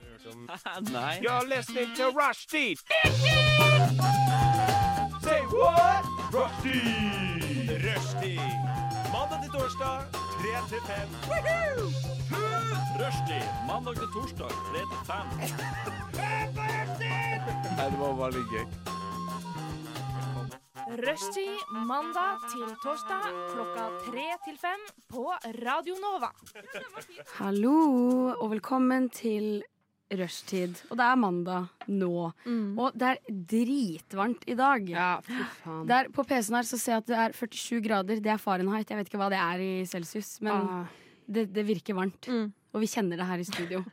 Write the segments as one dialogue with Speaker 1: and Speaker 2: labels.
Speaker 1: hørt om
Speaker 2: Nei.
Speaker 1: You're listening to Rushdie! Say what? Rushdie! Rushdie! Mandag til torsdag, 3 til 5. Rushdie! Mandag til torsdag, 3 til 5.
Speaker 2: det var veldig gøy.
Speaker 3: Rushtid mandag til torsdag klokka tre til fem på Radio Nova.
Speaker 4: Hallo, og velkommen til rushtid. Og det er mandag nå. Og det er dritvarmt i dag.
Speaker 5: Mm. Ja, fy faen.
Speaker 4: Der på PC-en her så ser jeg at det er 47 grader. Det er Fahrenheit. Jeg vet ikke hva det er i celsius, men
Speaker 5: Ah.
Speaker 4: det, det virker varmt.
Speaker 5: Mm.
Speaker 4: Og vi kjenner det her i studio.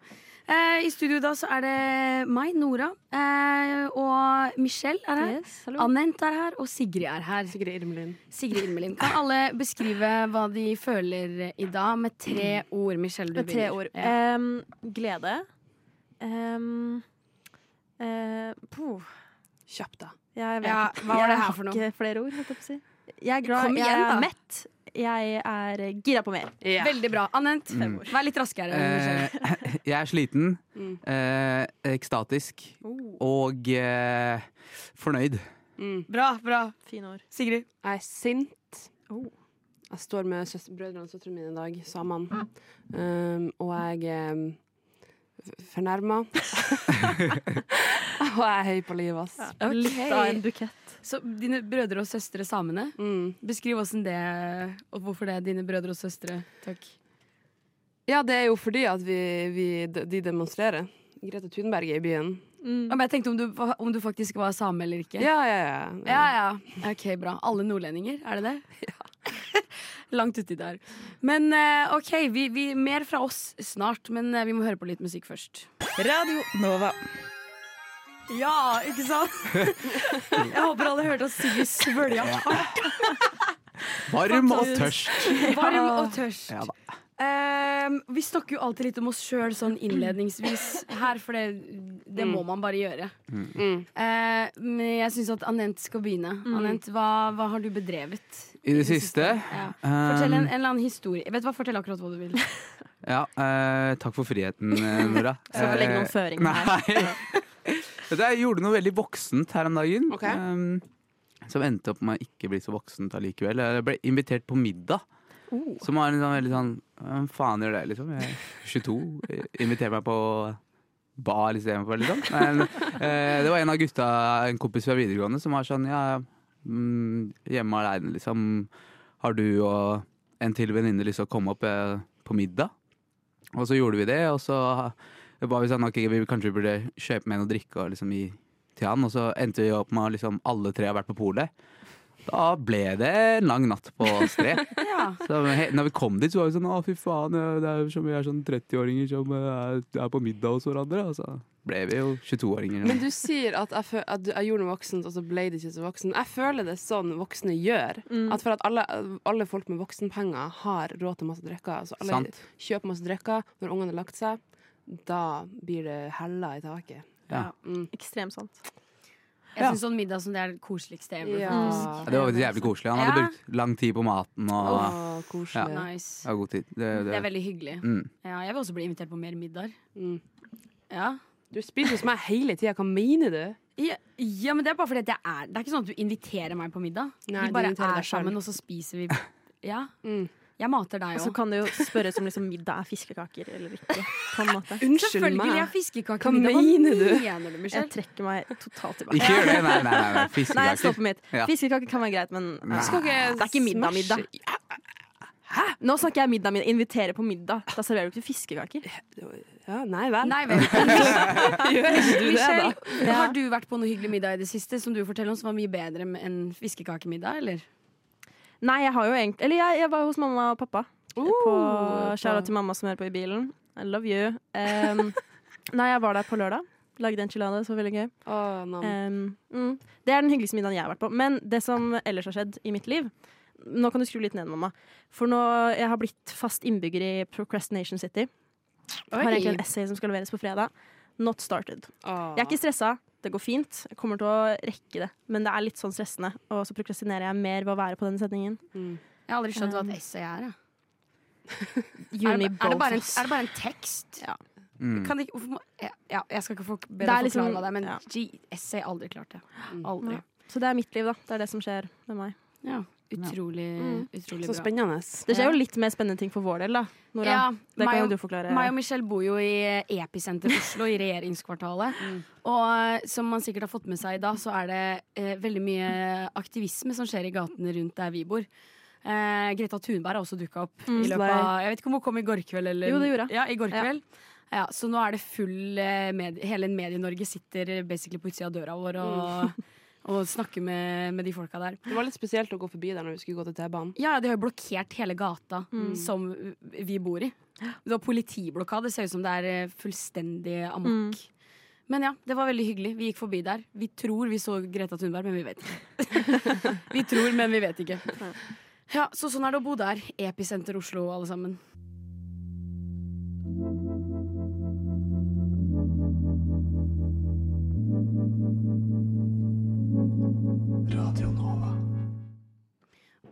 Speaker 4: eh, I studio da så er det meg, Nora, eh, og Michelle er her.
Speaker 5: Yes, hallo.
Speaker 4: Anent er her, og Sigrid er her.
Speaker 5: Sigrid Irmelin.
Speaker 4: Sigrid Irmelin. Kan alle beskrive hva de føler i dag med tre ord? Michelle, du
Speaker 5: Mm. Med tre
Speaker 4: begynner.
Speaker 5: ord. Eh,
Speaker 4: Ja.
Speaker 5: Em, glede. Um, Kjapp, da. eh, Jeg vet
Speaker 4: Ja,
Speaker 5: ikke.
Speaker 4: hva var det
Speaker 5: Jeg
Speaker 4: her
Speaker 5: har
Speaker 4: for noe?
Speaker 5: Ikke flere ord, holdt jeg på å si. Jeg er glad,
Speaker 4: Kom igjen,
Speaker 5: jeg er
Speaker 4: da.
Speaker 5: mett. Jeg er eh, gira på mer.
Speaker 4: Veldig bra. Anent,
Speaker 6: Fem
Speaker 7: Mm.
Speaker 6: ord.
Speaker 4: vær litt raskere. Michelle.
Speaker 6: Eh, jeg er sliten,
Speaker 4: Mm.
Speaker 6: eh, ekstatisk
Speaker 4: Oh.
Speaker 6: og eh, fornøyd.
Speaker 4: Bra, bra.
Speaker 5: Fine ord.
Speaker 4: Sigrid.
Speaker 8: Jeg er sint.
Speaker 5: Oh.
Speaker 8: Jeg står med søs- brødrene og søstrene mine i dag, sammen. Um, og jeg um, fornærma. og jeg er høy på livet, ass.
Speaker 5: Litt av en bukett.
Speaker 4: Så dine brødre og søstre samene.
Speaker 8: Mm.
Speaker 4: Beskriv åssen det Og hvorfor det er dine brødre og søstre. Takk.
Speaker 8: Ja, det er jo fordi at vi, vi, de demonstrerer. Grete Thunberg er i byen.
Speaker 4: Ja, men Jeg tenkte om du, om du faktisk var same eller ikke.
Speaker 8: Ja, ja, ja.
Speaker 4: ja, ja. Ok, bra. Alle nordlendinger, er det det? Langt uti der. Men eh, OK, vi, vi, mer fra oss snart, men eh, vi må høre på litt musikk først.
Speaker 7: Radio Nova.
Speaker 4: Ja, ikke sant? Jeg håper alle hørte at Sigrid svølja
Speaker 6: Varm og tørst.
Speaker 4: Varm og tørst.
Speaker 6: Ja da.
Speaker 4: Ehm, vi snakker jo alltid litt om oss sjøl sånn innledningsvis her, for det, det må man bare gjøre.
Speaker 8: Mm.
Speaker 4: Eh, men jeg syns at Anent skal begynne. Anent, hva, hva har du bedrevet?
Speaker 6: I Mm. det siste.
Speaker 4: Ja.
Speaker 6: Um,
Speaker 4: Fortell en, en eller annen historie. Vet du hva, Fortell akkurat hva du vil.
Speaker 6: Ja, eh, takk for friheten, eh, Nora. Eh,
Speaker 5: Skal ikke legge noen føringer
Speaker 6: her. Jeg gjorde noe veldig voksent her om dagen.
Speaker 8: Ok.
Speaker 6: em, som endte opp med å ikke bli så voksent allikevel. Jeg ble invitert på middag. Som var en sånn veldig sånn Hvem faen gjør det, liksom? Jeg er 22, eh, inviterer meg på bar istedenfor, liksom. Men eh, det var en av gutta, en kompis fra videregående, som var sånn Ja, mm, hjemme aleine, liksom. Har du og en til venninne lyst til å komme opp eh, på middag? Og så gjorde vi det, og så var vi sånn ok, vi kanskje vi burde kjøpe med noe drikke og liksom gi til han. Og så endte vi opp med at liksom, alle tre har vært på polet. Da ble det en lang natt på stre.
Speaker 4: Ja.
Speaker 6: Så he- når vi kom dit, så var vi sånn å fy faen, ja, det er jo som vi er sånn 30-åringer som eh, er, er på middag hos hverandre. Og så ble vi jo 22-åringer.
Speaker 8: Men du sier at jeg, fø- at du- jeg gjorde noe voksent, og så ble det ikke så voksen. Jeg føler det er sånn voksne gjør.
Speaker 5: Mm.
Speaker 8: At for at alle, alle folk med voksenpenger har råd til masse drikker. Altså alle
Speaker 6: Sant.
Speaker 8: kjøper masse drikker når ungene har lagt seg. Da blir det hella i taket.
Speaker 6: Ja.
Speaker 4: Mm.
Speaker 5: Ekstremt sant.
Speaker 4: Jeg syns sånn middag som det er det koseligste ever.
Speaker 8: Ja.
Speaker 6: Ja, det var jævlig koselig. Han hadde
Speaker 4: Ja.
Speaker 6: brukt lang tid på maten og
Speaker 8: Å, koselig.
Speaker 4: Nice.
Speaker 6: ja, god tid. Det,
Speaker 4: Det
Speaker 6: det,
Speaker 4: er veldig hyggelig.
Speaker 6: mm.
Speaker 4: Ja, jeg vil også bli invitert på mer middager.
Speaker 8: Mm.
Speaker 4: Ja.
Speaker 8: Du spiser hos meg hele tida, hva mener du?
Speaker 4: Ja, ja, men det er bare fordi at jeg er Det er ikke sånn at du inviterer meg på middag.
Speaker 8: Nei,
Speaker 4: vi
Speaker 8: du
Speaker 4: bare
Speaker 8: inviterer
Speaker 4: er
Speaker 8: deg selv.
Speaker 4: sammen, og så spiser vi. Ja.
Speaker 8: Mm.
Speaker 4: Jeg mater deg
Speaker 5: Og så
Speaker 4: òg.
Speaker 5: kan det jo spørres om liksom middag er fiskekaker eller ikke. På en måte.
Speaker 8: Unnskyld
Speaker 4: Selvfølgelig er
Speaker 8: meg.
Speaker 4: fiskekake
Speaker 8: Hva
Speaker 4: middag. Hva
Speaker 8: mener du?
Speaker 4: mener du,
Speaker 5: Jeg
Speaker 4: Michelle?
Speaker 5: trekker meg totalt tilbake.
Speaker 6: Ikke gjør det! Nei, nei, nei. nei.
Speaker 5: Nei, jeg står
Speaker 6: Fiskekaker.
Speaker 5: på mitt.
Speaker 6: Ja.
Speaker 5: Fiskekaker kan være greit, men
Speaker 6: Nei.
Speaker 8: Skal ikke
Speaker 5: Det er ikke middag, middag. Nå snakker jeg middag min. Invitere på middag. Da serverer du ikke fiskekaker.
Speaker 8: Ja, nei vel.
Speaker 4: Nei vel.
Speaker 8: du det, da?
Speaker 4: Michelle, har du vært på noe hyggelig middag i det siste som du forteller om som var mye bedre enn fiskekakemiddag, eller?
Speaker 5: Nei, jeg har jo egentlig Eller jeg, jeg var hos mamma og pappa. På
Speaker 8: Oh,
Speaker 5: Shout-out til mamma som hører på i bilen. I love you. Em, nei, jeg var der på lørdag. Lagde enchilada, så veldig gøy.
Speaker 8: Å,
Speaker 4: Eh,
Speaker 8: nam.
Speaker 5: Em, mm. Det er den hyggeligste middagen jeg har vært på. Men det som ellers har skjedd i mitt liv Nå kan du skru litt ned, mamma. For nå jeg har blitt fast innbygger i Procrastination City. Jeg har egentlig en essay som skal leveres på fredag. Not started.
Speaker 8: Å.
Speaker 5: Jeg er ikke stressa. Det går fint. Jeg kommer til å rekke det. Men det er litt sånn stressende. Og så prokrastinerer jeg mer ved å være på denne sendingen.
Speaker 4: Jeg har aldri
Speaker 5: Um.
Speaker 4: skjønt hva et essay er. jeg.
Speaker 5: You
Speaker 4: Er
Speaker 5: and
Speaker 4: det,
Speaker 5: me
Speaker 4: er, det
Speaker 5: both.
Speaker 4: bare en,
Speaker 5: ass.
Speaker 4: er det bare en tekst?
Speaker 5: Ja.
Speaker 6: Mm.
Speaker 4: Kan ikke, hvorfor, må- ja, ja, jeg skal ikke for, be
Speaker 5: Det
Speaker 4: deg
Speaker 5: er liksom-
Speaker 4: forklare det, men
Speaker 5: ja.
Speaker 4: gee, essay aldri klart det. Aldri.
Speaker 5: Ja. Så det er mitt liv, da. Det er det som skjer med meg.
Speaker 4: Ja. Utrolig,
Speaker 5: Mm.
Speaker 4: utrolig
Speaker 8: Så
Speaker 4: bra.
Speaker 8: spennende.
Speaker 5: Det skjer jo litt mer spennende ting for vår del, da. Nora.
Speaker 4: Ja,
Speaker 5: det
Speaker 4: meg
Speaker 5: kan
Speaker 4: og-
Speaker 5: jo du forklare.
Speaker 4: Meg og Michelle bor jo i episenter Oslo, i regjeringskvartalet.
Speaker 5: Mm.
Speaker 4: Og eh, som man sikkert har fått med seg i dag, så er det eh, veldig mye aktivisme som skjer i gatene rundt der vi bor. Eh, Greta Thunberg har også dukka opp.
Speaker 5: Mm,
Speaker 4: i løpet av, jeg vet ikke om hun kom i går kveld. Eller,
Speaker 5: Jo, det gjorde hun.
Speaker 4: Ja, i går
Speaker 5: Ja.
Speaker 4: kveld. Ja, så nå er det full eh, medie, Hele Medie-Norge sitter eh, basically på utsida av døra vår
Speaker 5: Mm.
Speaker 4: og, og snakker med, med de folka der.
Speaker 8: Det var litt spesielt å gå forbi der når vi skulle gå til T-banen.
Speaker 4: Ja, ja, de har jo blokkert hele gata
Speaker 5: Mm.
Speaker 4: som vi bor i. Det var politiblokade. Det ser ut som det er eh, fullstendig amok. Men ja, det var veldig hyggelig. Vi gikk forbi der. Vi tror vi så Greta Thunberg, men vi vet ikke. vi tror, men vi vet ikke. Ja, Så sånn er det å bo der. Episenter Oslo, alle sammen.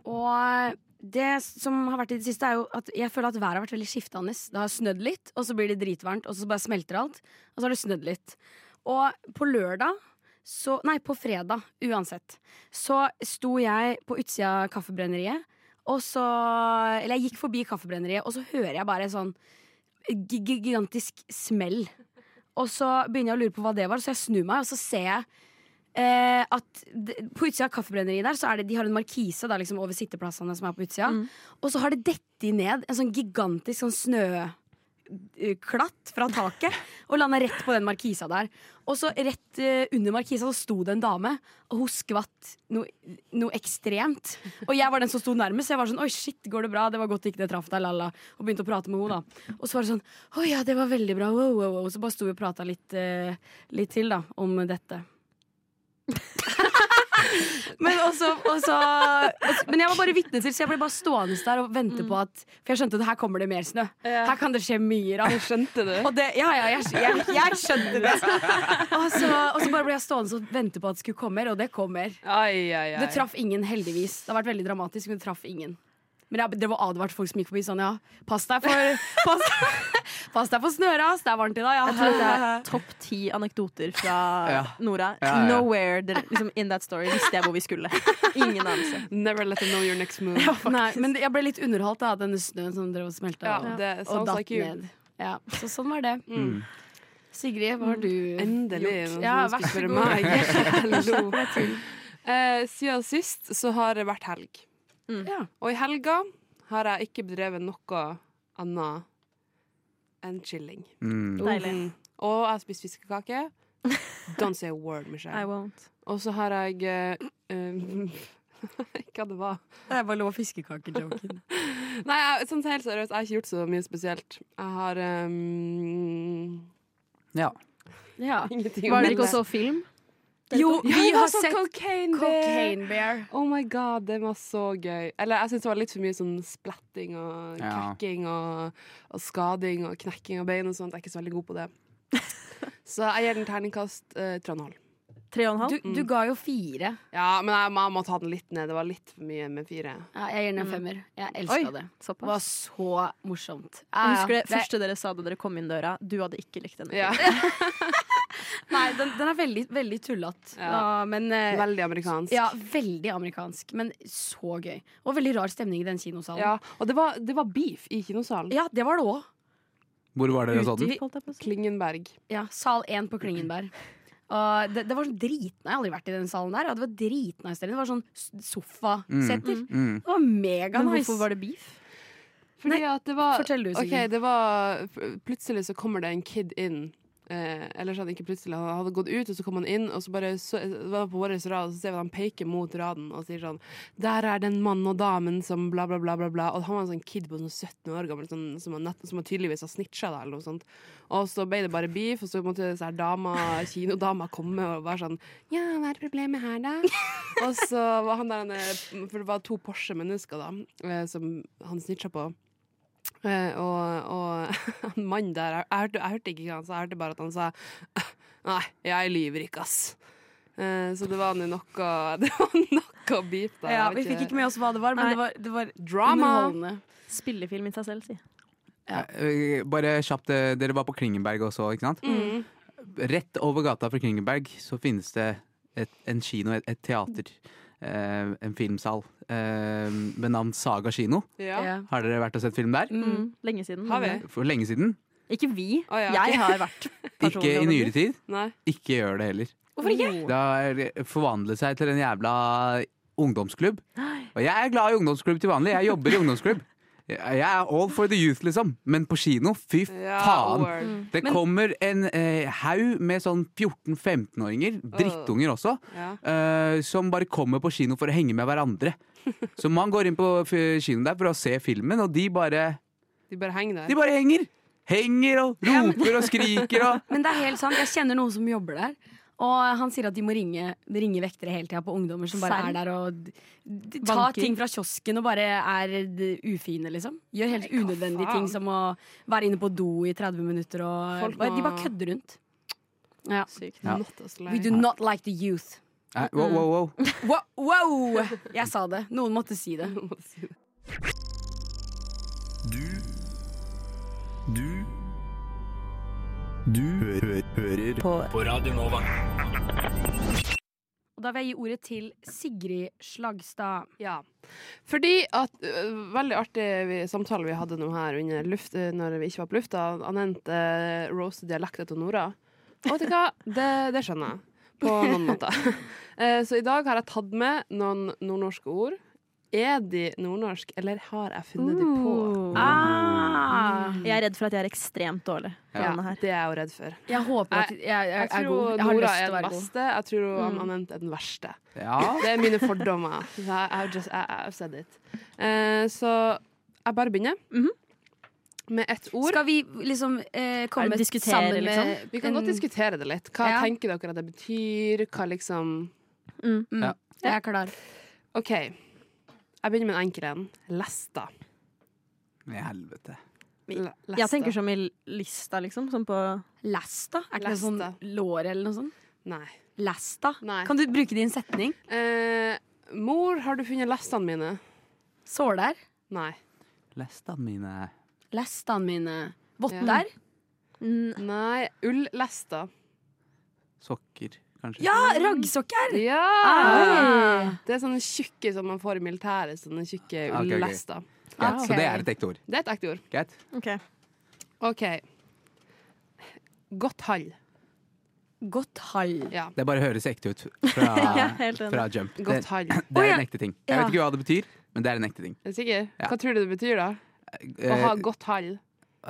Speaker 4: Og det som har vært i det siste, er jo at jeg føler at været har vært veldig skiftende. Det har snødd litt, og så blir det dritvarmt, og så bare smelter alt. Og så har det snødd litt. Og på lørdag så Nei, på fredag, uansett, så sto jeg på utsida av Kaffebrenneriet, og så Eller jeg gikk forbi Kaffebrenneriet, og så hører jeg bare sånn gi- gi- gigantisk smell. Og så begynner jeg å lure på hva det var, så jeg snur meg, og så ser jeg eh, at d- på utsida av kaffebrenneriet der, så er det, de har en markise da, liksom, over sitteplassene som er på utsida. Og så har det dette ned en sånn gigantisk sånn snøklatt fra taket og landa rett på den markisa der. Og så rett eh, under markisa så sto det en dame, og hun skvatt noe, noe ekstremt. Og jeg var den som sto nærmest, så jeg var sånn Oi, shit, går det bra? Det var godt ikke det traff deg, la-la. Og begynte å prate med henne, da. Og så var det sånn Å ja, det var veldig bra. Wow, wow, wow. Så bare sto vi og prata litt, eh, litt til, da, om dette. Men også, også, også Men jeg var bare vitne til, så jeg ble bare stående der og vente på at For jeg skjønte at her kommer det mer snø. Her kan det skje mye rart.
Speaker 8: Skjønte du?
Speaker 4: Og det, ja, ja, jeg, jeg, jeg skjønte det. Og så, og så bare ble jeg stående og vente på at det skulle komme, og det kommer.
Speaker 8: Ai, ai, ai.
Speaker 4: Det traff ingen, heldigvis. Det har vært veldig dramatisk, men det traff ingen. Men jeg, det var advart folk som gikk forbi sånn, ja. Pass deg for, pass, pass deg for snøras, det er varmt i dag,
Speaker 5: Jeg tror dette
Speaker 4: ja.
Speaker 5: er topp ti anekdoter fra
Speaker 6: Ja.
Speaker 5: Nora.
Speaker 6: Ja, ja.
Speaker 5: Nowhere dere- liksom, in that story visste jeg hvor vi skulle. Ingen anelse.
Speaker 8: Never let them know your next move.
Speaker 4: Nei, men jeg ble litt underholdt av denne snøen som drev og smelta.
Speaker 8: Ja,
Speaker 4: og-
Speaker 8: det
Speaker 4: og
Speaker 8: sounds
Speaker 4: datt
Speaker 8: like you.
Speaker 4: ned. Ja, så sånn var det. Sigrid, hva har du
Speaker 8: Endelig
Speaker 4: gjort?
Speaker 8: noen
Speaker 4: Ja,
Speaker 8: som
Speaker 4: vær
Speaker 8: skulle
Speaker 4: så
Speaker 8: spørre
Speaker 4: god.
Speaker 8: meg. Hallo. Eh, siden sist så har det vært helg.
Speaker 4: Ja.
Speaker 8: Og i helga har jeg ikke bedrevet noe annet enn chilling.
Speaker 6: Mm.
Speaker 5: Deilig.
Speaker 8: Mm. Og jeg har spist fiskekake. Don't say a word,
Speaker 5: I
Speaker 8: Michelle.
Speaker 5: won't.
Speaker 8: Og så har jeg eh, eh, Hva det var
Speaker 4: Det var lov fiskekakejoken.
Speaker 8: Nei, jeg, sånn helt seriøst, jeg har ikke gjort så mye spesielt. Jeg har eh, ehm,
Speaker 6: Ja.
Speaker 4: Ja.
Speaker 8: ingenting å
Speaker 5: Var dere ikke
Speaker 8: melde.
Speaker 5: også film?
Speaker 4: Jo,
Speaker 8: Ja,
Speaker 4: vi
Speaker 8: jeg
Speaker 4: har
Speaker 8: så
Speaker 4: sett
Speaker 8: Cocaine Bear.
Speaker 4: Cocaine Bear.
Speaker 8: Oh my god, det var så gøy. Eller jeg syns det var litt for mye sånn splatting og
Speaker 6: Ja.
Speaker 8: kakking og, og skading og knekking av bein og sånt. Jeg er ikke så veldig god på det. Så jeg gir den terningkast eh, Trondheim.
Speaker 5: Tre og en halv?
Speaker 4: Du, du ga jo fire.
Speaker 8: Ja, men jeg, jeg må ta den litt ned. Det var litt for mye med fire.
Speaker 4: Ja, jeg gir den en femmer. Jeg
Speaker 5: Oi,
Speaker 4: elska det. Det var
Speaker 5: såpass.
Speaker 4: så morsomt. Ja,
Speaker 5: Jeg
Speaker 4: ja.
Speaker 5: husker det
Speaker 4: Det-
Speaker 5: første dere sa da dere kom inn døra. Du hadde ikke likt denne.
Speaker 8: Ja,
Speaker 4: Nei, den, den er veldig, veldig tullete.
Speaker 8: Ja.
Speaker 4: Ja, men eh,
Speaker 8: Veldig amerikansk.
Speaker 4: ja, veldig amerikansk, men så gøy. Og veldig rar stemning i den kinosalen.
Speaker 8: Ja, og det var, det var beef i kinosalen.
Speaker 4: Ja, det var det òg.
Speaker 6: Hvor var dere og så
Speaker 4: Ute
Speaker 6: den?
Speaker 4: i-
Speaker 5: Holdt jeg på å si.
Speaker 8: Klingenberg.
Speaker 4: Ja, sal 1 på Klingenberg. Og det, det var sånn dritnice. Jeg har aldri vært i den salen der. Og det var dritnice stemning. Det var sånn s- sofasetter.
Speaker 6: Mm.
Speaker 4: Det var mega
Speaker 5: Men
Speaker 4: nice.
Speaker 5: hvorfor var det beef?
Speaker 8: Fordi at det var
Speaker 4: fortell du, Sigrid.
Speaker 8: Ok, det var Plutselig så kommer det en kid inn. Eh, eller sånn, ikke plutselig, han hadde gått ut, og så kom han inn, og så bare så, det var på vår rad, og så ser vi at han peker mot raden og sier sånn Der er den mannen og damen som bla, bla, bla, bla, bla. Og han var en sånn kid på sånn 17 år gammel sånn, som, han nett, som han tydeligvis har snitcha da, eller noe sånt. Og så ble det bare beef, og så måtte så her dama, kinodama komme og være sånn Ja, hva er problemet her, da? og så var han der han, eh, For det var to Porsche-mennesker, da, eh, som han snitcha på. Eh, og, og han mannen der jeg, jeg, hørte, jeg hørte ikke hva han sa, jeg hørte bare at han sa Nei, jeg lyver ikke, ass. Eh, så det var nå noe Det var noe beef der.
Speaker 4: ja,
Speaker 8: jeg
Speaker 4: Vi
Speaker 8: vet
Speaker 4: fikk ikke med oss hva det var, men det var, det var
Speaker 8: Drama!
Speaker 4: underholdende.
Speaker 5: Spillefilm i seg selv, si.
Speaker 6: Eh, Bare kjapt, eh, dere var på Klingenberg også, ikke sant?
Speaker 8: Mm.
Speaker 6: Rett over gata fra Klingenberg så finnes det et, en kino, et, et teater, eh, en filmsal eh, ved navn Saga kino.
Speaker 8: Ja.
Speaker 4: Ja.
Speaker 6: Har dere vært og sett film der?
Speaker 5: Mm. Lenge siden.
Speaker 8: Har vi?
Speaker 5: men-
Speaker 6: For lenge siden.
Speaker 5: Ikke vi.
Speaker 8: Å, ja, ok.
Speaker 5: Jeg har vært
Speaker 6: Ikke i nyere tid.
Speaker 8: Nei.
Speaker 6: Ikke gjør det heller.
Speaker 3: Hvorfor ikke?
Speaker 6: Det har forvandlet seg til en jævla ungdomsklubb. Og jeg er glad i ungdomsklubb til vanlig. Jeg jobber i ungdomsklubb. Jeg er all for the youth, liksom. Men på kino, fy
Speaker 8: Ja,
Speaker 6: faen.
Speaker 8: word.
Speaker 6: Det kommer en eh, haug med sånn 14-15-åringer, drittunger også,
Speaker 8: Ja.
Speaker 6: eh, som bare kommer på kino for å henge med hverandre. Så man går inn på f- kinoen der for å se filmen, og de bare,
Speaker 8: De bare henger
Speaker 6: de
Speaker 8: der.
Speaker 6: bare henger. Henger og roper og skriker og
Speaker 4: Men det er helt sant. Jeg kjenner noen som jobber der. Og han sier at de må ringe De ringer vektere hele tida på ungdommer som bare
Speaker 5: Serr?
Speaker 4: er der og d- d- tar
Speaker 5: Banker.
Speaker 4: ting fra kiosken og bare er d- ufine, liksom. Gjør helt unødvendige
Speaker 8: faen?
Speaker 4: ting som å være inne på do i 30 minutter og
Speaker 8: Folk
Speaker 4: bare- De
Speaker 8: må-
Speaker 4: bare kødder rundt. Ja.
Speaker 8: Sykt.
Speaker 6: Ja.
Speaker 8: Not as
Speaker 4: We
Speaker 8: lei.
Speaker 4: do not like the youth.
Speaker 6: Nei, Wow, wow, wow.
Speaker 4: Wow! wow! Jeg sa det. Noen måtte si det.
Speaker 2: Du Du Du hø hø hører på. Radio Nova.
Speaker 4: Og da vil jeg gi ordet til Sigrid Slagstad.
Speaker 8: Ja. Fordi at øh, Veldig artig vi, samtale vi hadde nå her under luft, øh, når vi ikke var på lufta. Anent uh, roaste dialekta til Nora. Og vet du hva? Det, det skjønner jeg. På noen måter. Eh, så i dag har jeg tatt med noen nordnorske ord. Er de nordnorsk, eller har jeg funnet de på?
Speaker 4: Ah.
Speaker 5: Jeg er redd for at jeg er ekstremt dårlig. på
Speaker 8: Ja,
Speaker 5: denne her.
Speaker 8: det er jeg jo redd for.
Speaker 4: Jeg håper at jeg, jeg,
Speaker 8: Jeg
Speaker 4: er god.
Speaker 8: tror
Speaker 4: Jeg har
Speaker 8: Nora
Speaker 4: lyst
Speaker 8: er
Speaker 4: til å
Speaker 8: den
Speaker 4: være god.
Speaker 8: beste. Jeg tror mm. Anent er den verste.
Speaker 6: Ja.
Speaker 8: Det er mine fordommer. I, I've just, I, I've said it. Eh, så jeg bare begynner
Speaker 4: Mhm.
Speaker 8: med ett ord.
Speaker 4: Skal vi liksom eh, komme
Speaker 5: Er det diskutere,
Speaker 4: sammen med
Speaker 5: liksom?
Speaker 8: vi kan godt diskutere det litt. Hva
Speaker 4: Mm. Ja.
Speaker 8: tenker dere at det betyr? Hva liksom
Speaker 4: Mm.
Speaker 6: Ja.
Speaker 4: Jeg er klar.
Speaker 8: OK. Jeg begynner med en enkel en. Lesta.
Speaker 6: I helvete.
Speaker 8: Le- lesta.
Speaker 5: Jeg tenker som i lista, liksom. Som på
Speaker 4: Lasta? Er ikke det sånn
Speaker 8: Lasta.
Speaker 4: lår eller noe sånt?
Speaker 8: Nei.
Speaker 4: Lasta?
Speaker 8: Nei.
Speaker 4: Kan du bruke det i en setning?
Speaker 8: Eh, mor, har du funnet lestene mine?
Speaker 4: Såler?
Speaker 8: Nei.
Speaker 6: Lestene mine
Speaker 4: Lastene mine. Votter?
Speaker 8: Mm, Nei. Ullesta.
Speaker 6: sokker, kanskje.
Speaker 4: Ja, raggsokker!
Speaker 8: Ja!
Speaker 4: Ah.
Speaker 8: Det er sånne tjukke som man får i militæret. Sånne tjukke
Speaker 6: ok.
Speaker 8: ullester.
Speaker 6: Greit,
Speaker 4: ok.
Speaker 6: Så det er et ekte ord.
Speaker 8: Det er et ekte ord.
Speaker 6: Greit.
Speaker 5: Ok.
Speaker 8: OK. Godt hall.
Speaker 4: Godt hall.
Speaker 8: Ja.
Speaker 6: Det bare høres ekte ut fra,
Speaker 5: Ja, helt enig.
Speaker 6: fra jump. Det,
Speaker 8: Godt hall.
Speaker 6: det
Speaker 4: Å,
Speaker 6: er
Speaker 4: ja.
Speaker 6: en ekte ting. Jeg vet ikke hva det betyr, men det er en ekte ting.
Speaker 8: Er du sikker?
Speaker 6: Ja.
Speaker 8: Hva tror du det betyr, da? Å
Speaker 6: Eh,
Speaker 8: ha godt hall.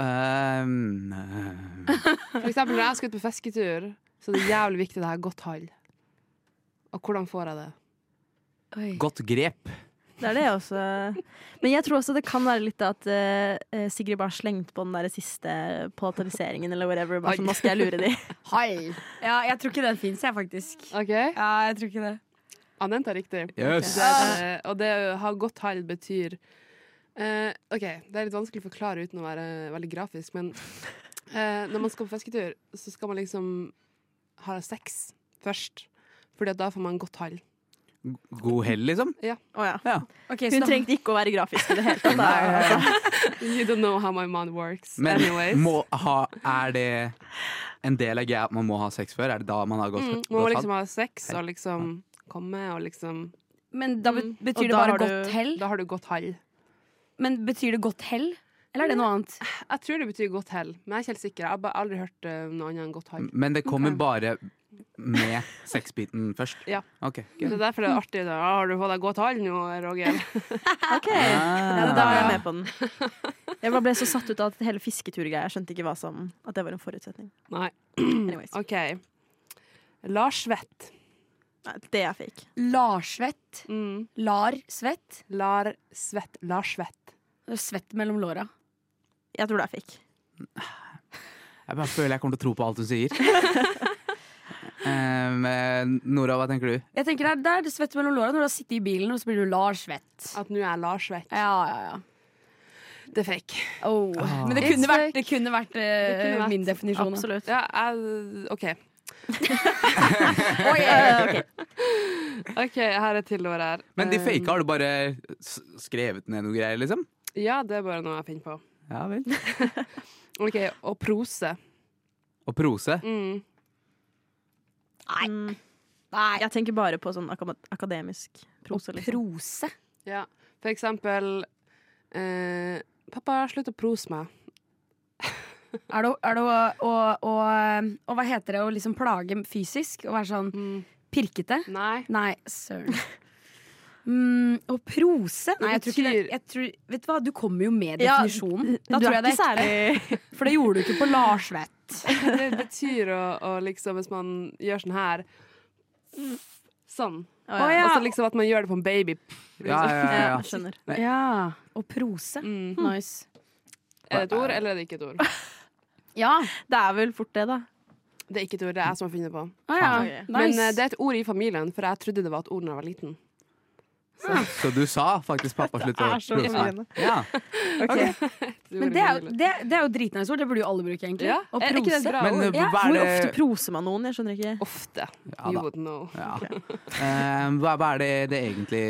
Speaker 6: ehm, eh,
Speaker 8: For eksempel når jeg skal ut på fisketur, så er det jævlig viktig det her godt hall. Og hvordan får jeg det?
Speaker 4: Oi.
Speaker 6: godt grep.
Speaker 5: Det er det jeg også. Men jeg tror også det kan være litt at eh, eh, Sigrid bare slengte på den der siste polariseringen eller whatever. Bare sånn, nå skal jeg lure de.
Speaker 4: Hall. Ja, jeg tror ikke den fins, jeg, faktisk.
Speaker 8: OK?
Speaker 4: Ja, jeg tror ikke det.
Speaker 8: Anent er riktig.
Speaker 6: Yes.
Speaker 8: Det er, eh, og det å ha godt hall betyr eh, OK, det er litt vanskelig å forklare uten å være veldig grafisk, men eh, når man skal på fisketur, så skal man liksom ha sex først. Fordi at da får man godt hall.
Speaker 6: God hell, liksom.
Speaker 5: Å ja.
Speaker 6: Ja.
Speaker 4: Okay, så
Speaker 5: Hun
Speaker 4: da-
Speaker 5: trengte ikke å være grafisk i det hele tatt. da.
Speaker 8: You don't know how my mind works.
Speaker 6: Men
Speaker 8: Anyways.
Speaker 6: må ha, er det en del av greia at man må ha sex før? Er det da man har gått
Speaker 8: Mm,
Speaker 6: godt
Speaker 8: man må
Speaker 6: fall?
Speaker 8: liksom ha sex og liksom komme og liksom
Speaker 4: Men Mm. da bet- betyr
Speaker 5: Og
Speaker 4: det
Speaker 5: da
Speaker 4: bare
Speaker 5: har du-
Speaker 4: godt hell?
Speaker 8: Da har du godt hell.
Speaker 4: Men betyr det godt hell? Eller er det noe annet?
Speaker 8: Jeg tror det betyr godt hell, men jeg er ikke helt sikker. Jeg har bare aldri hørt eh, noe annet enn godt hell.
Speaker 6: Men det kommer bare med sexbiten først?
Speaker 8: Ja.
Speaker 6: Ok,
Speaker 8: Det
Speaker 5: Mm.
Speaker 6: greit.
Speaker 8: er derfor det er artig. Da. «Ah, Har du fått deg godt hall nå, Roger?
Speaker 5: Ok, ja, Da er
Speaker 6: Ah.
Speaker 5: jeg med på den. Jeg bare ble så satt ut av at hele fisketurgreia. Jeg skjønte ikke hva som, at det var en forutsetning.
Speaker 8: Nei.
Speaker 5: Anyways,
Speaker 8: OK. Larsvett.
Speaker 5: Nei, det er fake.
Speaker 4: Larsvett?
Speaker 8: Mm.
Speaker 4: Larsvett?
Speaker 8: Larsvett. Larsvett.
Speaker 4: Svett mellom låra.
Speaker 5: Jeg tror det er fake.
Speaker 6: Jeg bare føler jeg kommer til å tro på alt hun sier. Ehm, eh, Nora, hva tenker du?
Speaker 4: Jeg tenker det er, det er svett mellom låra når du har sittet i bilen, og så blir du Lars-svett.
Speaker 8: At nå er jeg Larsvett.
Speaker 4: Ja, ja, ja.
Speaker 8: Det er fake.
Speaker 4: Oh. Men det
Speaker 8: It's
Speaker 4: kunne vært,
Speaker 8: like-
Speaker 4: det kunne vært, eh,
Speaker 8: kunne vært-
Speaker 4: min definisjon. da.
Speaker 5: Absolutt.
Speaker 8: Ja, jeg OK.
Speaker 4: Oi, eh,
Speaker 8: OK, her er til år her.
Speaker 6: Men de
Speaker 8: Eh,
Speaker 6: faka, har du bare s- skrevet ned noe greier, liksom?
Speaker 8: Ja, det er bare noe jeg finner på.
Speaker 6: Ja vel.
Speaker 8: OK, og prose.
Speaker 6: Og prose.
Speaker 8: Mm.
Speaker 5: Mm. Jeg tenker bare på sånn akam- akademisk prose. Liksom.
Speaker 4: Prose.
Speaker 8: Ja. For eksempel eh, Pappa, slutt å prose meg.
Speaker 4: Er det, å- er det å, å, å, å Hva heter det? Å liksom plage fysisk? Å være sånn
Speaker 8: Mm.
Speaker 4: pirkete?
Speaker 8: Nei.
Speaker 4: Nei, søren. Mm, og prose? Nei, jeg tror ikke det.
Speaker 8: betyr-
Speaker 4: Jeg tror, vet du hva, du kommer jo med
Speaker 5: Ja,
Speaker 4: definisjonen. da
Speaker 5: du
Speaker 4: tror
Speaker 5: er
Speaker 4: jeg det
Speaker 5: ikke
Speaker 4: er ekte.
Speaker 5: særlig
Speaker 4: For det gjorde du ikke på Lars, vet
Speaker 8: Det betyr å, å liksom Hvis man gjør sånn her Sånn.
Speaker 5: Å
Speaker 4: ja.
Speaker 8: Og så liksom at man gjør det på en baby.
Speaker 6: Ja, ja, ja,
Speaker 5: Ja,
Speaker 6: ja.
Speaker 5: skjønner.
Speaker 4: Ja. Og prose.
Speaker 8: Mm.
Speaker 4: Nice.
Speaker 8: Er det et ord, eller er det ikke et ord?
Speaker 4: Ja.
Speaker 5: Det er vel fort det, da.
Speaker 8: Det er ikke et ord, det er jeg som har funnet på.
Speaker 4: Å ja.
Speaker 5: Ok.
Speaker 4: Nice.
Speaker 8: Men eh, det er et ord i familien, for jeg trodde det var et ord da jeg var liten.
Speaker 6: Så, så du sa faktisk pappa slutt å
Speaker 5: Det er så
Speaker 6: prose meg.
Speaker 5: irriterende.
Speaker 6: Ja.
Speaker 4: Men det er, jo- det, det er jo dritnice ord. Det burde jo alle bruke, egentlig.
Speaker 8: Ja,
Speaker 4: Og
Speaker 8: er ikke det et
Speaker 4: prose.
Speaker 8: bra
Speaker 6: Men
Speaker 8: ord?
Speaker 6: eh,
Speaker 4: Ja.
Speaker 6: hva
Speaker 5: Hvor
Speaker 6: er
Speaker 5: ofte
Speaker 6: det
Speaker 5: proser man noen? Jeg skjønner ikke.
Speaker 8: Ofte.
Speaker 6: Ja
Speaker 8: you
Speaker 6: da.
Speaker 8: would know.
Speaker 6: Ja. Eh, hva, hva er det det egentlig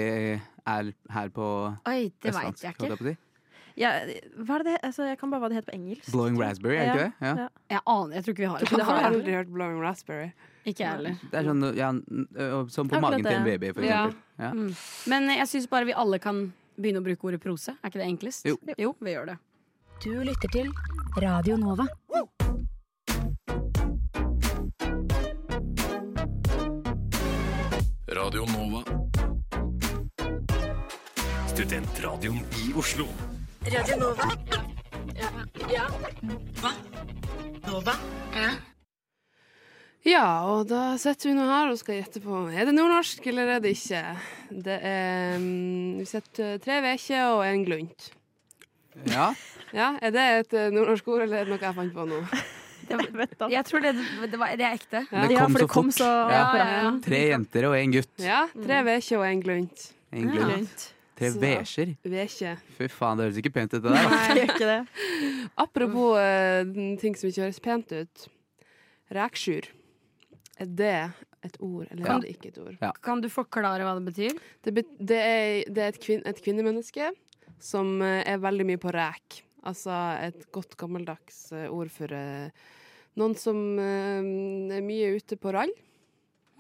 Speaker 6: er her på
Speaker 4: Oi, det veit jeg
Speaker 6: østlandsk? holdt
Speaker 4: ikke.
Speaker 6: jeg på å si?
Speaker 5: Ja, hva er det? Altså, jeg kan bare hva det heter på engelsk.
Speaker 6: Blowing raspberry, er det ikke det? Ja.
Speaker 4: Jeg aner, jeg tror ikke vi har
Speaker 8: Jeg har
Speaker 4: det.
Speaker 8: aldri hørt Blowing Raspberry.
Speaker 4: Ikke jeg heller.
Speaker 6: Det er sånn, ja, n- ø, sånn på
Speaker 5: Akkurat
Speaker 6: magen til en
Speaker 5: det.
Speaker 6: baby, for
Speaker 8: Ja.
Speaker 6: eksempel. Ja.
Speaker 5: Mm.
Speaker 4: Men eh, jeg syns bare vi alle kan begynne å bruke ordet prose. Er ikke det enklest?
Speaker 6: Jo.
Speaker 4: vi gjør det.
Speaker 7: Du lytter til Radio Nova.
Speaker 2: Radio Nova.
Speaker 1: Studentradioen i Oslo.
Speaker 8: Ja, og da sitter vi nå her og skal gjette på Er det nordnorsk eller er det ikke. Det er mm, Vi sitter tre veker og en glunt.
Speaker 6: Ja.
Speaker 8: Ja, Er det et eh, nordnorsk ord, eller er det noe jeg fant på nå?
Speaker 5: Jeg vet da.
Speaker 4: Jeg tror det, det, var, det er ekte.
Speaker 6: Det
Speaker 5: Ja,
Speaker 6: kom
Speaker 5: for
Speaker 6: så
Speaker 5: det kom
Speaker 6: fort.
Speaker 5: så
Speaker 6: Ja.
Speaker 5: akkurat.
Speaker 8: ja.
Speaker 6: Tre jenter og en gutt.
Speaker 8: Ja, tre veker og en glunt.
Speaker 6: En glunt. Tre
Speaker 8: Så-
Speaker 6: beger.
Speaker 8: Veke.
Speaker 6: Fy faen, det høres ikke pent ut det der. da.
Speaker 5: Nei, gjør ikke det.
Speaker 8: Apropos eh, ting som ikke høres pent ut. Reksjur. Er det et ord, eller
Speaker 6: Ja.
Speaker 8: er det ikke et ord?
Speaker 4: Kan du forklare hva det betyr?
Speaker 8: Det, bet- det er, det er et, kvin et kvinnemenneske som eh, er veldig mye på rek. Altså et godt gammeldags eh, ord for eh, noen som eh, er mye ute på rall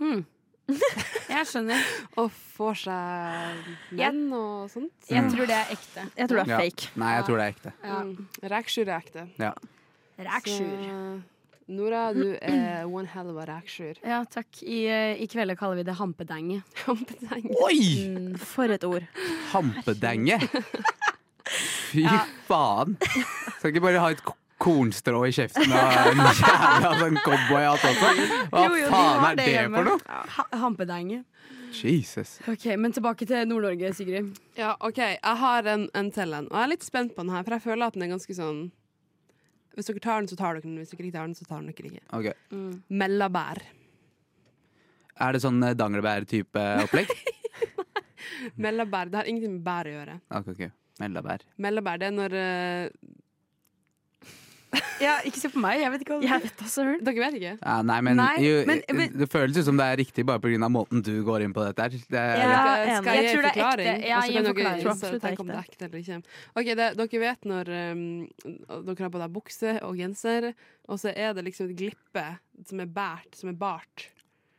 Speaker 4: Hmm. Jeg skjønner.
Speaker 8: og får seg menn og sånt.
Speaker 4: Jeg tror det er ekte.
Speaker 5: Jeg tror det
Speaker 6: Ja.
Speaker 5: er fake.
Speaker 6: Nei, jeg tror det er ekte.
Speaker 4: Ja.
Speaker 8: Mm. Reksjur er ekte.
Speaker 4: Reksjur.
Speaker 8: Så, Nora, du er one hell of a reksjur.
Speaker 4: Ja, takk. I, eh, i kveld kaller vi det hampedange.
Speaker 8: Kampeteng.
Speaker 6: Oi!
Speaker 5: For et ord.
Speaker 6: Hampedenge. Fy faen. Skal ikke bare ha et ko- kornstrå i kjeften og en jævla sånn cowboyhatt også? Hva
Speaker 4: Jo, jo, de
Speaker 6: faen
Speaker 4: har
Speaker 6: er
Speaker 4: det
Speaker 6: det
Speaker 4: hjemme.
Speaker 6: for noe?
Speaker 4: Ha hampedange.
Speaker 6: Jesus.
Speaker 4: Ok, Men tilbake til Nord-Norge, Sigrid.
Speaker 8: Ja, OK, jeg har en, en til en, og jeg er litt spent på den her, for jeg føler at den er ganske sånn Hvis dere tar den, så tar dere den. Hvis dere ikke tar den, så tar dere ikke.
Speaker 6: Ok.
Speaker 8: Mellabær.
Speaker 6: Er det sånn eh, danglebær-type opplegg?
Speaker 8: Mellabær, det har ingenting med bær å gjøre.
Speaker 6: Ok, ok. Meldabær.
Speaker 8: Mellabær, det er når eh,
Speaker 4: Ja, ikke se på meg. Jeg vet ikke hva
Speaker 5: Jeg vet da søren.
Speaker 8: Dere vet ikke?
Speaker 6: Ja, nei, men,
Speaker 4: Nei,
Speaker 6: jo, eh,
Speaker 4: men- men-
Speaker 6: det føles ut som det er riktig bare pga. måten du går inn på dette her. Det er,
Speaker 5: Ja,
Speaker 8: Skal-
Speaker 5: enig.
Speaker 8: skal jeg,
Speaker 4: Jeg
Speaker 8: gi
Speaker 4: tror det er
Speaker 8: forklaring?
Speaker 4: ekte. Ja,
Speaker 8: Og så
Speaker 4: gi en
Speaker 8: kan dere
Speaker 4: forklaring.
Speaker 8: så
Speaker 5: Jeg tror absolutt
Speaker 8: tenke om
Speaker 5: det
Speaker 8: det
Speaker 5: er
Speaker 8: er ekte eller ikke. Ok, det, Dere vet når eh, dere har på deg bukse og genser, og så er det liksom et glippe som er bært, som er bart.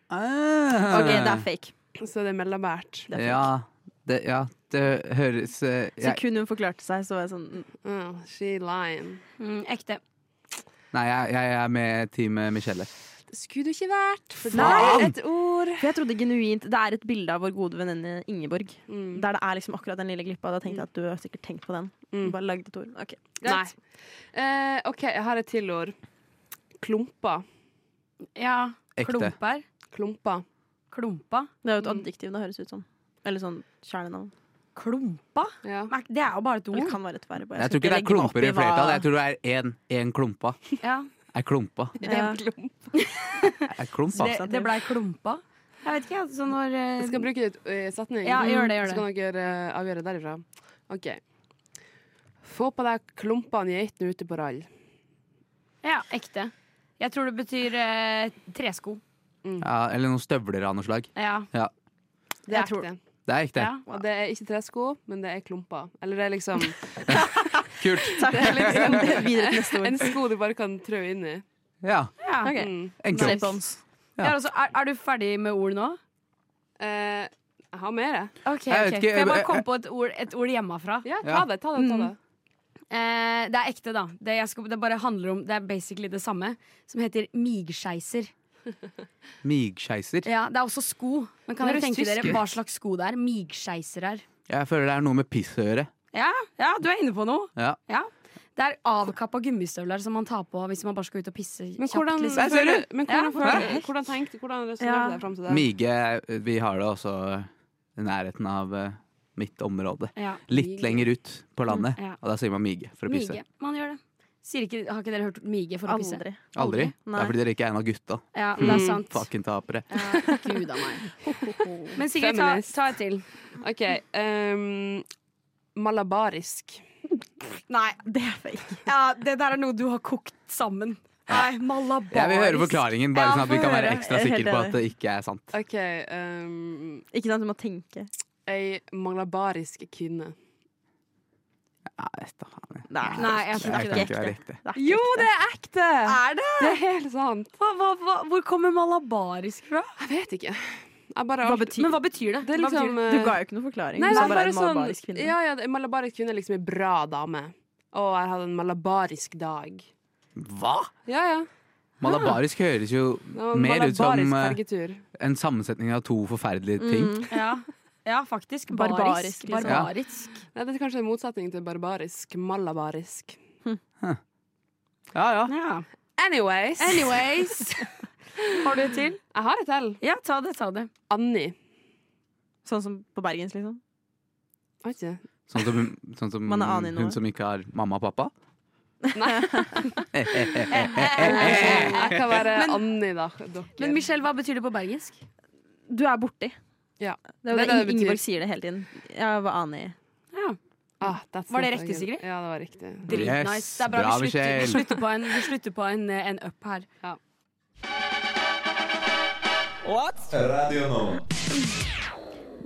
Speaker 6: Ah.
Speaker 5: OK, det er fake.
Speaker 8: Så det er mellabært.
Speaker 5: Det er fake.
Speaker 6: ja, det, ja, det høres eh,
Speaker 5: Så
Speaker 6: jeg,
Speaker 5: kun hun forklarte seg, så var jeg sånn
Speaker 8: Uh, she lying.
Speaker 4: Mm, ekte.
Speaker 6: Nei, jeg, jeg er med Team Michelle.
Speaker 8: Det skulle du ikke vært, for det
Speaker 6: Faen!
Speaker 8: er et ord.
Speaker 5: For jeg trodde genuint Det er et bilde av vår gode venninne Ingeborg.
Speaker 8: Mm.
Speaker 5: Der det er liksom akkurat den lille glippa. Da tenkte jeg at du har sikkert tenkt på den.
Speaker 8: Mm.
Speaker 5: Bare lagd et ord. Ok,
Speaker 8: Nei.
Speaker 5: greit.
Speaker 8: Eh, OK, jeg har et til ord. Klumper.
Speaker 4: Ja.
Speaker 6: Ekte.
Speaker 4: Klumper.
Speaker 8: Klumper.
Speaker 4: Klumpa.
Speaker 5: Det er jo et adjektiv det høres ut som. Eller sånn kjælenavn.
Speaker 4: Klumpa?
Speaker 8: Ja.
Speaker 4: Men Det er jo bare et
Speaker 5: Eller
Speaker 4: ord.
Speaker 5: kan være et verb. og
Speaker 6: Jeg
Speaker 5: skal
Speaker 6: tror ikke det er
Speaker 5: legge meg opp
Speaker 6: klumper i
Speaker 5: hva-
Speaker 6: flertall. Jeg tror det er én, én klumpa.
Speaker 4: Ja.
Speaker 6: Er klumpa. altså.
Speaker 5: Ja.
Speaker 6: Er klumpa.
Speaker 4: Så det, det blei klumpa. Jeg vet ikke, jeg. Så når eh,
Speaker 8: Jeg skal bruke det i setning,
Speaker 4: Ja, gjør det, gjør
Speaker 8: så kan dere eh, avgjøre derifra. OK. Få på deg klumpene geitene ute på rall.
Speaker 4: Ja, ekte. Jeg tror det betyr eh, tresko.
Speaker 6: Ja, eller noen støvler av noe slag.
Speaker 4: Ja.
Speaker 8: Det er
Speaker 5: Jeg tror-
Speaker 8: ekte.
Speaker 6: Det er ekte.
Speaker 4: ja.
Speaker 8: Og det er ikke tresko, men det er klumper. Eller det er liksom
Speaker 6: Kult.
Speaker 5: Takk. Det er liksom det er videre til neste ord.
Speaker 8: En sko du bare kan trø inn i.
Speaker 6: Ja.
Speaker 4: Ja.
Speaker 5: Ok.
Speaker 8: Mm.
Speaker 6: Enkelt.
Speaker 9: Slip-ons.
Speaker 6: Ja.
Speaker 4: Ja, altså, er, er du ferdig med ord nå?
Speaker 8: Eh, jeg har mer, jeg.
Speaker 4: Ok,
Speaker 6: Jeg vet
Speaker 4: ok.
Speaker 6: ikke,
Speaker 4: For
Speaker 6: jeg-
Speaker 4: jeg bare
Speaker 6: jeg-
Speaker 4: kom på et ord, et ord hjemmefra.
Speaker 8: Ja, ta
Speaker 6: Ja.
Speaker 8: det. ta det, ta
Speaker 5: Mm.
Speaker 8: det.
Speaker 4: Eh, det er ekte, da. Det, jeg skal, det bare handler om Det er basically det samme. Som heter migskeiser.
Speaker 6: Migskeiser.
Speaker 4: Ja, det er også sko. Men kan
Speaker 8: Det
Speaker 4: dere
Speaker 8: høres
Speaker 4: tenke
Speaker 8: tysk
Speaker 4: dere
Speaker 8: ut.
Speaker 4: hva slags sko det er? Migskeiser er.
Speaker 6: Jeg føler det er noe med piss å gjøre.
Speaker 4: Ja, ja, du er inne på noe.
Speaker 6: Ja.
Speaker 4: Det er avkappa gummistøvler som man tar på hvis man bare skal ut og pisse
Speaker 8: Men
Speaker 4: kjapt.
Speaker 8: hvordan,
Speaker 4: liksom.
Speaker 6: Der ser du!
Speaker 8: men hvordan,
Speaker 4: Ja.
Speaker 8: føler- hvordan tenkte Hvordan resonnerte
Speaker 5: Ja.
Speaker 8: deg fram til det?
Speaker 6: Mige Vi har det også i nærheten av eh, mitt område.
Speaker 4: Ja.
Speaker 6: Litt
Speaker 4: Mig-
Speaker 6: lenger ut på landet.
Speaker 4: Mm, ja.
Speaker 6: Og da sier man mige for å pisse.
Speaker 4: Mige. Man gjør det. Sier ikke, har ikke dere hørt mige for å pisse?
Speaker 5: Aldri.
Speaker 6: Aldri? Det
Speaker 5: Nei.
Speaker 6: er fordi dere ikke er en av gutta.
Speaker 4: Ja, det
Speaker 6: Mm,
Speaker 4: er sant.
Speaker 6: Fucking tapere.
Speaker 4: Ja, Gud a meg. Men Sigrid, ta,
Speaker 8: Feminist.
Speaker 4: ta et til.
Speaker 8: OK. ehm, malabarisk.
Speaker 4: Nei,
Speaker 5: Det er fake.
Speaker 4: ja, det der er noe du har kokt sammen. Nei, malabarisk.
Speaker 6: Jeg vil høre forklaringen, bare
Speaker 4: Ja,
Speaker 6: sånn at vi
Speaker 4: få
Speaker 6: kan være
Speaker 4: høre.
Speaker 6: ekstra
Speaker 5: Jeg er helt
Speaker 6: sikre på
Speaker 5: enig.
Speaker 6: at det ikke er sant.
Speaker 8: OK. Um,
Speaker 5: Ikke sant, du må tenke.
Speaker 8: ei malabarisk kvinne.
Speaker 6: Nei, vet du faen.
Speaker 5: Nei,
Speaker 4: Nei, jeg
Speaker 6: Det
Speaker 4: tror
Speaker 6: kan
Speaker 4: ikke det.
Speaker 6: ikke være riktig.
Speaker 5: det er
Speaker 8: Jo,
Speaker 5: ikke
Speaker 8: det er ekte!
Speaker 4: Er det?
Speaker 8: Det er helt sant.
Speaker 4: Hva, hva, hva, hvor kommer malabarisk fra?
Speaker 8: Jeg vet ikke. Jeg bare
Speaker 5: Hva betyr
Speaker 4: Men hva betyr det?
Speaker 8: Det er
Speaker 4: Hva betyr
Speaker 8: liksom
Speaker 4: det?
Speaker 5: Du ga jo ikke noen forklaring. du
Speaker 8: Nei, det
Speaker 5: sa
Speaker 8: er
Speaker 5: bare
Speaker 8: bare
Speaker 5: en
Speaker 8: sånn
Speaker 5: malabarisk kvinne.
Speaker 8: Ja, ja, en malabarisk kvinne er liksom en bra dame. Å, jeg hadde en malabarisk dag.
Speaker 6: Hva?!
Speaker 8: Ja, ja.
Speaker 6: Malabarisk høres jo
Speaker 8: Det var en
Speaker 6: mer ut som
Speaker 8: malabarisk
Speaker 6: eh,
Speaker 8: fergetur.
Speaker 6: en sammensetning av to forferdelige ting.
Speaker 4: Ja. ja, faktisk.
Speaker 5: Barbarisk,
Speaker 4: Barisk.
Speaker 5: liksom.
Speaker 4: Barbarisk.
Speaker 8: Nei, det er kanskje en motsetning til barbarisk. Malabarisk.
Speaker 6: Ja, ja.
Speaker 4: Ja.
Speaker 8: Anyways.
Speaker 4: Anyways. Har du et til?
Speaker 8: Jeg har et til.
Speaker 4: Ja, ta det, ta det.
Speaker 8: Annie.
Speaker 5: Sånn som på Bergens, liksom.
Speaker 8: Har ikke det?
Speaker 6: Sånn som, sånn som
Speaker 5: Man er aning nå.
Speaker 6: hun som ikke har mamma og pappa.
Speaker 8: Nei.
Speaker 6: Eh,
Speaker 8: Jeg kan være Annie, da. Dere.
Speaker 4: Men Michelle, hva betyr det på bergensk?
Speaker 5: Du er borti.
Speaker 8: Ja.
Speaker 5: Det er jo
Speaker 8: Det
Speaker 5: det,
Speaker 8: er det det betyr.
Speaker 5: Ingeborg sier det hele tiden. Jeg var anig.
Speaker 4: Ja.
Speaker 8: Ah, that's
Speaker 4: Var det
Speaker 8: not
Speaker 4: riktig,
Speaker 8: good.
Speaker 4: Sigrid?
Speaker 8: Ja, det var riktig.
Speaker 4: Dritnice.
Speaker 6: Yes,
Speaker 4: det er bra,
Speaker 6: bra,
Speaker 4: vi slutter,
Speaker 6: Michelle.
Speaker 4: vi slutter på en, vi slutter på en, eh, en up her.
Speaker 1: Radio Nova.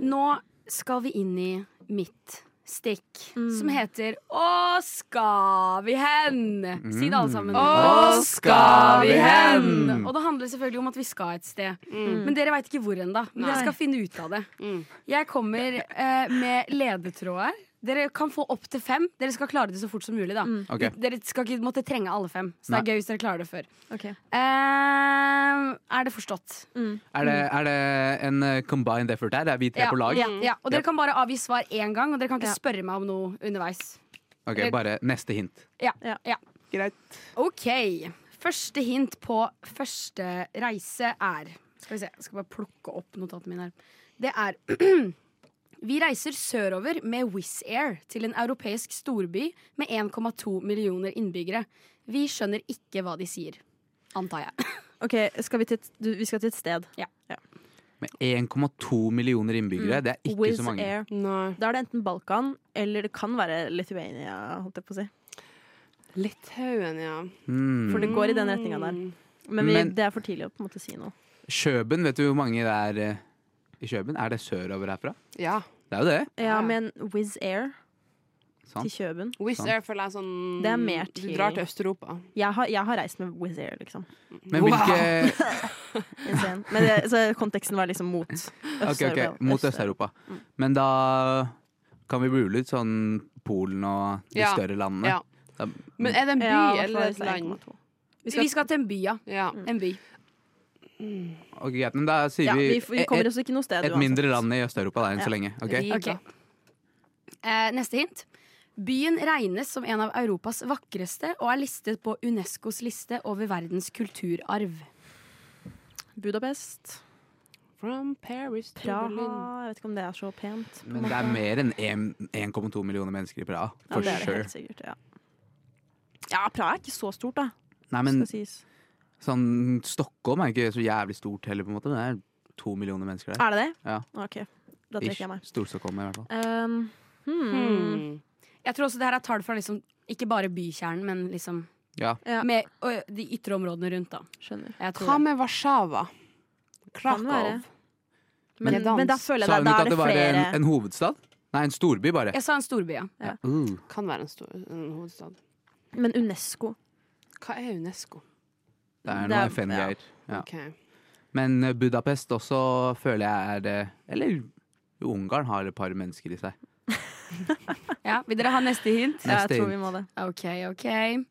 Speaker 4: Nå skal vi inn i mitt stikk, som heter Å, skal vi hen? Si det alle
Speaker 6: Mm.
Speaker 4: sammen.
Speaker 8: Å, skal
Speaker 6: vi hen?
Speaker 4: Og det handler selvfølgelig om at vi skal et sted. Men dere veit ikke hvor ennå. Men dere skal finne ut av det.
Speaker 8: Mm.
Speaker 4: Jeg kommer eh, med ledetråder. Dere kan få opp til fem. Dere skal klare det så fort som mulig. da
Speaker 6: Ok.
Speaker 4: Dere skal ikke måtte trenge alle fem. Så det er gøy hvis dere klarer det før.
Speaker 5: Ok.
Speaker 4: Eh, er det forstått?
Speaker 6: Er det, er det en eh, combined effort her? Det er vi tre
Speaker 4: Ja,
Speaker 6: på lag?
Speaker 4: Ja, ja. Og
Speaker 6: Ja.
Speaker 4: dere kan bare avgi svar én gang, og dere kan ikke
Speaker 5: Ja.
Speaker 4: spørre meg om noe underveis.
Speaker 6: Ok, Bare neste hint.
Speaker 4: Ok, Første hint på første reise er Skal vi se, jeg skal bare plukke opp notatene mine her. Det er Vi reiser sørover med Wizz Air til en europeisk storby med 1,2 millioner innbyggere. Vi skjønner ikke hva de sier. Antar jeg.
Speaker 5: Ok, skal vi, til et, du, vi skal til et sted.
Speaker 6: Med 1,2 millioner innbyggere. Det er ikke
Speaker 5: Wizz
Speaker 6: så mange.
Speaker 5: Air.
Speaker 8: Nei.
Speaker 5: Da er det enten Balkan, eller det kan være Lithuania, holdt jeg på å si.
Speaker 8: Litauen, ja. Mm,
Speaker 5: For det går i den retninga der. Men, vi,
Speaker 6: Mm. Men-
Speaker 5: det er for tidlig å på en måte si noe.
Speaker 6: Kjøben, vet du hvor mange det er eh, i Kjøben? Er det sørover herfra?
Speaker 8: Ja.
Speaker 6: Det er jo det.
Speaker 5: Ja, men Wizz Air
Speaker 6: Sant.
Speaker 5: til Kjøben
Speaker 8: Wizz
Speaker 6: Sant.
Speaker 8: Air føler jeg sånn
Speaker 5: Det er mer
Speaker 8: Du
Speaker 5: til-
Speaker 8: drar til Øst-Europa.
Speaker 5: jeg har, jeg har reist med Wizz Air, liksom.
Speaker 6: Men hvilke
Speaker 5: Insane. Men det, så konteksten var liksom mot Øst-Europa.
Speaker 6: Ok, ok, Mot Øst-Europa. Men da kan vi rule ut sånn Polen og de
Speaker 8: Ja.
Speaker 6: større landene.
Speaker 8: Ja. Men er det en by
Speaker 5: Ja, i hvert
Speaker 8: eller
Speaker 5: fall
Speaker 8: et land?
Speaker 5: 1,2.
Speaker 4: Vi skal, til en by, ja.
Speaker 8: Ja.
Speaker 5: Mm.
Speaker 4: En by.
Speaker 6: Ok, greit, men da sier
Speaker 5: Ja, vi,
Speaker 6: vi, e-
Speaker 5: f- vi kommer oss ikke noe sted
Speaker 6: et, et
Speaker 5: uansett.
Speaker 6: mindre land i Øst-Europa da, enn
Speaker 5: Ja.
Speaker 6: så lenge. ok?
Speaker 8: Riga.
Speaker 4: Ok. Eh, neste hint. Byen regnes som en av Europas vakreste og er listet på Unescos liste over verdens kulturarv.
Speaker 5: Budapest.
Speaker 8: From Paris to
Speaker 5: Praha.
Speaker 8: Berlin.
Speaker 5: Jeg vet ikke om det er så pent. på en
Speaker 6: Men det er
Speaker 5: måte.
Speaker 6: mer enn en- 1,2 millioner mennesker i Praha.
Speaker 5: ja,
Speaker 6: For
Speaker 5: det er det
Speaker 6: sure.
Speaker 5: helt sikkert. Ja. ja, Praha er ikke så stort, da.
Speaker 6: Nei, men
Speaker 5: skal sies.
Speaker 6: sånn, Stockholm er ikke så jævlig stort heller, på en måte. Det er to millioner mennesker der.
Speaker 5: Er det det?
Speaker 6: Ja.
Speaker 5: OK, da
Speaker 6: Ish.
Speaker 5: trekker jeg meg.
Speaker 6: Stor-Stockholm, i hvert fall.
Speaker 5: Um, hmm.
Speaker 6: Mm.
Speaker 8: Hmm.
Speaker 4: Jeg tror også det her er tall fra liksom, ikke bare bykjernen, men liksom
Speaker 6: Ja.
Speaker 5: Ja.
Speaker 4: Med ø, de ytre områdene rundt, da.
Speaker 5: Skjønner.
Speaker 4: Jeg tror
Speaker 8: Hva
Speaker 4: det.
Speaker 8: med Warszawa?
Speaker 5: Kan være.
Speaker 8: Krakow?
Speaker 5: Men,
Speaker 8: Gdansk.
Speaker 5: men da føler
Speaker 6: Sa
Speaker 5: jeg det,
Speaker 6: hun
Speaker 5: da
Speaker 6: ikke
Speaker 5: er
Speaker 6: at
Speaker 5: det
Speaker 6: det var
Speaker 5: flere
Speaker 6: en, en hovedstad? Nei, en storby, bare.
Speaker 4: Jeg sa en storby, ja.
Speaker 6: Uh.
Speaker 8: Kan være en, stor, en hovedstad.
Speaker 5: Men UNESCO.
Speaker 8: Hva er UNESCO?
Speaker 6: Det er
Speaker 5: Det
Speaker 6: noe
Speaker 5: er-
Speaker 6: FN-greier. Ja.
Speaker 8: Ok.
Speaker 6: Men eh, Budapest også føler jeg er eh, Eller Ungarn har et par mennesker i seg.
Speaker 4: ja. Vil dere ha neste hint?
Speaker 5: Ja,
Speaker 6: Neste
Speaker 5: jeg tror vi
Speaker 6: hint.
Speaker 5: må det.
Speaker 4: Ok, ok.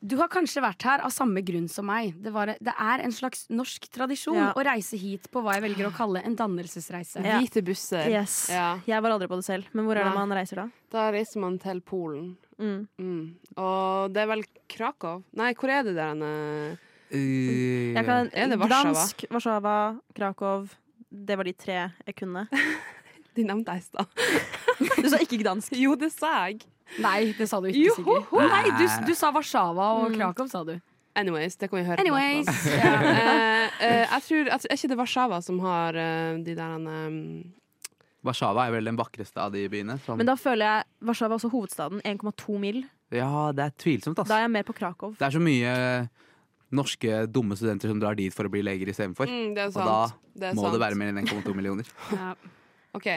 Speaker 4: Du har kanskje vært her av samme grunn som meg. Det, var, det er en slags norsk tradisjon
Speaker 5: Ja.
Speaker 4: å reise hit på hva jeg velger å kalle en dannelsesreise.
Speaker 5: Ja.
Speaker 8: Hvite busser.
Speaker 5: Yes.
Speaker 8: Ja.
Speaker 5: Jeg var aldri på det selv, men hvor er det
Speaker 8: Nei.
Speaker 5: man reiser da?
Speaker 8: Da reiser man til Polen.
Speaker 5: Mm.
Speaker 8: Mm. Og det er vel Krakow? Nei, hvor er det der? Anne?
Speaker 6: Eh,
Speaker 5: Jeg kan,
Speaker 8: Er det Warszawa?
Speaker 5: Gdansk, Warszawa, Krakow. Det var de tre jeg kunne.
Speaker 8: De nevnte jeg i stad.
Speaker 5: Du sa ikke Gdansk.
Speaker 8: Jo, det sa jeg.
Speaker 4: Nei, det sa du ikke, Sigrid. Nei, du, du sa Warszawa og Krakow, sa du.
Speaker 8: Anyways, det kan vi høre
Speaker 4: Anyways.
Speaker 8: på.
Speaker 4: Ja.
Speaker 8: etterpå. Eh, eh, jeg tror, jeg, tror- er ikke det Warszawa som har eh, de der um,
Speaker 6: Warszawa er vel den vakreste av de byene. Sånn.
Speaker 5: Men da føler jeg Warszawa er også hovedstaden. 1,2 mil.
Speaker 6: Ja, det er tvilsomt, ass.
Speaker 5: Da er jeg mer på Krakow.
Speaker 6: Det er så mye norske dumme studenter som drar dit for å bli leger istedenfor.
Speaker 8: mm, Det er
Speaker 6: Og
Speaker 8: sant.
Speaker 6: da
Speaker 8: det er
Speaker 6: Må
Speaker 8: sant.
Speaker 6: det være mer enn 1,2 millioner?
Speaker 4: Ja.
Speaker 8: OK.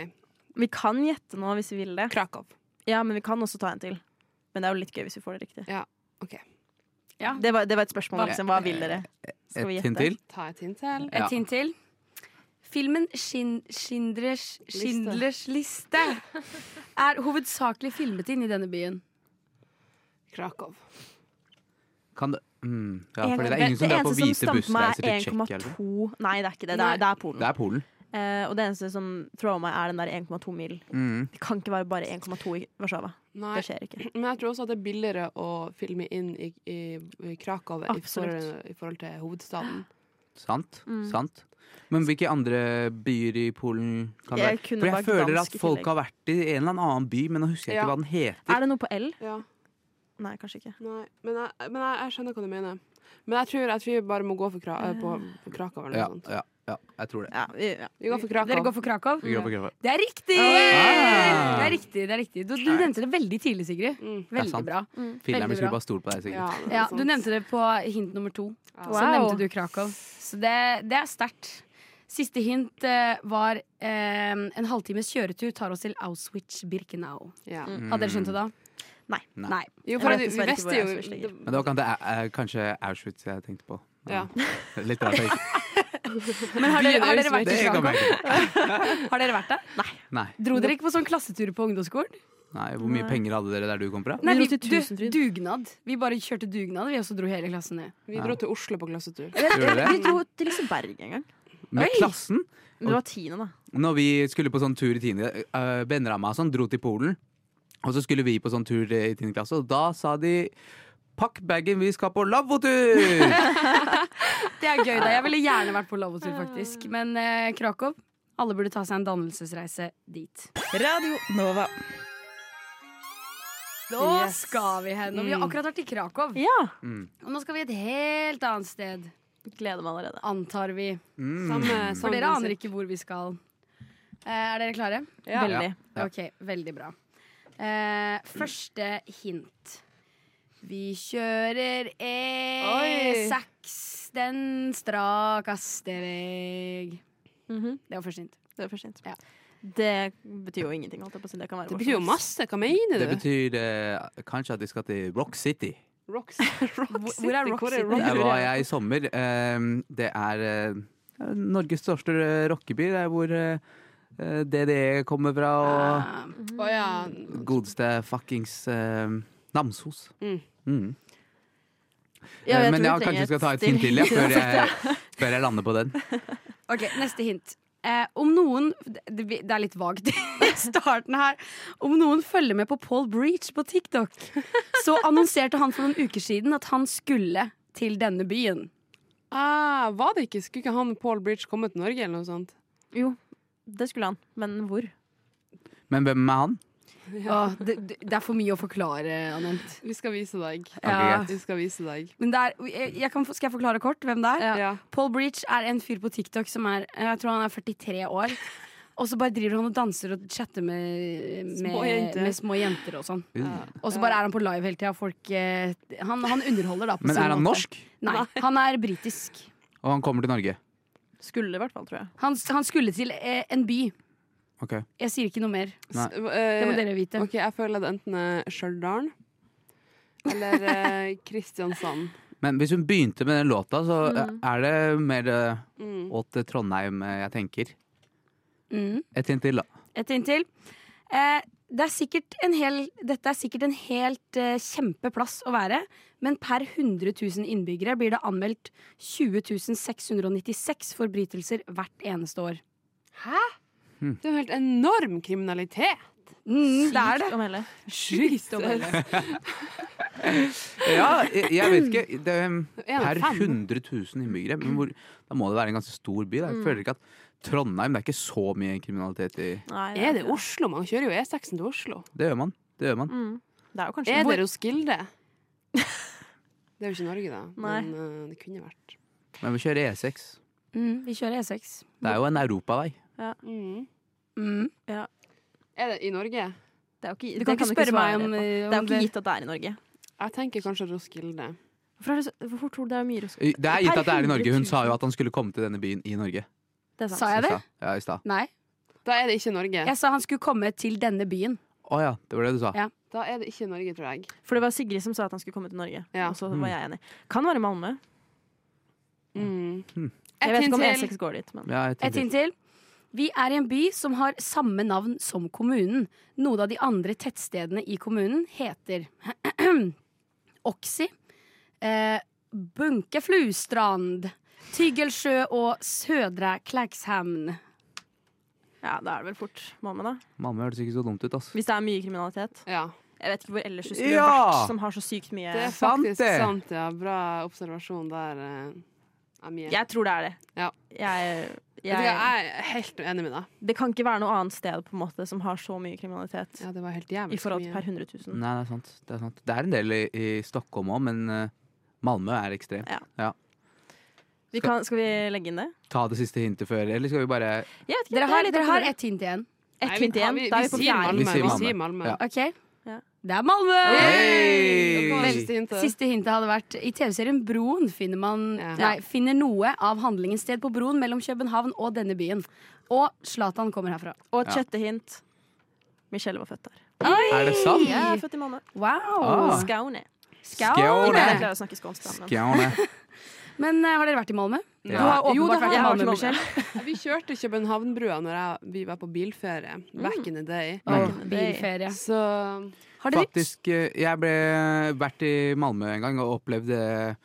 Speaker 5: Vi kan gjette nå hvis vi vil det.
Speaker 8: Krakow.
Speaker 5: Ja, men vi kan også ta en til. Men det er jo litt gøy hvis vi får det riktig.
Speaker 4: Ja.
Speaker 5: Det var, det var et spørsmål,
Speaker 4: Hva-
Speaker 5: liksom. Hva vil dere? Skal vi
Speaker 6: Et
Speaker 5: gjette?
Speaker 6: hint til?
Speaker 8: Ta et hint til.
Speaker 6: Ja.
Speaker 4: Et hint til. Filmen Schind Schindlers, Schindlers liste er hovedsakelig filmet inn i denne byen.
Speaker 8: Krakow.
Speaker 6: Kan det mm, Ja,
Speaker 5: En-
Speaker 6: fordi det er ingen som drar på hvite
Speaker 5: Det
Speaker 6: bussreiser til
Speaker 5: eneste som
Speaker 6: Tsjekkia.
Speaker 5: stamper meg, er 1,2 Nei,
Speaker 6: eller noe.
Speaker 5: det er ikke det. Det er, det er Polen.
Speaker 6: Det er Polen.
Speaker 5: Eh, og det eneste som thrower meg, er den der 1,2 mil.
Speaker 6: Mm.
Speaker 5: Det kan ikke være bare 1,2 i Warszawa.
Speaker 8: Nei,
Speaker 5: Det skjer ikke.
Speaker 8: men jeg tror også at det er billigere å filme inn i, i, i Krakow i forhold,
Speaker 5: Absolutt.
Speaker 8: i forhold til hovedstaden.
Speaker 6: Sant. sant. Men hvilke andre byer i Polen kan det
Speaker 5: Jeg
Speaker 6: være?
Speaker 5: kunne
Speaker 6: For jeg
Speaker 5: bare
Speaker 6: føler
Speaker 5: dansk
Speaker 6: at
Speaker 5: i
Speaker 6: folk
Speaker 5: tillegg.
Speaker 6: har vært i en eller annen by, men nå husker jeg ikke
Speaker 8: Ja.
Speaker 6: hva den heter.
Speaker 5: Er det noe på L?
Speaker 8: Ja,
Speaker 5: Nei, kanskje ikke.
Speaker 8: nei, men jeg, men jeg, jeg skjønner hva du mener. Men jeg tror at vi bare må gå for Kra eh, på, på Krakow eller noe
Speaker 6: Ja,
Speaker 8: sånt.
Speaker 6: ja, ja, jeg tror det.
Speaker 5: Ja, vi, ja.
Speaker 8: Vi går for Krakow.
Speaker 4: Dere går for Krakow?
Speaker 6: Vi går på Krakow.
Speaker 4: Det er riktig!
Speaker 6: Ah!
Speaker 4: Det er riktig, det er riktig. Du, du nevnte det veldig tidlig, Sigrid.
Speaker 8: Mm.
Speaker 6: Det er
Speaker 4: Veldig
Speaker 6: sant.
Speaker 4: bra.
Speaker 6: Filler'n
Speaker 4: Veldig
Speaker 6: skulle
Speaker 4: bra.
Speaker 6: bare stole på deg,
Speaker 8: Ja,
Speaker 6: sikkert.
Speaker 8: det er
Speaker 4: Ja,
Speaker 8: sant.
Speaker 4: du nevnte det på hint nummer to. Så
Speaker 5: Wow.
Speaker 4: nevnte du Krakow. Så det, det er sterkt. Siste hint eh, var eh, en halvtimes kjøretur tar oss til Auschwitz-Birkenau.
Speaker 8: Ja.
Speaker 4: Hadde dere skjønt
Speaker 6: Mm.
Speaker 4: det da?
Speaker 5: Nei.
Speaker 6: Nei.
Speaker 4: Nei.
Speaker 8: Jo,
Speaker 5: Mm. Jeg vet
Speaker 8: for vi,
Speaker 5: dessverre
Speaker 8: vi
Speaker 5: ikke hvor
Speaker 8: visste jo
Speaker 5: Auschwitz ligger.
Speaker 6: Men det var kanskje, eh, kanskje Auschwitz jeg tenkte på.
Speaker 8: Ja.
Speaker 6: Litt rart. jeg ikke-
Speaker 4: Men har dere, har dere vært i
Speaker 6: Det
Speaker 4: Krakow?
Speaker 6: kommer jeg ikke på.
Speaker 4: Har dere vært der?
Speaker 6: Nei.
Speaker 4: Dro dere ikke på sånn klassetur på ungdomsskolen?
Speaker 6: Nei. Hvor mye penger hadde dere der du kom fra?
Speaker 4: Nei,
Speaker 5: dro
Speaker 4: vi,
Speaker 5: til
Speaker 4: du,
Speaker 5: Tusenfryd.
Speaker 4: dugnad. Vi bare kjørte dugnad, vi også dro hele klassen ned.
Speaker 8: Vi dro til Oslo på klassetur.
Speaker 6: Gjorde dere det?
Speaker 5: Vi dro til Liseberg en gang.
Speaker 6: Med
Speaker 4: Oi.
Speaker 6: klassen?
Speaker 5: Men det var tiende, da.
Speaker 6: Når vi skulle på sånn tur i tiende øh, Venner av meg og sånn dro til Polen Og så skulle vi på sånn tur i tiende klasse Og da sa de Pakk baggen, vi skal på lavvotur
Speaker 4: Det er gøy, da. Jeg ville gjerne vært på lavotur, faktisk. Men eh, Krakow alle burde ta seg en dannelsesreise dit.
Speaker 9: Radio Nova.
Speaker 4: Nå skal vi hen. Og vi har akkurat vært i Krakow.
Speaker 5: Ja!
Speaker 4: Og nå skal vi et helt annet sted,
Speaker 5: Gleder meg allerede.
Speaker 4: antar vi.
Speaker 6: Mm.
Speaker 8: Samme,
Speaker 4: For dere aner ikke hvor vi skal. Eh, er dere klare?
Speaker 8: Ja.
Speaker 5: Veldig.
Speaker 6: Ja.
Speaker 4: Ok, veldig bra. Eh, første hint. Vi kjører E6 den strakaste veg.
Speaker 5: Mhm.
Speaker 4: Det var første hint.
Speaker 5: Det var første hint.
Speaker 4: Ja.
Speaker 5: Det betyr jo ingenting. Holdt jeg på å si. Det kan være
Speaker 8: Det
Speaker 5: hvor
Speaker 8: betyr jo
Speaker 5: som helst.
Speaker 8: masse. Hva mener
Speaker 6: Det
Speaker 8: du?
Speaker 6: betyr eh, kanskje at vi skal til Rock City
Speaker 8: Rock, rock City. Hvor er Rock City?
Speaker 6: Der var jeg i sommer Eh, Det er eh, Norges største eh, rockeby Det er hvor eh, eh, DDE kommer fra Og
Speaker 4: Ah,
Speaker 8: Å ja.
Speaker 6: godeste fuckings eh, Namsos
Speaker 8: Mm.
Speaker 6: Mm.
Speaker 5: Ja,
Speaker 6: Eh,
Speaker 5: jeg
Speaker 6: Men
Speaker 5: tror
Speaker 6: ja,
Speaker 5: vi trenger
Speaker 6: kanskje vi skal ta et hint til ja, før, jeg, før jeg lander på den
Speaker 4: ok, neste hint. Eh, om noen det, det er litt vagt i starten her. Om noen følger med på Paul Breach på TikTok, så annonserte han for noen uker siden at han skulle til denne byen.
Speaker 8: Ah, var det ikke? Skulle ikke han Paul Bridge komme til Norge eller noe sånt?
Speaker 5: Jo, det skulle han. Men hvor?
Speaker 6: Men hvem er han?
Speaker 4: Åh, det, det det er for mye å forklare, Anent.
Speaker 8: Vi skal vise deg.
Speaker 4: Ja.
Speaker 8: Vi skal vise deg.
Speaker 4: Men det er, jeg, jeg kan, skal jeg forklare kort hvem det er?
Speaker 8: Ja.
Speaker 4: Paul Breach er en fyr på TikTok som er Jeg tror han er 43 år. Og så bare driver han og danser og chatter med, med,
Speaker 8: Små jenter.
Speaker 4: med små jenter og sånn.
Speaker 6: Uh.
Speaker 4: Og så bare er han på live hele tida. Folk, eh, Han, han underholder, da. På
Speaker 6: Men
Speaker 4: sin
Speaker 6: er han
Speaker 4: måte.
Speaker 6: norsk?
Speaker 4: Nei, han er britisk.
Speaker 6: Og han kommer til Norge?
Speaker 5: Skulle, i hvert fall, tror jeg.
Speaker 4: Han, han skulle til eh, en by.
Speaker 6: Ok.
Speaker 4: Jeg sier ikke noe mer.
Speaker 6: Nei.
Speaker 8: S-
Speaker 4: Det må
Speaker 8: eh,
Speaker 4: dere vite.
Speaker 8: Ok, jeg føler det enten er Stjørdal eller eh, Kristiansand.
Speaker 6: Men hvis hun begynte med den låta, så eh,
Speaker 5: Mm.
Speaker 6: er det mer eh,
Speaker 8: Mm.
Speaker 6: åt eh, Trondheim eh, jeg tenker.
Speaker 4: Mm.
Speaker 6: Et hint til, da.
Speaker 4: Et hint til. Eh, det er sikkert en hel, dette er sikkert en helt eh, kjempeplass å være, men per 100 000 innbyggere blir det anmeldt 20 696 forbrytelser hvert eneste år.
Speaker 8: Det er jo helt enorm kriminalitet!
Speaker 4: Mm, det er det.
Speaker 5: Sykt å melde.
Speaker 8: Sjukt å melde.
Speaker 6: Ja, jeg, jeg vet ikke. Det, eh,
Speaker 8: En av
Speaker 6: per
Speaker 8: fem.
Speaker 6: 100 000 innbyggere. Men hvor, da må det være en ganske stor by.
Speaker 5: Mm.
Speaker 6: Da. Jeg føler ikke at Trondheim Det er ikke så mye kriminalitet i
Speaker 5: Nei,
Speaker 8: Er det Oslo? Man kjører jo E6-en til Oslo.
Speaker 6: Det gjør man. Det gjør man.
Speaker 5: Mm. Det er jo kanskje
Speaker 8: Er
Speaker 5: Hvor-
Speaker 8: det Roskilde? Det er jo ikke Norge, da.
Speaker 5: Nei.
Speaker 8: Men eh, det kunne vært.
Speaker 6: Men vi kjører E6.
Speaker 4: Mm, vi kjører E6.
Speaker 6: Det er jo en europavei.
Speaker 8: Mm.
Speaker 4: Mm.
Speaker 8: Er det i Norge?
Speaker 5: det er jo ikke,
Speaker 4: Du kan
Speaker 5: det
Speaker 4: ikke spørre meg
Speaker 5: svare
Speaker 4: om,
Speaker 5: på.
Speaker 4: eh,
Speaker 5: Det er
Speaker 4: om
Speaker 5: jo ikke gitt at det er i Norge.
Speaker 8: Jeg tenker kanskje Roskilde.
Speaker 5: Hvorfor, er det så, hvorfor tror du det er mye rusk?
Speaker 6: Det er gitt
Speaker 5: Per
Speaker 6: at det er i Norge.
Speaker 5: 100
Speaker 6: Hun
Speaker 5: 000.
Speaker 6: sa jo at han skulle komme til denne byen i Norge.
Speaker 5: Det er
Speaker 4: Sa
Speaker 5: sant.
Speaker 4: jeg det?
Speaker 6: I stad. Ja, i stad.
Speaker 4: Nei.
Speaker 8: Da er det ikke Norge.
Speaker 4: Jeg sa han skulle komme til denne byen.
Speaker 6: Å ja, det var det du sa.
Speaker 4: Ja.
Speaker 8: Da er det ikke Norge, tror jeg.
Speaker 5: For det var Sigrid som sa at han skulle komme til Norge,
Speaker 8: Ja.
Speaker 5: og så
Speaker 6: Mm.
Speaker 5: var jeg enig. Kan være Malmö.
Speaker 8: Mm.
Speaker 6: Hmm.
Speaker 5: Jeg
Speaker 8: Et
Speaker 5: vet ikke
Speaker 8: hint
Speaker 5: om E
Speaker 8: til.
Speaker 5: E6 går dit, men
Speaker 6: Ja, jeg
Speaker 4: Et
Speaker 6: tenkte-
Speaker 4: hint til. Vi er i en by som har samme navn som kommunen. Noen av de andre tettstedene i kommunen heter Oksi, eh, Bunkeflustrand, Tygelsjø og Sødre Klækshamn.
Speaker 5: ja, da er det vel fort Malmö, da.
Speaker 6: Mamma hørtes ikke så dumt ut, ass.
Speaker 5: Hvis det er mye kriminalitet.
Speaker 8: Ja.
Speaker 5: Jeg vet ikke hvor ellers det skulle
Speaker 6: Ja!
Speaker 5: vært som har så sykt mye
Speaker 8: Det er
Speaker 6: sant,
Speaker 8: faktisk
Speaker 6: det.
Speaker 8: sant, ja. Bra observasjon der, eh, Amie.
Speaker 5: Jeg tror det er det.
Speaker 8: Ja.
Speaker 5: Jeg,
Speaker 8: Vet du hva,
Speaker 5: jeg,
Speaker 8: jeg er helt uenig med deg.
Speaker 5: det kan ikke være noe annet sted på en måte som har så mye kriminalitet
Speaker 8: Ja, det var helt
Speaker 5: i
Speaker 8: jævlig
Speaker 5: forhold til
Speaker 8: mye.
Speaker 5: per 100 000.
Speaker 6: Nei, det er sant. Det er, sant. Det er en del i, i Stockholm òg, men eh, Malmö er ekstrem.
Speaker 5: Vi kan, skal vi legge inn det?
Speaker 6: Ta det siste hintet før, eller skal vi bare
Speaker 5: Jeg vet
Speaker 4: Dere
Speaker 5: ikke, det er
Speaker 4: har,
Speaker 5: litt
Speaker 4: dere har
Speaker 5: opp til dere.
Speaker 4: ett hint igjen.
Speaker 5: ett hint
Speaker 8: Nei,
Speaker 5: igjen.
Speaker 8: vi-
Speaker 5: Da er
Speaker 8: vi
Speaker 5: vi på
Speaker 8: sier
Speaker 5: fjerde.
Speaker 8: Malmö.
Speaker 6: Vi sier
Speaker 8: Vi
Speaker 6: Malmö.
Speaker 8: sier Malmö.
Speaker 6: Ja.
Speaker 4: Ok?
Speaker 5: Ja.
Speaker 4: Det er Malmø!
Speaker 8: Da
Speaker 6: Hei!
Speaker 8: kommer det siste hintet.
Speaker 4: Siste hintet hadde vært I TV-serien Broen finner man
Speaker 8: Ja.
Speaker 4: Nei, finner noe av handlingen sted på broen mellom København og denne byen. Og Zlatan kommer herfra.
Speaker 5: Og et
Speaker 6: Ja.
Speaker 5: sjette hint. Michelle var født der.
Speaker 6: Er det sant?
Speaker 5: Jeg er født i Malmö.
Speaker 4: Wow!
Speaker 6: Ah.
Speaker 5: Skaune.
Speaker 6: Skåne.
Speaker 5: Jeg klarer å snakke skånsk. da, men-
Speaker 6: Skåne.
Speaker 4: Men eh, har dere vært i Malmö?
Speaker 6: Ja.
Speaker 4: Du har
Speaker 5: Jo, det
Speaker 4: åpenbart
Speaker 5: har
Speaker 4: vært i Malmö,
Speaker 5: jeg. Jeg har vært i
Speaker 4: Michelle.
Speaker 5: Malmö.
Speaker 8: Vi kjørte Københavnbrua når jeg, vi var på bilferie. Back in the day.
Speaker 4: Åh,
Speaker 5: Mm.
Speaker 4: bilferie.
Speaker 8: Så
Speaker 4: Har dere
Speaker 6: Faktisk, eh, jeg ble vært i Malmø en gang og opplevde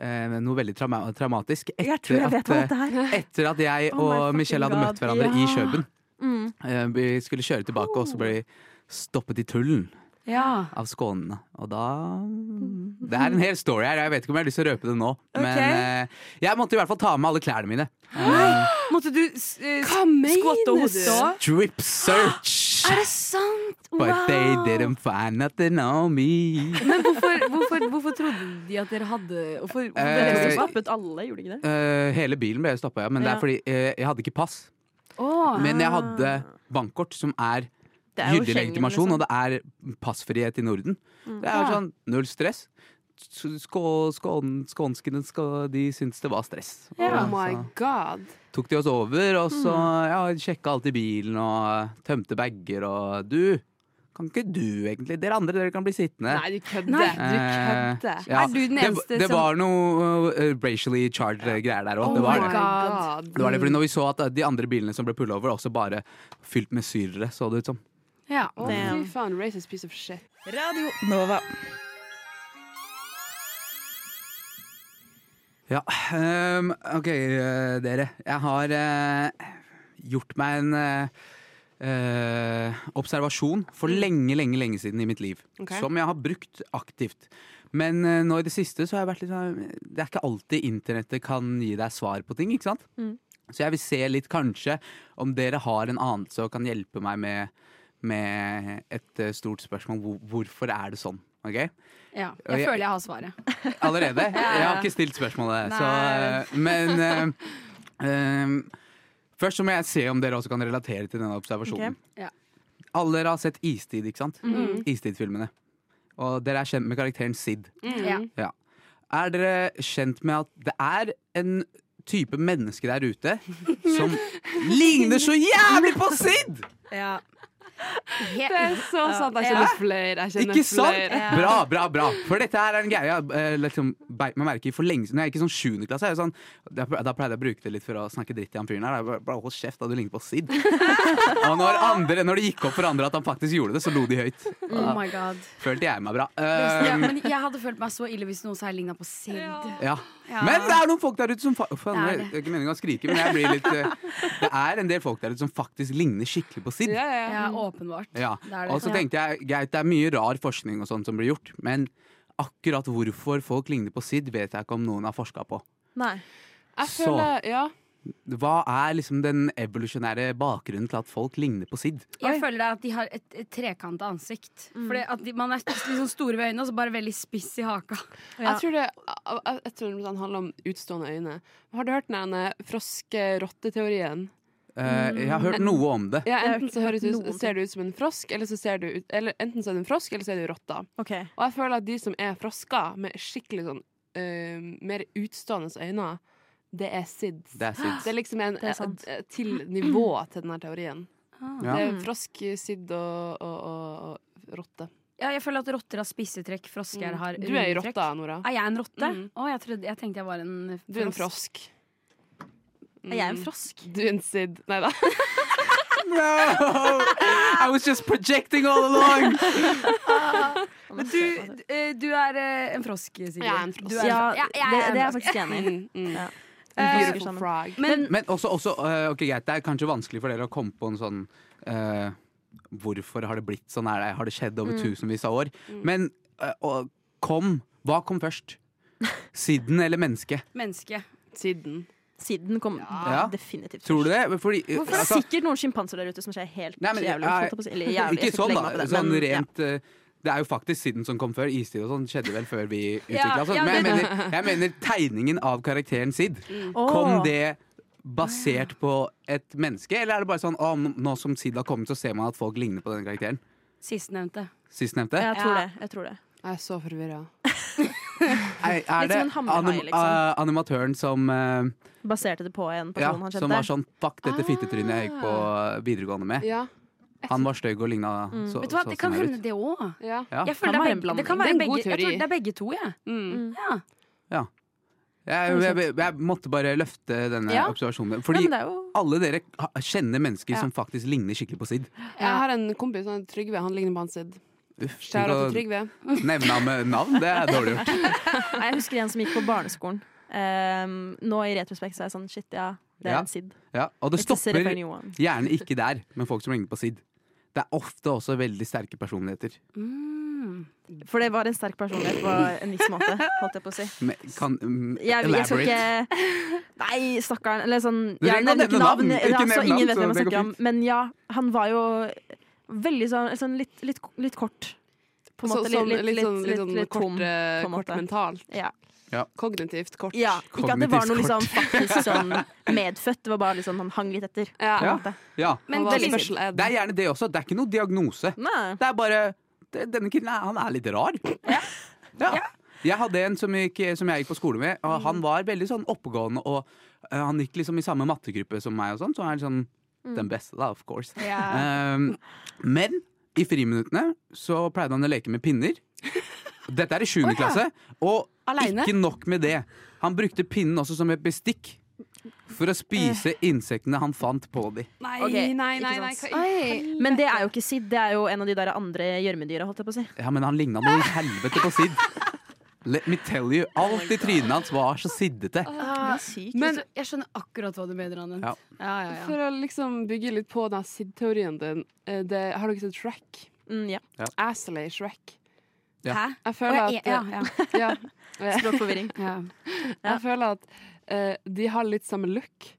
Speaker 6: eh, noe veldig trauma traumatisk etter
Speaker 5: Jeg tror jeg vet
Speaker 6: at,
Speaker 5: hva
Speaker 6: eh,
Speaker 5: dette her er.
Speaker 6: etter at jeg
Speaker 5: Oh my
Speaker 6: og
Speaker 5: fucking
Speaker 6: Michelle hadde
Speaker 5: God.
Speaker 6: møtt hverandre i
Speaker 5: Ja.
Speaker 6: Kjøben.
Speaker 5: Mm.
Speaker 6: Eh, Vi skulle kjøre tilbake, og så ble vi stoppet i tullen
Speaker 4: Ja.
Speaker 6: av skånene. Og da mm, Det er en hel story her, jeg vet ikke om jeg har lyst til å røpe det nå. Men eh, jeg måtte i hvert fall ta med alle klærne mine. Eh,
Speaker 4: Måtte du uh,
Speaker 8: Hva mener
Speaker 4: skvatte og hoste
Speaker 8: du?
Speaker 4: òg?
Speaker 6: Strip search!
Speaker 4: Er det sant? Wow!
Speaker 6: But they didn't find nothing on me.
Speaker 4: Men hvorfor, hvorfor, hvorfor trodde de at dere hadde Hvorfor?
Speaker 5: Jeg
Speaker 6: Eh,
Speaker 5: tror det liksom slappet alle, gjorde ikke det?
Speaker 6: Eh, hele bilen ble stoppa, ja. Men det
Speaker 5: Ja.
Speaker 6: er fordi eh, jeg hadde ikke pass.
Speaker 4: Åh.
Speaker 6: Men jeg hadde bankkort, som er
Speaker 5: Det er jo
Speaker 6: gyldig
Speaker 5: Schengen,
Speaker 6: legitimasjon,
Speaker 5: liksom.
Speaker 6: og det er passfrihet i Norden. Det er sånn null stress. Skå, skån, skånskene skal, de syntes det var stress.
Speaker 8: Oh
Speaker 6: Og
Speaker 8: my
Speaker 6: så
Speaker 8: god.
Speaker 6: tok de oss over, og så ja, sjekka alltid bilen og tømte bager og Du, kan ikke du egentlig? Dere andre, dere kan bli sittende.
Speaker 8: Nei, du
Speaker 4: Nei.
Speaker 8: kødder. Du
Speaker 6: Eh,
Speaker 8: kødder.
Speaker 6: ja.
Speaker 4: Er du den eneste
Speaker 6: det, det
Speaker 4: som-
Speaker 6: var noe eh, racially charged eh, greier der òg.
Speaker 4: Oh
Speaker 6: det
Speaker 4: my
Speaker 6: var det.
Speaker 4: God.
Speaker 6: Det var det, fordi når vi så at uh, de andre bilene som ble pulla over, var også bare fylt med syrere, så det ut som.
Speaker 4: Ja.
Speaker 8: Å,
Speaker 5: Damn.
Speaker 8: fy faen. Racist piece of shit.
Speaker 9: Radio Nova.
Speaker 6: Ja, ehm, ok, eh, dere. Jeg har eh, gjort meg en eh, eh, observasjon for lenge, lenge, lenge siden i mitt liv.
Speaker 8: Ok.
Speaker 6: Som jeg har brukt aktivt. Men eh, nå i det siste så har jeg vært litt sånn Det er ikke alltid internettet kan gi deg svar på ting, ikke sant?
Speaker 5: Mm.
Speaker 6: Så jeg vil se litt kanskje om dere har en annen som kan hjelpe meg med, med et eh, stort spørsmål. Hvor, hvorfor er det sånn? Ok?
Speaker 4: ja.
Speaker 6: Og
Speaker 4: Jeg
Speaker 6: jeg-
Speaker 4: føler jeg har svaret.
Speaker 6: Allerede? Jeg har ikke stilt spørsmålet. Så, eh, men eh, eh, først så må jeg se om dere også kan relatere til denne observasjonen.
Speaker 4: Ok. Ja. Mm.
Speaker 6: Alle dere har sett Istid, ikke sant? Istid-filmene. Og dere er
Speaker 4: Mm.
Speaker 6: kjent med karakteren Sid.
Speaker 4: Ja.
Speaker 6: Er dere kjent med at det er en type menneske der ute som ligner så jævlig på Sid!
Speaker 4: Ja.
Speaker 8: Det er så sant. Jeg kjenner flere. Jeg kjenner
Speaker 6: Ikke
Speaker 5: sånn?
Speaker 6: sant?
Speaker 8: flere.
Speaker 6: Bra, bra, bra. For dette her er en greie jeg eh, liksom, beit meg merke i for lenge siden. Når jeg gikk i sånn sjuende klasse, er jeg sånn, da ple- da pleide jeg å bruke det litt for å snakke dritt til han fyren her. Jeg bare, bare hold kjeft, da. Du ligner på Sid. Og når, andre, når det gikk opp for andre at han faktisk gjorde det, så lo de høyt.
Speaker 4: Oh my god.
Speaker 6: Følte jeg meg bra.
Speaker 4: Ja,
Speaker 6: Eh,
Speaker 4: men jeg hadde følt meg så ille hvis noen sa jeg ligna på Sid.
Speaker 6: ja. Men det er noen folk der ute som fa faen,
Speaker 4: Det er
Speaker 6: det,
Speaker 4: det.
Speaker 6: er ikke meningen å skrike, men jeg blir litt eh, Det er en del folk der ute som faktisk ligner skikkelig på Sid.
Speaker 8: Ja, ja, ja.
Speaker 4: Ja, åpenbart.
Speaker 6: Ja.
Speaker 4: Det er det.
Speaker 6: Og så tenkte jeg greit, det er mye rar forskning og sånt som blir gjort, men akkurat hvorfor folk ligner på Sid, vet jeg ikke om noen har forska på.
Speaker 5: Nei.
Speaker 8: Jeg
Speaker 6: Så.
Speaker 8: føler Ja.
Speaker 6: Hva er liksom den evolusjonære bakgrunnen til at folk ligner på Sid?
Speaker 4: Jeg føler det er at de har et, et trekanta ansikt. Fordi at de, Man er liksom store ved øynene og så bare veldig spiss i haka.
Speaker 5: Ja.
Speaker 8: Jeg tror det jeg, jeg- jeg tror det handler om utstående øyne. Har du hørt den der froske-rotte-teorien?
Speaker 6: Eh, jeg har hørt noe om det.
Speaker 8: Ja,
Speaker 5: har
Speaker 8: enten så
Speaker 5: ikke
Speaker 8: høres
Speaker 5: hørt
Speaker 8: ut,
Speaker 5: noe om
Speaker 8: ser du ut som en frosk, eller så ser du ut, eller enten så er du en frosk, eller så er du rotta.
Speaker 5: OK.
Speaker 6: Mm.
Speaker 8: Og jeg føler at de som er frosker, med skikkelig sånn eh, mer utstående øyne, det er sids.
Speaker 6: Det er Sid.
Speaker 8: Det er liksom en,
Speaker 5: er sant. Mm.
Speaker 8: eh, til nivå til denne teorien.
Speaker 6: Ja.
Speaker 8: Det er frosk, sidd og, og, og, og rotte.
Speaker 4: Ja, jeg føler at rotter har spisse trekk, frosker har
Speaker 8: Mm. Du er ei
Speaker 4: runde trekk.
Speaker 8: rotte, Nora.
Speaker 4: Er jeg en rotte?
Speaker 8: Mm.
Speaker 4: Å, jeg, trodde, jeg tenkte jeg var en frosk.
Speaker 8: Du er en frosk. Mm.
Speaker 5: Er jeg en frosk?
Speaker 8: Du er en sidd. Nei da.
Speaker 6: No! I was just projecting all along!
Speaker 4: Men du, eh, du er eh, en frosk, Sigrid.
Speaker 8: Jeg er en frosk.
Speaker 4: Du
Speaker 5: Ja,
Speaker 4: Ja, jeg
Speaker 5: det,
Speaker 4: er
Speaker 5: det er jeg
Speaker 4: frosk.
Speaker 5: faktisk enig i.
Speaker 8: Mm, mm.
Speaker 5: Ja.
Speaker 8: En
Speaker 5: Eh,
Speaker 8: Beautiful frog.
Speaker 4: Men
Speaker 6: Men også, også eh, ok, greit, det er kanskje vanskelig for dere å komme på en sånn eh, Hvorfor har det blitt sånn? Er det, har det skjedd
Speaker 5: Mm.
Speaker 6: over tusenvis av år? Men eh, og, kom, hva kom først? Sidden eller mennesket?
Speaker 4: menneske.
Speaker 8: Siden.
Speaker 5: Siden kom
Speaker 6: Ja.
Speaker 5: definitivt
Speaker 6: Tror du det? Fordi, eh,
Speaker 5: Hvorfor? Det er
Speaker 6: altså,
Speaker 5: sikkert noen sjimpanser der ute som ser helt
Speaker 6: Nei, men jeg-
Speaker 5: jævlig ut. holdt jeg på å si. Eller jævlig, jeg
Speaker 6: ikke
Speaker 5: skal
Speaker 6: sånn,
Speaker 5: legge
Speaker 6: da.
Speaker 5: meg på det,
Speaker 6: Sånn
Speaker 5: men- ja.
Speaker 6: rent eh, det er jo faktisk siden som kom før. Istid og sånn skjedde vel før vi utvikla
Speaker 4: Ja,
Speaker 6: oss.
Speaker 4: ja,
Speaker 6: Men jeg
Speaker 4: det-
Speaker 6: mener, jeg mener tegningen av karakteren Sid.
Speaker 5: Åh.
Speaker 6: Kom det basert på et menneske, eller er det bare sånn å, nå- nå som Sid har kommet, så ser man at folk ligner på den karakteren?
Speaker 4: Sistnevnte.
Speaker 6: Sistnevnte?
Speaker 5: Jeg tror
Speaker 4: Ja.
Speaker 5: det. Jeg tror det.
Speaker 8: Jeg er så forvirra.
Speaker 6: Er, er
Speaker 5: Litt
Speaker 6: det
Speaker 5: som en hammerhai,
Speaker 6: anim,
Speaker 5: liksom.
Speaker 6: eh, animatøren som eh,
Speaker 5: Baserte det på en
Speaker 6: ja,
Speaker 5: person han
Speaker 6: Som
Speaker 5: kjente. Ah.
Speaker 6: var sånn Fuck dette fittetrynet jeg gikk på eh, videregående med.
Speaker 8: Ja.
Speaker 6: Han var stygg og ligna
Speaker 5: Mm.
Speaker 6: så,
Speaker 4: Vet du hva,
Speaker 6: så
Speaker 4: Det kan
Speaker 6: sånn her
Speaker 4: hende
Speaker 6: ut.
Speaker 4: det òg.
Speaker 8: ja.
Speaker 6: Ja.
Speaker 4: Jeg føler
Speaker 5: Kan
Speaker 4: det
Speaker 5: være
Speaker 4: er begge,
Speaker 5: en
Speaker 4: det
Speaker 5: blanding.
Speaker 4: kan
Speaker 8: Det
Speaker 4: være
Speaker 8: er en
Speaker 4: begge,
Speaker 8: god
Speaker 4: jeg tror
Speaker 8: teori.
Speaker 4: det er begge to, jeg.
Speaker 8: Mm.
Speaker 4: Ja.
Speaker 6: Jeg, jeg, jeg, jeg måtte bare løfte denne
Speaker 4: Ja.
Speaker 6: observasjonen.
Speaker 5: Ja,
Speaker 6: Fordi
Speaker 5: men det er jo
Speaker 6: alle dere ha- kjenner mennesker
Speaker 8: Ja.
Speaker 6: som faktisk ligner skikkelig på Sid.
Speaker 8: Jeg har en kompis, han heter Trygve. Han ligner på han Sid.
Speaker 6: Uff,
Speaker 8: Shout out til
Speaker 6: tenk
Speaker 8: Trygve.
Speaker 6: å nevne ham med navn, det er dårlig gjort. sånn.
Speaker 5: Nei, jeg husker en som gikk på barneskolen. Ehm, nå i retrospekt så er jeg sånn shit, ja, det er
Speaker 6: Ja.
Speaker 5: en Sid.
Speaker 6: Ja, og det
Speaker 5: It's a
Speaker 6: stopper
Speaker 5: Sid if I knew one.
Speaker 6: gjerne ikke der med folk som ligner på Sid. Det er ofte også veldig sterke personligheter.
Speaker 4: Mm.
Speaker 5: For det var en sterk personlighet på en viss måte, holdt jeg på å si.
Speaker 6: Men Kan, mm,
Speaker 5: Jeg, jeg skal
Speaker 6: elaborate.
Speaker 5: ikke Nei, stakkaren. Eller sånn
Speaker 6: Du
Speaker 5: ja,
Speaker 6: trenger ikke å
Speaker 5: nevner
Speaker 6: nevne
Speaker 5: ikke navn.
Speaker 6: navn.
Speaker 5: Ja,
Speaker 6: Ikke
Speaker 5: så
Speaker 6: nevne navn,
Speaker 5: ingen vet
Speaker 6: så
Speaker 5: hvem jeg
Speaker 6: det går
Speaker 5: snakker om.
Speaker 6: fint.
Speaker 5: Men ja, han var jo veldig sånn, sånn litt, litt, litt kort. På en
Speaker 8: Så,
Speaker 5: måte
Speaker 8: sånn,
Speaker 5: litt,
Speaker 8: litt,
Speaker 5: litt,
Speaker 8: sånn, litt, sånn
Speaker 5: tom.
Speaker 8: kort, eh,
Speaker 5: på en
Speaker 8: kort
Speaker 5: måte.
Speaker 8: mentalt.
Speaker 5: Ja.
Speaker 8: Kognitivt kort.
Speaker 5: ja. Ikke at det var noe
Speaker 6: Kognitivt
Speaker 5: liksom, faktisk sånn medfødt, det var bare litt sånn han hang litt etter.
Speaker 8: Ja.
Speaker 5: På en
Speaker 6: Ja.
Speaker 5: måte.
Speaker 6: Ja.
Speaker 8: Han
Speaker 4: Men
Speaker 8: var
Speaker 4: det-
Speaker 8: special ed.
Speaker 6: Det er gjerne det også. Det er ikke noe diagnose.
Speaker 5: Nei.
Speaker 6: Det er bare det, Denne kiden er, han er litt rar. Ja. Jeg hadde en som, gikk, som jeg gikk på skole med, og han var veldig sånn oppegående. Og eh, han gikk liksom i samme mattegruppe som meg, og sånn, så han er liksom den beste, da, of course. Ehm, men i friminuttene så pleide han å leke med pinner. Dette er i sjuende klasse. Og
Speaker 8: Alene?
Speaker 6: ikke nok med det. Han brukte pinnen også som et bestikk for å spise insektene han fant på de.
Speaker 8: Nei,
Speaker 5: Ok,
Speaker 8: nei, nei.
Speaker 5: ikke
Speaker 8: nei,
Speaker 5: sant.
Speaker 8: hva i
Speaker 5: Men det er jo ikke Sid, det er jo en av de der andre gjørmedyra, holdt jeg på å si.
Speaker 6: Ja, men han ligna noe i helvete på Sid. Let me tell you, Alt i trynet hans var så siddete.
Speaker 4: Men jeg skjønner akkurat hva du mener, Anne.
Speaker 6: Ja.
Speaker 4: Ja, ja, ja.
Speaker 8: For å liksom bygge litt på den Sid-teorien din eh, det, Har du ikke sett Shrek?
Speaker 5: Mm, ja.
Speaker 8: Assley Shrek.
Speaker 6: Ja.
Speaker 4: Hæ?
Speaker 8: Jeg
Speaker 4: Å,
Speaker 8: føler
Speaker 4: jeg-
Speaker 8: at
Speaker 4: ja, ja.
Speaker 8: ja.
Speaker 5: Språkforvirring.
Speaker 8: Ja. Jeg føler at eh, de har litt samme look.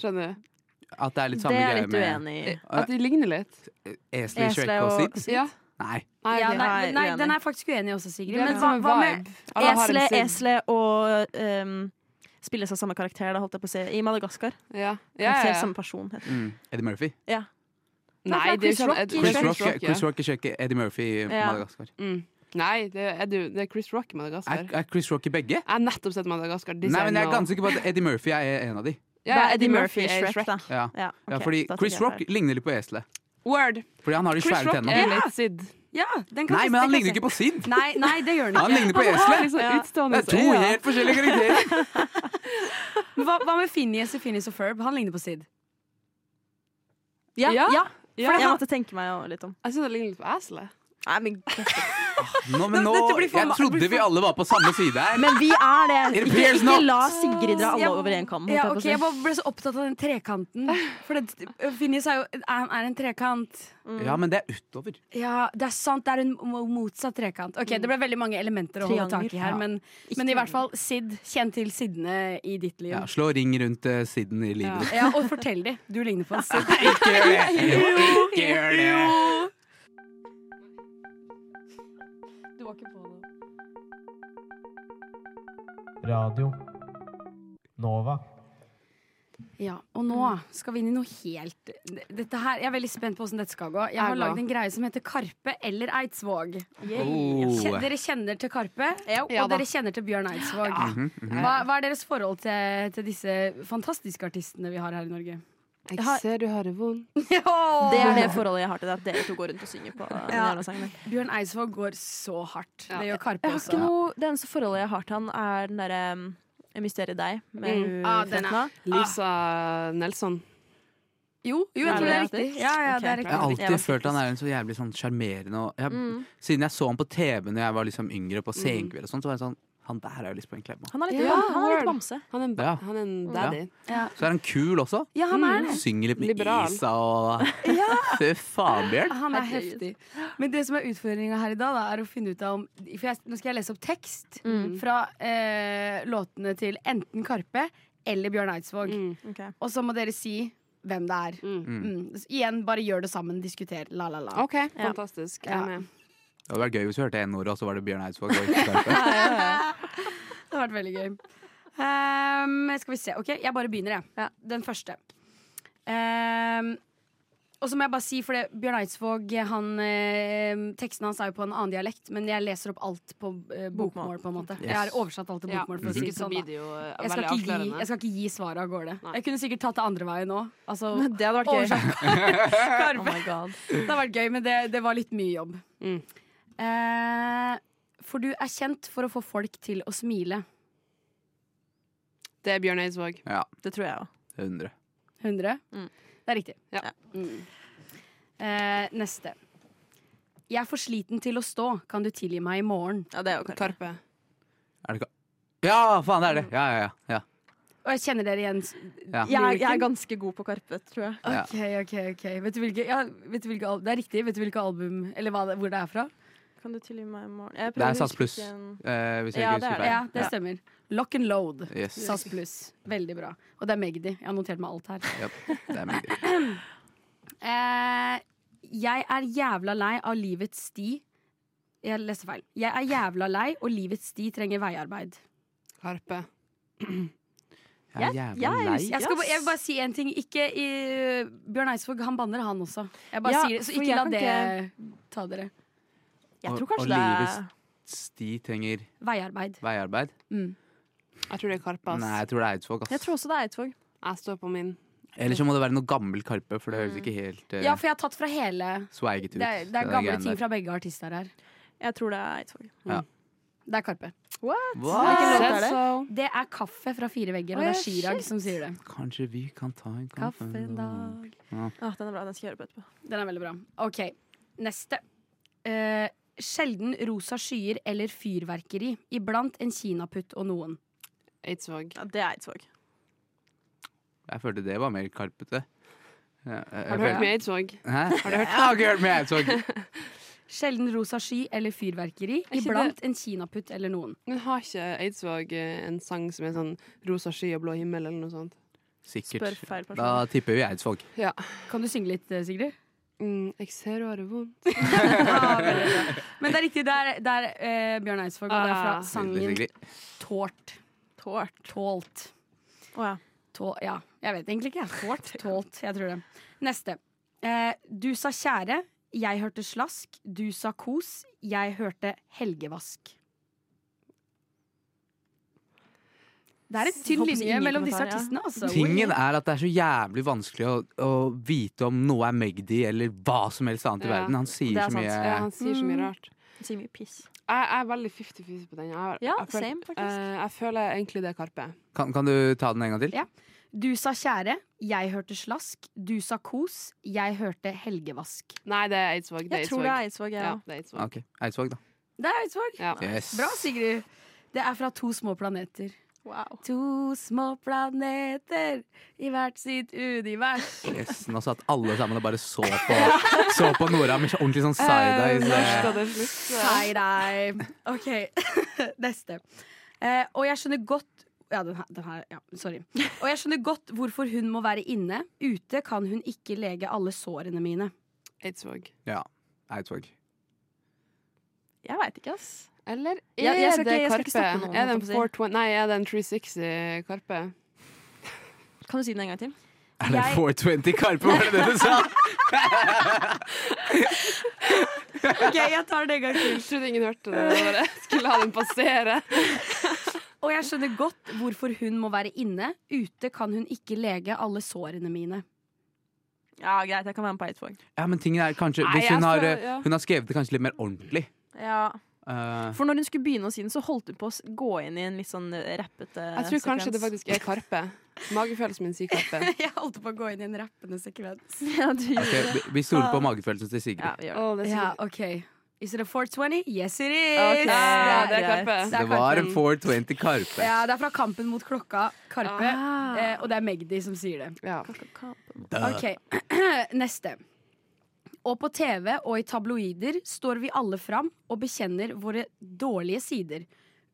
Speaker 8: Skjønner du?
Speaker 6: At det er litt
Speaker 5: Det
Speaker 6: samme
Speaker 5: er
Speaker 6: greie
Speaker 5: jeg litt uenig i.
Speaker 8: At de ligner litt.
Speaker 6: med Eh, Esley, Shrek
Speaker 5: Esle
Speaker 6: og
Speaker 5: og
Speaker 6: Sid.
Speaker 8: Ja.
Speaker 6: Nei.
Speaker 8: Nei,
Speaker 4: ja
Speaker 8: ok.
Speaker 4: nei,
Speaker 5: Nei,
Speaker 4: nei,
Speaker 5: uenig.
Speaker 4: den er jeg faktisk uenig i også,
Speaker 8: De
Speaker 4: Sigrid.
Speaker 8: har
Speaker 4: Men
Speaker 8: litt
Speaker 4: hva,
Speaker 8: samme
Speaker 4: hva med
Speaker 8: vibe. Alle har en
Speaker 5: Esle,
Speaker 8: Sid.
Speaker 5: esle og ehm, spilles av samme karakter, da, holdt jeg på å si. I Madagaskar.
Speaker 8: Ja. Ja,
Speaker 5: Karakter
Speaker 8: ja, ja.
Speaker 5: samme person. heter det.
Speaker 6: Mm. Eddie Murphy.
Speaker 5: Ja.
Speaker 8: Nei, det er jo ikke
Speaker 5: Chris Rock i Shrek.
Speaker 6: Chris
Speaker 8: Ed- Chris
Speaker 6: Rock,
Speaker 8: Rock, ja.
Speaker 6: Chris Rock er ikke Eddie Murphy i
Speaker 5: Ja.
Speaker 6: Madagaskar.
Speaker 8: Mm. Nei, det er, du, det er Chris Rock i
Speaker 6: Er,
Speaker 8: Madagaskar.
Speaker 6: er Chris Rock i begge?
Speaker 8: Jeg har nettopp sett Madagaskar.
Speaker 6: Nei, men jeg er ganske sikker på at Eddie Murphy er en av de.
Speaker 8: ja,
Speaker 5: det
Speaker 8: ja,
Speaker 5: er Eddie Murphy i
Speaker 8: er
Speaker 5: Shrek, da.
Speaker 6: Ja.
Speaker 5: Ja,
Speaker 6: Ja,
Speaker 5: ok,
Speaker 6: fordi
Speaker 5: da tenker
Speaker 6: Chris
Speaker 5: jeg
Speaker 6: Rock
Speaker 5: feil.
Speaker 6: ligner litt på eselet.
Speaker 8: Word.
Speaker 6: Fordi han har de
Speaker 8: Chris
Speaker 6: svære
Speaker 8: Rock er
Speaker 6: tennene.
Speaker 8: litt Sid.
Speaker 4: Ja, den kan
Speaker 6: Nei,
Speaker 4: jeg- den
Speaker 6: men han
Speaker 4: kan jeg
Speaker 6: ligner
Speaker 4: se.
Speaker 6: ikke på Sid!
Speaker 4: Nei, nei, det gjør den
Speaker 6: Han
Speaker 4: ikke.
Speaker 6: ligner på
Speaker 8: Han har
Speaker 6: eselet!
Speaker 8: liksom
Speaker 6: Det
Speaker 8: utstående
Speaker 6: er to
Speaker 8: øyne.
Speaker 6: helt forskjellige karakterer!
Speaker 4: Hva, hva med Phineas og Phineas og Ferb? Han ligner på Sid.
Speaker 5: Ja, ja.
Speaker 8: Ja.
Speaker 5: For jeg måtte tenke meg jo litt om.
Speaker 8: Jeg synes det ligner litt på Asle.
Speaker 5: Nei, men,
Speaker 6: Nå, men nå,
Speaker 4: Dette blir for
Speaker 6: jeg
Speaker 4: ma-
Speaker 6: trodde
Speaker 4: blir
Speaker 6: vi alle var på samme side her.
Speaker 5: men vi er det!
Speaker 6: It
Speaker 5: Ikke,
Speaker 6: appears
Speaker 5: ikke
Speaker 6: not.
Speaker 5: la Sigrid dra alle
Speaker 4: Jeg-
Speaker 5: over én kam. holdt
Speaker 4: Ja,
Speaker 5: jeg på å
Speaker 4: ok,
Speaker 5: si.
Speaker 4: Jeg bare ble så opptatt av den trekanten. For det, Phineas er jo han er en trekant.
Speaker 5: Mm.
Speaker 6: Ja, men det er utover.
Speaker 4: Ja, det er sant. Det er en mo- motsatt trekant. Ok, Det ble veldig mange elementer å holde
Speaker 5: Triangel.
Speaker 4: tak i her.
Speaker 5: Ja.
Speaker 4: Men, men i hvert fall Sid. Kjenn til sidene i ditt liv.
Speaker 6: Ja,
Speaker 4: Ja.
Speaker 6: slå ring rundt eh, siden i livet ditt.
Speaker 4: og fortell de. Du ligner på en Sid.
Speaker 6: Ikke gjør det! Ikke gjør det!
Speaker 9: Radio Nova.
Speaker 4: Ja, og nå skal vi inn i noe helt dette her, Jeg er veldig spent på hvordan dette skal gå. Jeg
Speaker 8: Jeg
Speaker 4: har
Speaker 8: går.
Speaker 4: lagd en greie som heter Karpe eller Eidsvåg. Kje-
Speaker 6: Oh.
Speaker 4: Dere kjenner til Karpe, og
Speaker 8: Ja da.
Speaker 4: dere kjenner til Bjørn Eidsvåg.
Speaker 6: Mhm, mhm.
Speaker 4: Hva, hva er deres forhold til, til disse fantastiske artistene vi har her i Norge?
Speaker 8: Jeg ser du har det vondt.
Speaker 5: Det er det forholdet jeg har til det, at dere to går rundt og synger på uh, den
Speaker 4: Ja.
Speaker 5: jævla sangen.
Speaker 4: Bjørn Eidsvåg går så hardt.
Speaker 8: Ja.
Speaker 4: Det gjør
Speaker 5: Jeg
Speaker 4: Karpe
Speaker 5: har
Speaker 4: også.
Speaker 5: ikke noe, Det eneste forholdet jeg har til han, er den derre um, Mysteriet deg med
Speaker 8: Mm.
Speaker 5: hun
Speaker 4: Ah, den er-
Speaker 5: Fetna.
Speaker 8: Lisa Nelson.
Speaker 4: Jo, jo, jeg
Speaker 5: Er
Speaker 4: tror det er
Speaker 5: det
Speaker 4: riktig.
Speaker 5: riktig?
Speaker 4: Ja, ja, det er
Speaker 5: Ok.
Speaker 6: Jeg har
Speaker 4: riktig.
Speaker 5: Jeg var
Speaker 6: alltid følt han er en så jævlig sånn sjarmerende og jeg,
Speaker 5: Mm.
Speaker 6: Siden jeg så han på TV når jeg var liksom yngre, på senkveld og sånn, så var jeg sånn Han der har jeg lyst på en klem av.
Speaker 5: Han er litt,
Speaker 8: Ja,
Speaker 5: bam, han er litt
Speaker 8: word.
Speaker 5: bamse.
Speaker 8: Han er en, ba-
Speaker 6: Ja.
Speaker 8: han er en daddy.
Speaker 6: Så er han kul også.
Speaker 4: Ja, han er det.
Speaker 6: Synger litt med
Speaker 8: Liberal.
Speaker 6: Isa og Fy faen, Bjørn.
Speaker 4: Han er
Speaker 5: Herregud.
Speaker 4: heftig. Men det som er utfordringa her i dag, da, er å finne ut av om For jeg, nå skal jeg lese opp tekst
Speaker 5: Mm.
Speaker 4: fra eh, låtene til enten Karpe eller Bjørn Eidsvåg.
Speaker 8: Mm.
Speaker 4: Og så må dere si hvem det er.
Speaker 8: Mm.
Speaker 4: Mm. Så Igjen, bare gjør det sammen. Diskuter. La, la, la.
Speaker 8: OK, fantastisk. Jeg
Speaker 4: Ja.
Speaker 8: er med.
Speaker 6: Det hadde vært gøy hvis vi hørte N-ordet, og så var det Bjørn Eidsvåg. og ikke Karpe.
Speaker 4: Det har vært veldig gøy. Ehm, skal vi se. Ok, jeg bare begynner, jeg. Den første. Ehm, og så må jeg bare si, for det, Bjørn Eidsvåg han, eh, Teksten hans er jo på en annen dialekt, men jeg leser opp alt på eh, bokmål. på en måte Jeg har oversatt alt til
Speaker 8: Ja,
Speaker 4: bokmål. For å si det
Speaker 8: så
Speaker 4: sånn,
Speaker 8: blir
Speaker 4: da.
Speaker 8: det jo eh,
Speaker 4: Jeg, skal
Speaker 8: veldig
Speaker 4: ikke gi, jeg
Speaker 8: avslørende.
Speaker 4: skal ikke gi svaret av gårde.
Speaker 8: Nei.
Speaker 4: Jeg kunne sikkert tatt det andre veien òg. Altså,
Speaker 5: Det hadde vært gøy.
Speaker 4: oversatt Karpe.
Speaker 5: Oh my god.
Speaker 4: Det har vært gøy, men det, det var litt mye jobb.
Speaker 8: Mm.
Speaker 4: Eh, for du er kjent for å få folk til å smile.
Speaker 8: Det er Bjørn Eidsvåg.
Speaker 6: Ja,
Speaker 5: Det tror jeg òg.
Speaker 6: 100.
Speaker 4: 100?
Speaker 5: Mm.
Speaker 4: Det er riktig.
Speaker 8: Ja.
Speaker 4: Mm. Eh, neste. Jeg er for sliten til å stå, kan du tilgi meg i morgen?
Speaker 5: Ja, det er jo Karpe.
Speaker 8: Karpe.
Speaker 6: Er det ikke Ja, faen, det er det! Ja, ja, ja.
Speaker 4: Og jeg kjenner dere igjen. s-
Speaker 6: Ja.
Speaker 5: Jeg, er- jeg er ganske god på Karpe, tror jeg.
Speaker 6: Ja.
Speaker 4: Ok, ok, ok. Vet du hvilke, ja, vet du hvilke al- det er riktig. Vet du hvilke album, eller hva det, hvor det er fra?
Speaker 5: Kan du tilgi meg i morgen? Jeg
Speaker 6: Det
Speaker 5: prøver
Speaker 6: er
Speaker 5: å
Speaker 6: SAS
Speaker 5: huske
Speaker 6: pluss.
Speaker 5: en-
Speaker 6: Eh, hvis jeg
Speaker 5: Ja,
Speaker 6: ikke
Speaker 5: det er
Speaker 6: husker
Speaker 5: det.
Speaker 6: feil.
Speaker 4: Ja, det stemmer. Lock and load.
Speaker 6: Yes.
Speaker 4: SAS Pluss. Veldig bra. Og det er Magdi. Jeg har notert meg alt her.
Speaker 6: Japp, det er meg.
Speaker 4: Eh, jeg er jævla lei av livets sti Jeg leste feil. Jeg er jævla lei, og livets sti trenger veiarbeid.
Speaker 8: Karpe.
Speaker 6: Jeg er
Speaker 5: Jeg-
Speaker 6: jævla
Speaker 5: jeg
Speaker 6: lei.
Speaker 5: husker-
Speaker 4: Jeg, skal,
Speaker 5: Yes.
Speaker 4: jeg vil bare si en ting. Ikke i, eh, Bjørn Eidsvåg, han banner, han også. Jeg bare
Speaker 5: Ja,
Speaker 4: sier det, så
Speaker 5: for
Speaker 4: ikke
Speaker 5: jeg
Speaker 4: la
Speaker 5: kan
Speaker 4: det ta dere.
Speaker 5: Jeg
Speaker 6: Og-
Speaker 5: tror
Speaker 6: og
Speaker 5: kanskje det er
Speaker 6: livets- Sti trenger
Speaker 4: Veiarbeid.
Speaker 6: veiarbeid.
Speaker 4: Mm.
Speaker 8: Jeg tror det er Karpe.
Speaker 6: Nei,
Speaker 8: Ass.
Speaker 6: jeg tror det er Eidsvåg.
Speaker 5: Jeg
Speaker 6: ass.
Speaker 5: tror også det er Eidsvåg.
Speaker 8: Jeg står på min.
Speaker 6: Eller så må det være noe gammel Karpe, for det høres ikke helt eh,
Speaker 4: Ja, for jeg har tatt fra hele
Speaker 6: swagget ut.
Speaker 4: Det er, det
Speaker 6: den
Speaker 4: er gamle
Speaker 6: greien
Speaker 4: ting
Speaker 6: der.
Speaker 4: fra begge artister her.
Speaker 5: Jeg tror det er Eidsvåg.
Speaker 4: Det er Karpe.
Speaker 6: Hva?
Speaker 5: Hvilken låt
Speaker 8: Said
Speaker 5: er det?
Speaker 8: so.
Speaker 4: Det er Kaffe fra Fire vegger, og
Speaker 5: Å,
Speaker 4: det er
Speaker 5: ja,
Speaker 4: Chirag
Speaker 5: shit.
Speaker 4: som sier det.
Speaker 6: Kanskje vi kan ta en kaffe
Speaker 4: Kaffen
Speaker 6: nå?
Speaker 4: dag
Speaker 5: Ah, den er bra, den skal jeg høre på etterpå.
Speaker 4: Den er veldig bra. OK, neste. Eh, sjelden rosa skyer eller fyrverkeri. Iblant en kinaputt og noen.
Speaker 8: Eidsvåg.
Speaker 5: Ja, det er Eidsvåg.
Speaker 6: Jeg følte det var mer karpete. Ja, jeg-
Speaker 8: Har du
Speaker 6: jeg
Speaker 8: hørt
Speaker 6: følte-
Speaker 8: med Eidsvåg?
Speaker 6: Hæ? Jeg har ikke hørt med Eidsvåg.
Speaker 4: Sjelden rosa sky eller fyrverkeri.
Speaker 8: ikke
Speaker 4: Iblant en kinaputt eller noen.
Speaker 8: Men har ikke Eidsvåg eh, en sang som er sånn rosa sky og blå himmel, eller noe sånt?
Speaker 5: Spør
Speaker 6: Sikkert.
Speaker 5: feil person.
Speaker 6: Da tipper vi Eidsvåg.
Speaker 4: Kan du synge litt, eh, Sigrid?
Speaker 8: Mm, jeg ser du har det vondt.
Speaker 4: Ja, veldig bra. Men det er riktig. Det er, det er eh, Bjørn Eidsvåg, og det er fra
Speaker 8: Ah.
Speaker 6: Nydelig,
Speaker 4: sangen
Speaker 6: Sigrid.
Speaker 4: Tårt.
Speaker 5: Tårt.
Speaker 4: Tålt.
Speaker 5: Å ja.
Speaker 4: Tå, ja, jeg vet egentlig ikke. jeg. Tålt. Tålt, jeg tror det. Neste. Eh, du sa kjære, Jeg hørte slask, du sa kos. Jeg hørte helgevask. Det er en tynn
Speaker 5: Håper så
Speaker 4: linje
Speaker 5: ingen
Speaker 4: mellom disse
Speaker 5: kommentar, ja.
Speaker 4: artistene. Altså.
Speaker 6: Tingen er at det er så jævlig vanskelig å, å vite om noe er Magdi eller hva som helst annet i
Speaker 8: Ja,
Speaker 6: verden. Han sier
Speaker 5: det er
Speaker 6: så
Speaker 5: sant.
Speaker 6: mye
Speaker 8: Ja, han sier så mye
Speaker 5: Mm.
Speaker 8: rart.
Speaker 5: Sier mye piss.
Speaker 8: Jeg, jeg er veldig 50-50 på den. Jeg, har-
Speaker 5: Ja,
Speaker 8: jeg, føl-
Speaker 5: same, faktisk.
Speaker 8: eh, jeg føler egentlig det er Karpe.
Speaker 6: kan, kan du ta den en gang til?
Speaker 4: Ja. Du sa kjære, jeg hørte slask. Du sa kos, jeg hørte helgevask.
Speaker 8: Nei, det er Eidsvåg. Det er
Speaker 5: Jeg tror det er
Speaker 8: Eidsvåg.
Speaker 5: Eidsvåg, jeg
Speaker 8: Ja,
Speaker 5: òg.
Speaker 8: det er Eidsvåg.
Speaker 6: Ok, Eidsvåg, da.
Speaker 4: Det er Eidsvåg.
Speaker 8: Ja.
Speaker 6: Yes.
Speaker 4: Bra, Sigrid. Det er fra to små planeter.
Speaker 5: Wow.
Speaker 4: To små planeter i hvert sitt univers.
Speaker 6: yes. Nå satt alle sammen og bare så på, så på Nora med ordentlig sånn side-eyes.
Speaker 8: Når
Speaker 6: eh.
Speaker 8: skal det slutte?
Speaker 4: Side-eye. OK, neste. Eh, og jeg skjønner godt ja, den her, den her, ja, sorry. Og jeg skjønner godt hvorfor hun må være inne. Ute kan hun ikke lege alle sårene mine.
Speaker 8: Eidsvåg.
Speaker 6: Ja, Eidsvåg.
Speaker 5: Jeg veit ikke, ass.
Speaker 8: Eller er
Speaker 5: Jeg- jeg skal
Speaker 8: det
Speaker 5: ikke- jeg skal ikke
Speaker 8: Karpe?
Speaker 5: snakke nå,
Speaker 8: er det
Speaker 5: holdt
Speaker 8: en
Speaker 5: jeg på å si.
Speaker 8: 420 Nei, er det en 360 Karpe?
Speaker 5: Kan du si den en gang til?
Speaker 6: Er det
Speaker 4: Jeg-
Speaker 6: 420 Karpe, var det det du sa?
Speaker 4: OK, jeg tar det en gang til.
Speaker 8: Jeg trodde ingen hørte det. Jeg bare skulle la den passere.
Speaker 4: Og jeg skjønner godt hvorfor hun må være inne. Ute kan hun ikke lege alle sårene mine.
Speaker 5: Ja, greit, jeg kan være med på Eidsvåg.
Speaker 6: Ja, men tingen er kanskje
Speaker 8: Nei,
Speaker 6: Hvis
Speaker 8: jeg
Speaker 6: hun har,
Speaker 8: skal-
Speaker 6: eh,
Speaker 8: ja.
Speaker 6: hun har skrevet det kanskje litt mer ordentlig.
Speaker 5: Ja.
Speaker 6: Eh,
Speaker 5: For når hun skulle begynne å si den, så holdt hun på å s- gå inn i en litt sånn eh, rappete
Speaker 8: Jeg tror kanskje det
Speaker 5: sekvens.
Speaker 8: faktisk er Karpe. Magefølelsen min sier Karpe.
Speaker 4: Jeg holdt på å gå inn i en rappende sekvens.
Speaker 5: ja, du gjorde
Speaker 6: ok,
Speaker 5: det.
Speaker 6: vi- vi stoler på magefølelsen til Sigrid.
Speaker 5: Ja, vi gjør det.
Speaker 8: Å, det er så-
Speaker 4: Ja, OK. Is it a 420? Yes, it is!
Speaker 5: Ok.
Speaker 8: Ja,
Speaker 4: Det
Speaker 8: det
Speaker 4: er-
Speaker 8: er Karpe.
Speaker 4: Det er
Speaker 6: Det var
Speaker 4: Karpe.
Speaker 6: en 420 Karpe.
Speaker 4: Ja, det er fra Kampen mot klokka, Karpe.
Speaker 5: Ah.
Speaker 4: Eh, og det er Magdi som sier det.
Speaker 8: Ja.
Speaker 4: Ok, Neste. Og på TV og i tabloider står vi alle fram og bekjenner våre dårlige sider.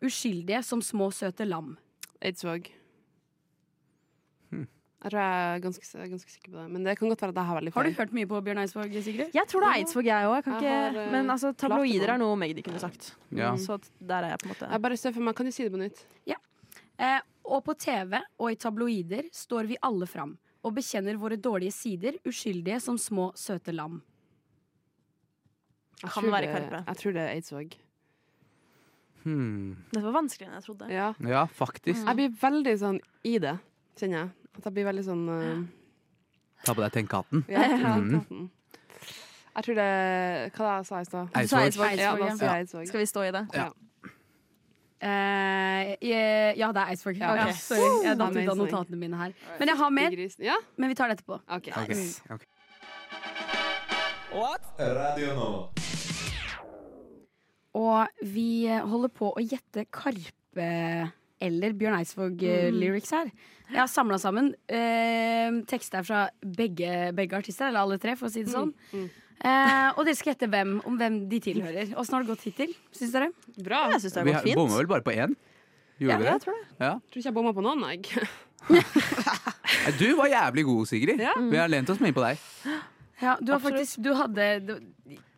Speaker 4: Uskyldige som små, søte lam.
Speaker 8: Eidsvåg.
Speaker 6: Hmm.
Speaker 8: Jeg tror jeg er ganske, jeg er ganske sikker på det. Men det kan godt være at jeg har veldig
Speaker 4: Har
Speaker 8: feil.
Speaker 4: du hørt mye på Bjørn Eidsvåg, Sigrid?
Speaker 5: Jeg tror det er Eidsvåg, jeg òg.
Speaker 8: Jeg har, eh,
Speaker 5: Men altså, tabloider
Speaker 8: platemann.
Speaker 5: er noe Magdi kunne sagt.
Speaker 6: Ja.
Speaker 5: Så at der er jeg på en måte
Speaker 8: Jeg bare ser for meg, Kan du si det på nytt?
Speaker 4: Eh, og på TV og i tabloider står vi alle fram og bekjenner våre dårlige sider. Uskyldige som små, søte lam.
Speaker 8: Jeg
Speaker 5: Kan
Speaker 8: tror
Speaker 5: være
Speaker 8: det-
Speaker 5: Karpe.
Speaker 8: Jeg tror det er Eidsvåg.
Speaker 6: Hmm.
Speaker 5: Dette var vanskeligere enn jeg trodde.
Speaker 8: Ja.
Speaker 6: Ja, faktisk.
Speaker 8: Jeg blir veldig sånn i det, kjenner jeg. At jeg blir veldig sånn eh,
Speaker 6: Ta på deg tenkhatten.
Speaker 8: ja,
Speaker 6: Mm.
Speaker 8: mm. Jeg tror det Hva var det jeg sa i stad?
Speaker 5: Du sa
Speaker 6: Eidsvåg.
Speaker 5: Eidsvåg.
Speaker 8: Ja, da
Speaker 4: Eidsvåg,
Speaker 8: sier jeg Eidsvåg.
Speaker 5: Skal vi stå i det?
Speaker 6: Ja.
Speaker 4: Eh, eh, ja, det er Eidsvåg.
Speaker 8: Ja,
Speaker 4: Ja,
Speaker 8: ok.
Speaker 4: sorry, jeg datt ut av
Speaker 8: Amazing.
Speaker 4: notatene mine her. Men jeg har mer,
Speaker 8: Grisen. Ja?
Speaker 4: men vi tar det etterpå.
Speaker 8: OK. Mm,
Speaker 6: Ok, ok.
Speaker 1: Radio Nova.
Speaker 4: Og vi eh, holder på å gjette Karpe eller Bjørn
Speaker 8: Mm.
Speaker 4: Eidsvåg-lyrics her. Jeg har samla sammen eh, tekster fra begge, begge artister, eller alle tre, for å si det
Speaker 8: Mm,
Speaker 4: sånn. Eh, og dere skal gjette hvem, om hvem de tilhører. Åssen har det gått hittil, syns dere?
Speaker 8: Bra.
Speaker 5: Jeg syns det
Speaker 6: Vi
Speaker 5: har
Speaker 6: har-
Speaker 5: gått fint.
Speaker 6: bommer vel bare på én? Gjorde vi
Speaker 5: Jeg
Speaker 6: det?
Speaker 5: tror det.
Speaker 8: Jeg tror ikke jeg bomma på noen, jeg.
Speaker 6: Nei, Eh, Du var jævlig god, Sigrid.
Speaker 8: Ja.
Speaker 6: Vi har lent oss mye på deg.
Speaker 4: Ja, du har
Speaker 5: Absolutt.
Speaker 4: faktisk Du hadde du,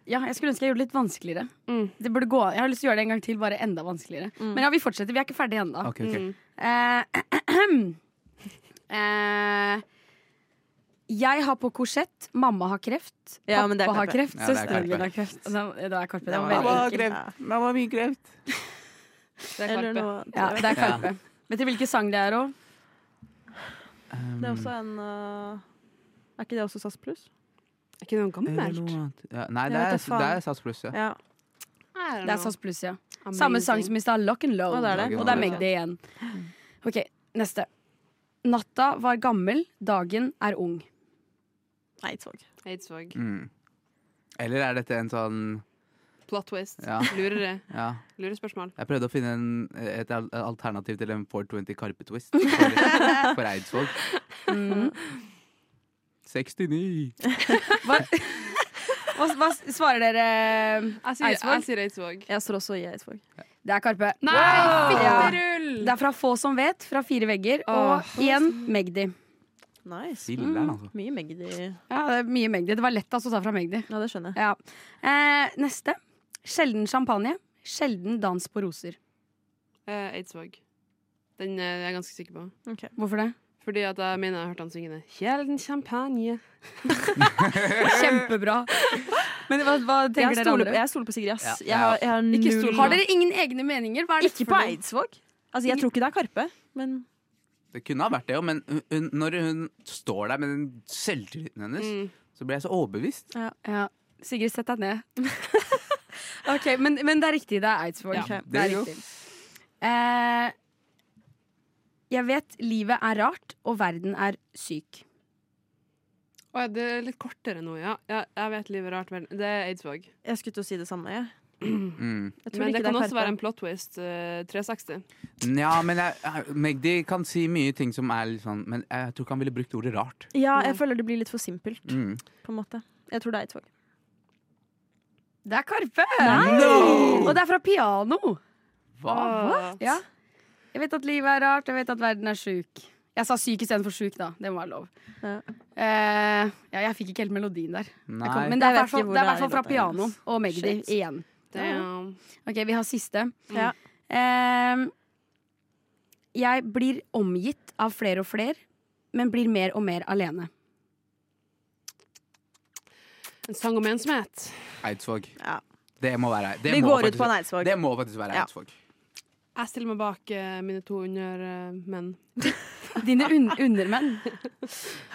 Speaker 4: Ja, jeg skulle ønske jeg gjorde det litt vanskeligere.
Speaker 8: Mm.
Speaker 4: Det burde gå, jeg har lyst til å gjøre det en gang til, bare enda vanskeligere.
Speaker 5: Mm.
Speaker 4: Men ja, vi fortsetter. Vi er ikke ferdige ennå.
Speaker 6: Ok, ok.
Speaker 4: Eh, eh, jeg har på korsett, mamma har kreft, pappa
Speaker 5: Ja, men det er
Speaker 4: har
Speaker 5: Karpe.
Speaker 4: kreft,
Speaker 6: Ja, det er
Speaker 4: søsteren min
Speaker 6: Karpe.
Speaker 4: har kreft. Da da er Karpe. Det
Speaker 5: Det
Speaker 4: var
Speaker 5: var
Speaker 4: veldig
Speaker 5: Mamma
Speaker 6: Mamma
Speaker 5: har
Speaker 4: enkelt.
Speaker 5: kreft.
Speaker 6: har mye kreft.
Speaker 8: Det er
Speaker 5: Eller
Speaker 8: Karpe.
Speaker 5: noe.
Speaker 4: Ja,
Speaker 5: Det
Speaker 4: det er Karpe. Vet du hvilken sang det er òg?
Speaker 6: Ehm,
Speaker 5: er også en øh, Er ikke det også SAS pluss?
Speaker 8: Er ikke det noe
Speaker 6: Eller
Speaker 8: gammelt?
Speaker 6: noe annet. Ja, nei,
Speaker 5: Jeg
Speaker 6: det er,
Speaker 5: vet da faen.
Speaker 6: det er SAS pluss, ja.
Speaker 5: Ja.
Speaker 4: Det er SAS Pluss, ja. Samme sang som i stad, Lock and Low.
Speaker 5: Å, det er det.
Speaker 4: Og det er Magdi igjen. OK, neste. Natta var gammel, dagen er ung.
Speaker 5: Eidsvåg.
Speaker 8: Eidsvåg.
Speaker 6: Mm. Eller er dette en sånn
Speaker 8: Plot twist.
Speaker 6: Ja.
Speaker 8: Lurere.
Speaker 6: Ja.
Speaker 8: Lurespørsmål.
Speaker 6: Jeg prøvde å finne en, et al- alternativ til en 420 Karpe-twist for, for Eidsvåg.
Speaker 4: Mm.
Speaker 6: 69.
Speaker 4: Hva, hva, hva svarer dere?
Speaker 8: Jeg sier
Speaker 4: Eidsvåg?
Speaker 8: Eidsvåg. Jeg sier Eidsvåg.
Speaker 5: Jeg står også i Eidsvåg.
Speaker 4: Det er Karpe.
Speaker 8: Nei,
Speaker 4: Ja.
Speaker 8: fitterull!
Speaker 4: Det er fra Få som vet, fra Fire vegger.
Speaker 8: Åh.
Speaker 4: Og igjen Magdi.
Speaker 5: Nice.
Speaker 6: Siller'n, altså.
Speaker 5: Mye Magdi. Ja,
Speaker 4: Ja, det er mye Magdi. Det var lett altså, å ta fra Magdi.
Speaker 5: det skjønner jeg.
Speaker 4: Ja. Eh, neste. Sjelden champagne. Sjelden dans på roser.
Speaker 8: Eh, Eidsvåg. Den eh, er jeg ganske sikker på.
Speaker 5: Ok.
Speaker 4: Hvorfor det?
Speaker 8: Fordi at jeg mener jeg har hørt han syngende Kjelden champagne.
Speaker 4: Kjempebra. Men hva, hva
Speaker 5: Jeg
Speaker 4: tenker dere
Speaker 5: stoler,
Speaker 4: andre?
Speaker 5: jeg stoler på Sigrid, ass.
Speaker 6: Ja.
Speaker 5: Jeg har, jeg har
Speaker 8: Ikke
Speaker 5: null
Speaker 8: stol-
Speaker 4: Har dere ingen egne meninger? Hva er det
Speaker 5: Ikke
Speaker 4: for
Speaker 5: på
Speaker 4: noe?
Speaker 5: Eidsvåg. Altså, jeg tror ikke det er Karpe, men
Speaker 6: Det kunne ha vært det òg, men hun, hun, når hun står der med den selvtilliten hennes,
Speaker 8: Mm.
Speaker 6: så blir jeg så overbevist.
Speaker 4: Ja. Sigrid, sett deg ned. ok, men, men det er riktig. Det er Eidsvåg.
Speaker 8: Ja,
Speaker 4: det,
Speaker 6: det
Speaker 4: er
Speaker 6: er jo.
Speaker 4: riktig. Eh, jeg vet livet er rart, og verden er syk.
Speaker 8: Å, ja, det er litt kortere nå, ja. ja jeg vet livet er rart, men det er Eidsvåg.
Speaker 5: jeg skulle til å si det samme. Jeg,
Speaker 6: Mm.
Speaker 5: jeg tror
Speaker 8: Men det
Speaker 5: ikke
Speaker 8: kan
Speaker 5: er
Speaker 8: også være
Speaker 5: Karpe.
Speaker 8: en plot twist. eh, 360.
Speaker 6: Ja, men jeg, jeg- Magdi kan si mye ting som er litt sånn Men jeg tror ikke han ville brukt ordet rart.
Speaker 5: Ja, jeg føler det blir litt for simpelt,
Speaker 6: Mm.
Speaker 5: på en måte. Jeg tror det er Eidsvåg.
Speaker 4: Det er Karpe!
Speaker 6: No!
Speaker 4: Og det er fra Piano.
Speaker 6: Hva?
Speaker 8: Åh.
Speaker 4: Ja. Jeg vet at livet er rart, jeg vet at verden er sjuk. Jeg sa syk istedenfor sjuk, da. Det må være lov.
Speaker 5: Ja.
Speaker 4: Eh, ja, jeg fikk ikke helt melodien der. Jeg kom,
Speaker 6: Nei.
Speaker 4: men det er i
Speaker 5: Jeg vet
Speaker 4: hvert fall-
Speaker 5: ikke hvor
Speaker 4: det er i
Speaker 5: det er
Speaker 4: hvert fall
Speaker 5: i
Speaker 4: fra
Speaker 5: låta
Speaker 4: Piano
Speaker 5: hennes.
Speaker 4: og Magdi
Speaker 5: Shit.
Speaker 4: igjen.
Speaker 8: Damn.
Speaker 4: Ok, vi har siste.
Speaker 5: Ja.
Speaker 4: Ehm, jeg blir omgitt av flere og flere, men blir mer og mer alene.
Speaker 8: En sang om ensomhet.
Speaker 6: Eidsvåg.
Speaker 5: Ja.
Speaker 6: Det må være det
Speaker 5: Vi
Speaker 6: må
Speaker 5: går
Speaker 6: faktisk-
Speaker 5: ut på en Eidsvåg.
Speaker 6: Det må faktisk være
Speaker 5: Ja.
Speaker 6: Eidsvåg.
Speaker 8: Jeg stiller meg bak eh, mine to eh, undermenn.
Speaker 4: Dine un undermenn.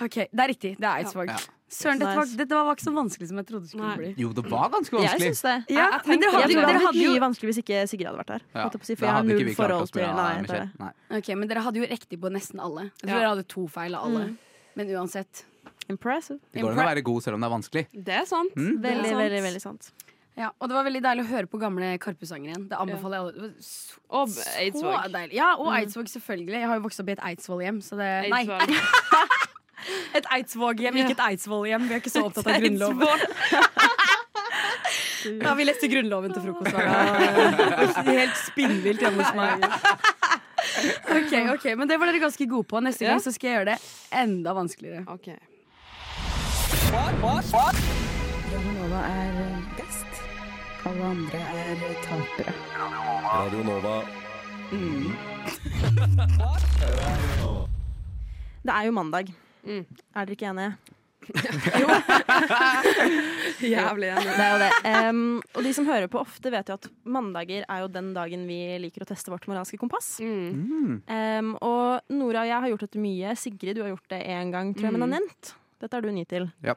Speaker 4: Ok, Det er riktig. Det er Eidsvåg.
Speaker 6: Ja.
Speaker 4: Søren, dette var,
Speaker 5: Nice.
Speaker 4: dette var ikke så vanskelig som jeg trodde det skulle
Speaker 8: Nei.
Speaker 4: bli.
Speaker 6: Jo, det var ganske
Speaker 5: Jeg
Speaker 6: vanskelig.
Speaker 5: syns det.
Speaker 4: Ja,
Speaker 8: Jeg- jeg
Speaker 4: men dere
Speaker 5: Jeg
Speaker 8: tenkte-
Speaker 4: hadde, jo-
Speaker 5: tror det
Speaker 4: dere hadde
Speaker 5: hadde vært mye
Speaker 4: jo,
Speaker 5: vanskelig hvis ikke Sigrid hadde vært her.
Speaker 6: Ja,
Speaker 5: holdt jeg på å si,
Speaker 6: da
Speaker 5: for jeg har
Speaker 6: hadde ikke
Speaker 5: null
Speaker 6: vi klart
Speaker 5: forhold
Speaker 6: oss
Speaker 5: til
Speaker 6: med
Speaker 5: Nei,
Speaker 6: Anna
Speaker 5: jeg tar
Speaker 6: Michelle.
Speaker 5: det.
Speaker 6: Nei.
Speaker 4: Ok, men dere hadde jo riktig på nesten alle. Jeg tror
Speaker 8: Ja.
Speaker 4: dere hadde to feil av alle. Men uansett.
Speaker 5: Impressive.
Speaker 6: Det går an å være god selv om det er vanskelig.
Speaker 8: Det er sant.
Speaker 6: Mm.
Speaker 8: Det er
Speaker 5: Veldig,
Speaker 8: sant.
Speaker 5: veldig, veldig sant.
Speaker 4: Ja, og det var veldig deilig å høre på gamle Karpe-sanger igjen. Det anbefaler jeg alle. Det var så-
Speaker 8: Og
Speaker 4: Så
Speaker 8: Eidsvåg.
Speaker 4: deilig. Ja, og Eidsvåg, selvfølgelig. Jeg har jo vokst opp i et Eidsvoll-hjem, så det Nei,
Speaker 8: Eidsvåg.
Speaker 4: et Eidsvåg-hjem, ikke et Eidsvoll-hjem. Vi er ikke så opptatt av grunnlov. Ja, vi leste Grunnloven til frokost hver dag. Helt spinnvilt hjemme hos meg. Ok, ok, Men det var dere ganske gode på. Neste gang så skal jeg gjøre det enda vanskeligere.
Speaker 8: Ok.
Speaker 7: Radionova er best. Alle andre er tapere.
Speaker 2: Radio Nova.
Speaker 5: Det er jo mandag.
Speaker 8: Mm.
Speaker 5: Er dere ikke enige?
Speaker 8: Jævlig enig.
Speaker 5: Det er jo det. Em, og de som hører på ofte, vet jo at mandager er jo den dagen vi liker å teste vårt moralske kompass.
Speaker 8: Mm.
Speaker 6: Mm.
Speaker 5: Em, og Nora og jeg har gjort dette mye. Sigrid, du har gjort det én gang, tror jeg,
Speaker 8: Mm.
Speaker 5: men har nevnt. Dette er du ny til.
Speaker 6: Ja.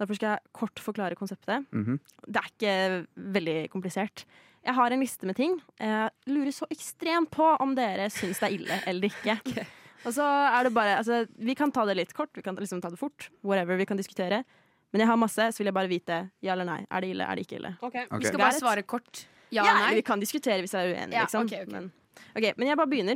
Speaker 5: Derfor skal jeg kort forklare konseptet.
Speaker 6: Mhm.
Speaker 5: Det er ikke veldig komplisert. Jeg har en liste med ting. Jeg lurer så ekstremt på om dere syns det er ille eller ikke. Og så er det bare, altså, Vi kan ta det litt kort, vi kan liksom ta det fort. Whatever, vi kan diskutere. Men jeg har masse, så vil jeg bare vite ja eller nei. Er det ille, er det ikke ille?
Speaker 6: Ok.
Speaker 8: Ok.
Speaker 4: Vi skal
Speaker 5: Det er
Speaker 4: bare
Speaker 5: et-
Speaker 4: svare kort. Ja
Speaker 5: Ja,
Speaker 4: eller
Speaker 5: eller
Speaker 4: nei?
Speaker 5: vi kan diskutere hvis jeg er uenig.
Speaker 4: Ja,
Speaker 5: liksom.
Speaker 4: ok, ok.
Speaker 5: Men, ok, men jeg bare begynner.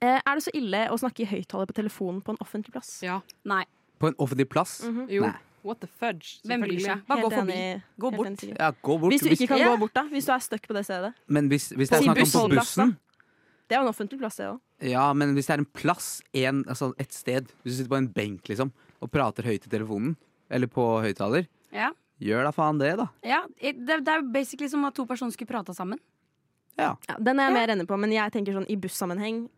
Speaker 5: Eh, er det så ille å snakke i høyttaler på telefonen på en offentlig plass?
Speaker 8: Ja.
Speaker 4: Nei.
Speaker 6: På en offentlig plass?
Speaker 5: Mhm.
Speaker 8: Jo.
Speaker 6: Mm. Nei.
Speaker 8: What the fudge?
Speaker 4: Hvem bryr
Speaker 8: selvfølgelig.
Speaker 4: seg? Bare gå
Speaker 5: Helt
Speaker 4: forbi.
Speaker 5: enig-
Speaker 4: Gå
Speaker 5: helt
Speaker 4: bort.
Speaker 5: enig, Sigrid.
Speaker 6: Ja, gå bort.
Speaker 5: Hvis du ikke kan
Speaker 4: Ja.
Speaker 5: gå bort, da. Hvis du er stuck på det stedet.
Speaker 6: Men hvis, hvis det er
Speaker 5: På
Speaker 6: snakk om på
Speaker 5: bussholdeplassen.
Speaker 6: bussen
Speaker 5: Det er jo en offentlig plass, det òg.
Speaker 6: Ja, men hvis det er en plass, en, altså et sted Hvis du sitter på en benk liksom og prater høyt i telefonen, eller på høyttaler,
Speaker 4: Ja.
Speaker 6: gjør da faen det, da.
Speaker 4: Ja, det, det er basically som at to personer skulle prata sammen.
Speaker 5: Ja, den er jeg mer inne på, men jeg tenker sånn i bussammenheng.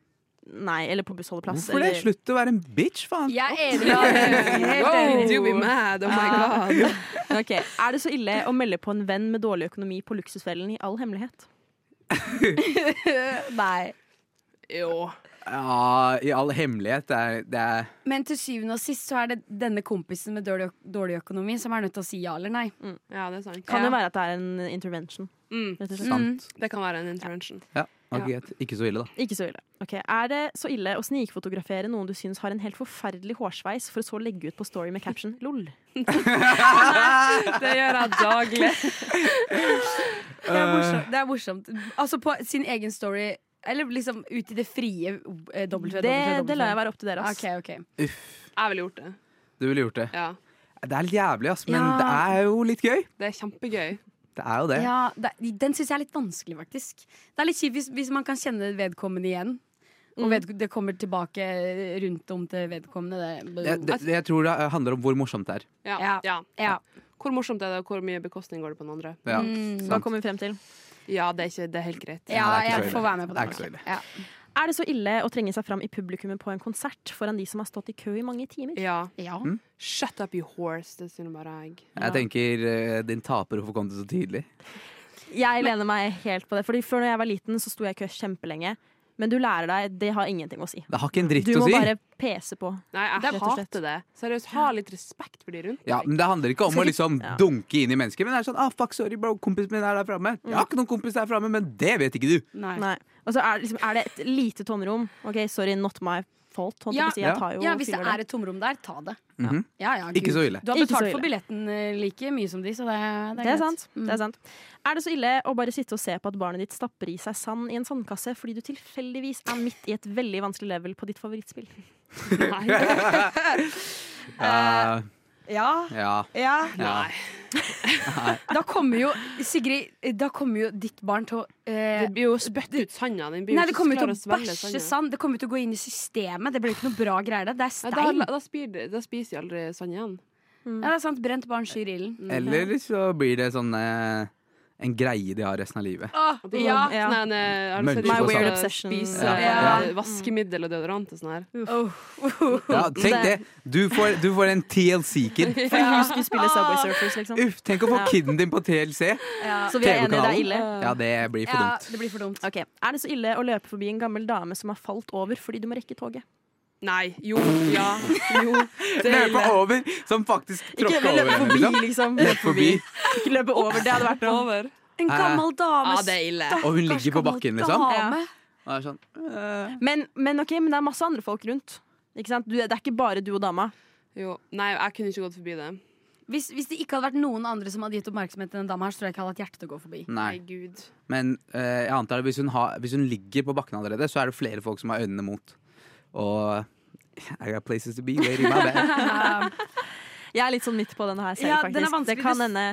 Speaker 5: Nei, eller på bussholdeplass.
Speaker 6: Hvorfor det?
Speaker 5: eller-
Speaker 6: Slutt å være en bitch, faen!
Speaker 4: Jeg er enig. Helt enig.
Speaker 8: Wow, do be mad, oh my god.
Speaker 5: Ok, Er det så ille å melde på en venn med dårlig økonomi på luksusfellen i all hemmelighet?
Speaker 4: Nei.
Speaker 8: Jo.
Speaker 6: Ja, i all hemmelighet. Det er, det er
Speaker 4: Men til syvende og sist så er det denne kompisen med dårlig, ø- dårlig økonomi som er nødt til å si ja eller nei.
Speaker 8: Ja, det er sant.
Speaker 5: Kan
Speaker 4: Ja.
Speaker 5: jo være at det er en intervention.
Speaker 8: Mm.
Speaker 5: Rett og slett.
Speaker 6: sant.
Speaker 8: Det kan være en intervention.
Speaker 6: Ja, ok, greit. Ikke så ille, da.
Speaker 5: Ikke så ille. Ok, Er det så ille å snikfotografere noen du syns har en helt forferdelig hårsveis, for å så legge ut på Story med caption 'lol'?
Speaker 8: Det gjør jeg daglig.
Speaker 4: Det er
Speaker 6: Eh.
Speaker 4: morsomt. Det er morsomt. Altså på sin egen story, eller liksom ut i det frie eh, www.
Speaker 5: Det, det lar jeg være opp til dere. ass.
Speaker 4: Ok, ok.
Speaker 8: Jeg ville gjort det.
Speaker 6: Du ville gjort det.
Speaker 8: Ja.
Speaker 6: Det er litt jævlig, ass, men
Speaker 4: Ja.
Speaker 6: det er jo litt gøy.
Speaker 8: Det er kjempegøy.
Speaker 6: Det er jo det.
Speaker 4: Ja, det, den syns jeg er litt vanskelig, faktisk. Det er litt kjipt hvis, hvis man kan kjenne vedkommende igjen.
Speaker 6: Mm.
Speaker 4: Og ved, det kommer tilbake rundt om til vedkommende. Det,
Speaker 6: Jeg, det, jeg tror det handler om hvor morsomt det er.
Speaker 8: Ja.
Speaker 4: Ja.
Speaker 8: ja.
Speaker 4: ja.
Speaker 8: Hvor morsomt er det, og hvor mye bekostning går det på den andre?
Speaker 6: Ja,
Speaker 4: Mm.
Speaker 5: Hva
Speaker 6: sant.
Speaker 5: kommer vi frem til?
Speaker 8: Ja, det er, ikke, det er helt greit.
Speaker 4: ja,
Speaker 6: det er ikke så
Speaker 4: jeg
Speaker 6: ille.
Speaker 4: får være med på
Speaker 6: Det er
Speaker 4: den.
Speaker 6: ikke så ille.
Speaker 4: Ja.
Speaker 5: Er det så ille å trenge seg fram i publikummet på en konsert foran de som har stått i kø i mange timer?
Speaker 8: Ja.
Speaker 4: Ja.
Speaker 6: Mm.
Speaker 8: Shut up, you horse. Det synes bare jeg.
Speaker 6: Jeg tenker eh, din taper, hvorfor kom du så tidlig?
Speaker 5: Jeg lener meg helt på det. Fordi Før når jeg var liten, så sto jeg i kø kjempelenge. Men du lærer deg, det har ingenting å si.
Speaker 6: Det har ikke en dritt
Speaker 5: Du
Speaker 6: å
Speaker 5: må
Speaker 6: si.
Speaker 5: bare pese på.
Speaker 8: Nei, jeg
Speaker 5: Rett og slett.
Speaker 8: hater det. Seriøst, ha litt respekt for de rundt
Speaker 6: Ja, men Det handler ikke om
Speaker 5: Skal
Speaker 6: å
Speaker 5: ikke-
Speaker 6: liksom
Speaker 5: Ja.
Speaker 6: dunke inn i mennesker. Men det er sånn, ah, fuck, sorry, bro, kompisen min er der framme. Jeg har ikke noen kompis der framme, men det vet ikke du.
Speaker 8: Nei.
Speaker 5: Nei. Og så er, det liksom, er det et lite tomrom. OK, sorry, not my fault. Holdt jeg
Speaker 4: Ja,
Speaker 5: på å si. Jeg tar jo
Speaker 4: Ja, hvis det
Speaker 5: fyller
Speaker 4: er et tomrom der, ta det.
Speaker 6: Mhm.
Speaker 4: Ja, ja,
Speaker 6: Ikke
Speaker 4: gud.
Speaker 6: så ille.
Speaker 4: Du har
Speaker 5: Ikke så
Speaker 4: betalt
Speaker 5: ille.
Speaker 4: for billetten eh, like mye som de, så det, det er,
Speaker 5: Det er,
Speaker 4: greit.
Speaker 5: sant.
Speaker 4: Mm.
Speaker 5: det er sant. Er det så ille å bare sitte og se på at barnet ditt stapper i seg sand i en sandkasse fordi du tilfeldigvis er midt i et veldig vanskelig level på ditt favorittspill?
Speaker 4: Ja,
Speaker 6: Ja, Eh, ja,
Speaker 4: ja.
Speaker 6: ja.
Speaker 4: Da kommer jo Sigrid, da kommer jo ditt barn til å eh,
Speaker 8: Det blir jo spytt ut sanda. Den blir
Speaker 4: Nei, det
Speaker 8: ikke så
Speaker 4: kommer jo
Speaker 8: klar
Speaker 4: til å
Speaker 8: svelge sånn,
Speaker 4: bæsje
Speaker 8: sanda.
Speaker 4: sand. Det kommer jo til å gå inn i systemet. Det blir ikke noe bra greier. Det, det er
Speaker 8: Ja,
Speaker 4: stein.
Speaker 8: da,
Speaker 4: Ja,
Speaker 8: da, spir, det- da spiser de aldri sand igjen.
Speaker 4: det er sant. Brent barn skyr
Speaker 6: Mm.
Speaker 4: ilden.
Speaker 6: Eller så blir det sånn eh, en greie de har resten av livet.
Speaker 4: Åh, ja.
Speaker 5: Ja.
Speaker 8: Nei, nei, har du
Speaker 6: Munch
Speaker 8: sett
Speaker 6: My
Speaker 8: de
Speaker 6: Weird
Speaker 8: skal
Speaker 5: Obsession.
Speaker 8: Spise
Speaker 6: Ja.
Speaker 4: Ja.
Speaker 8: eh, vaskemiddel og deodorant og sånn her.
Speaker 6: Ja, tenk det! Du får, du får en TLC-kid.
Speaker 5: For hun skulle spille Subway Surfers, liksom.
Speaker 6: Uff, tenk å få kiden din på TLC.
Speaker 4: Ja.
Speaker 5: Så vi er enige, det er
Speaker 6: TV-kanalen.
Speaker 5: ille.
Speaker 6: Ja, det blir for
Speaker 4: ja,
Speaker 6: dumt.
Speaker 4: det blir for dumt.
Speaker 5: Ok, Er det så ille å løpe forbi en gammel dame som har falt over fordi du må rekke toget?
Speaker 8: Nei. Jo. Ja. Jo. Det er
Speaker 6: Løpe
Speaker 8: ille.
Speaker 6: over, som faktisk
Speaker 5: Ikke
Speaker 6: tråkker over
Speaker 5: løpe
Speaker 6: henne.
Speaker 5: forbi,
Speaker 6: Liksom.
Speaker 5: liksom.
Speaker 6: Løp forbi.
Speaker 5: Ikke løpe over. Det hadde vært noe.
Speaker 8: Over.
Speaker 4: En gammel dame.
Speaker 8: Ja, det er ille.
Speaker 6: Og hun Eh, ligger på
Speaker 4: gammel
Speaker 6: bakken, liksom.
Speaker 4: dame.
Speaker 6: Og er sånn, eh,
Speaker 5: Men, men ok, men det er masse andre folk rundt. Ikke sant? Du, det er ikke bare du og dama.
Speaker 8: Jo. Nei, jeg kunne ikke gått forbi det.
Speaker 4: Hvis, hvis det ikke hadde vært noen andre som hadde gitt oppmerksomhet til den dama her, så tror jeg ikke jeg hadde hatt hjerte til å gå forbi.
Speaker 6: Nei.
Speaker 8: Nei, gud.
Speaker 6: Men eh, jeg antar at hvis hun, har, hvis hun ligger på bakken allerede, så er det flere folk som har øynene mot. Og I got places to be, lady, my bad.
Speaker 5: Jeg er litt sånn midt på denne her selv,
Speaker 4: Ja,
Speaker 5: faktisk.
Speaker 4: den er vanskelig.
Speaker 5: det kan hende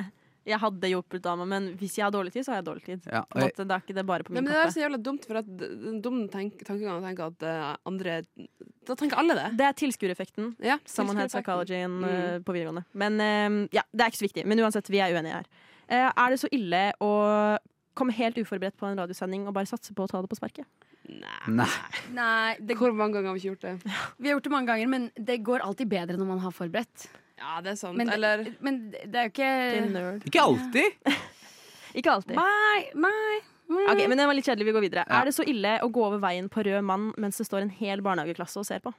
Speaker 5: jeg hadde hjulpet dama, men hvis jeg har dårlig tid, så har jeg dårlig tid.
Speaker 6: Ja,
Speaker 5: På en måte, det er ikke det bare på
Speaker 8: Nei,
Speaker 5: min
Speaker 8: men det er
Speaker 5: kappe.
Speaker 8: så jævla dumt, for at det er en dum tenk tankegang å tenke at eh, andre Da tenker alle det.
Speaker 5: Det er tilskuereffekten.
Speaker 8: Ja,
Speaker 5: Sammenhet
Speaker 8: tilskuereffekten.
Speaker 5: psychologyen
Speaker 8: Mm.
Speaker 5: eh, på videregående. Men eh, ja, det er ikke så viktig. Men uansett, vi er uenige her. Eh, er det så ille å komme helt uforberedt på en radiosending og bare satse på å ta det på sparket?
Speaker 8: Nei.
Speaker 6: Nei.
Speaker 4: Nei, det,
Speaker 8: Hvor mange ganger har vi ikke gjort det?
Speaker 4: vi har gjort det mange ganger, men det går alltid bedre når man har forberedt.
Speaker 8: Ja, det er sant.
Speaker 4: Men, det-
Speaker 8: Eller
Speaker 4: men det er jo
Speaker 8: Eh.
Speaker 4: ikke
Speaker 5: Nerd.
Speaker 6: Ikke alltid!
Speaker 5: Ikke alltid.
Speaker 4: Nei, nei. Mm.
Speaker 5: Ok, men den var litt kjedelig, vi går videre.
Speaker 6: Ja.
Speaker 5: Er det så ille å gå over veien på rød mann mens det står en hel barnehageklasse og ser på?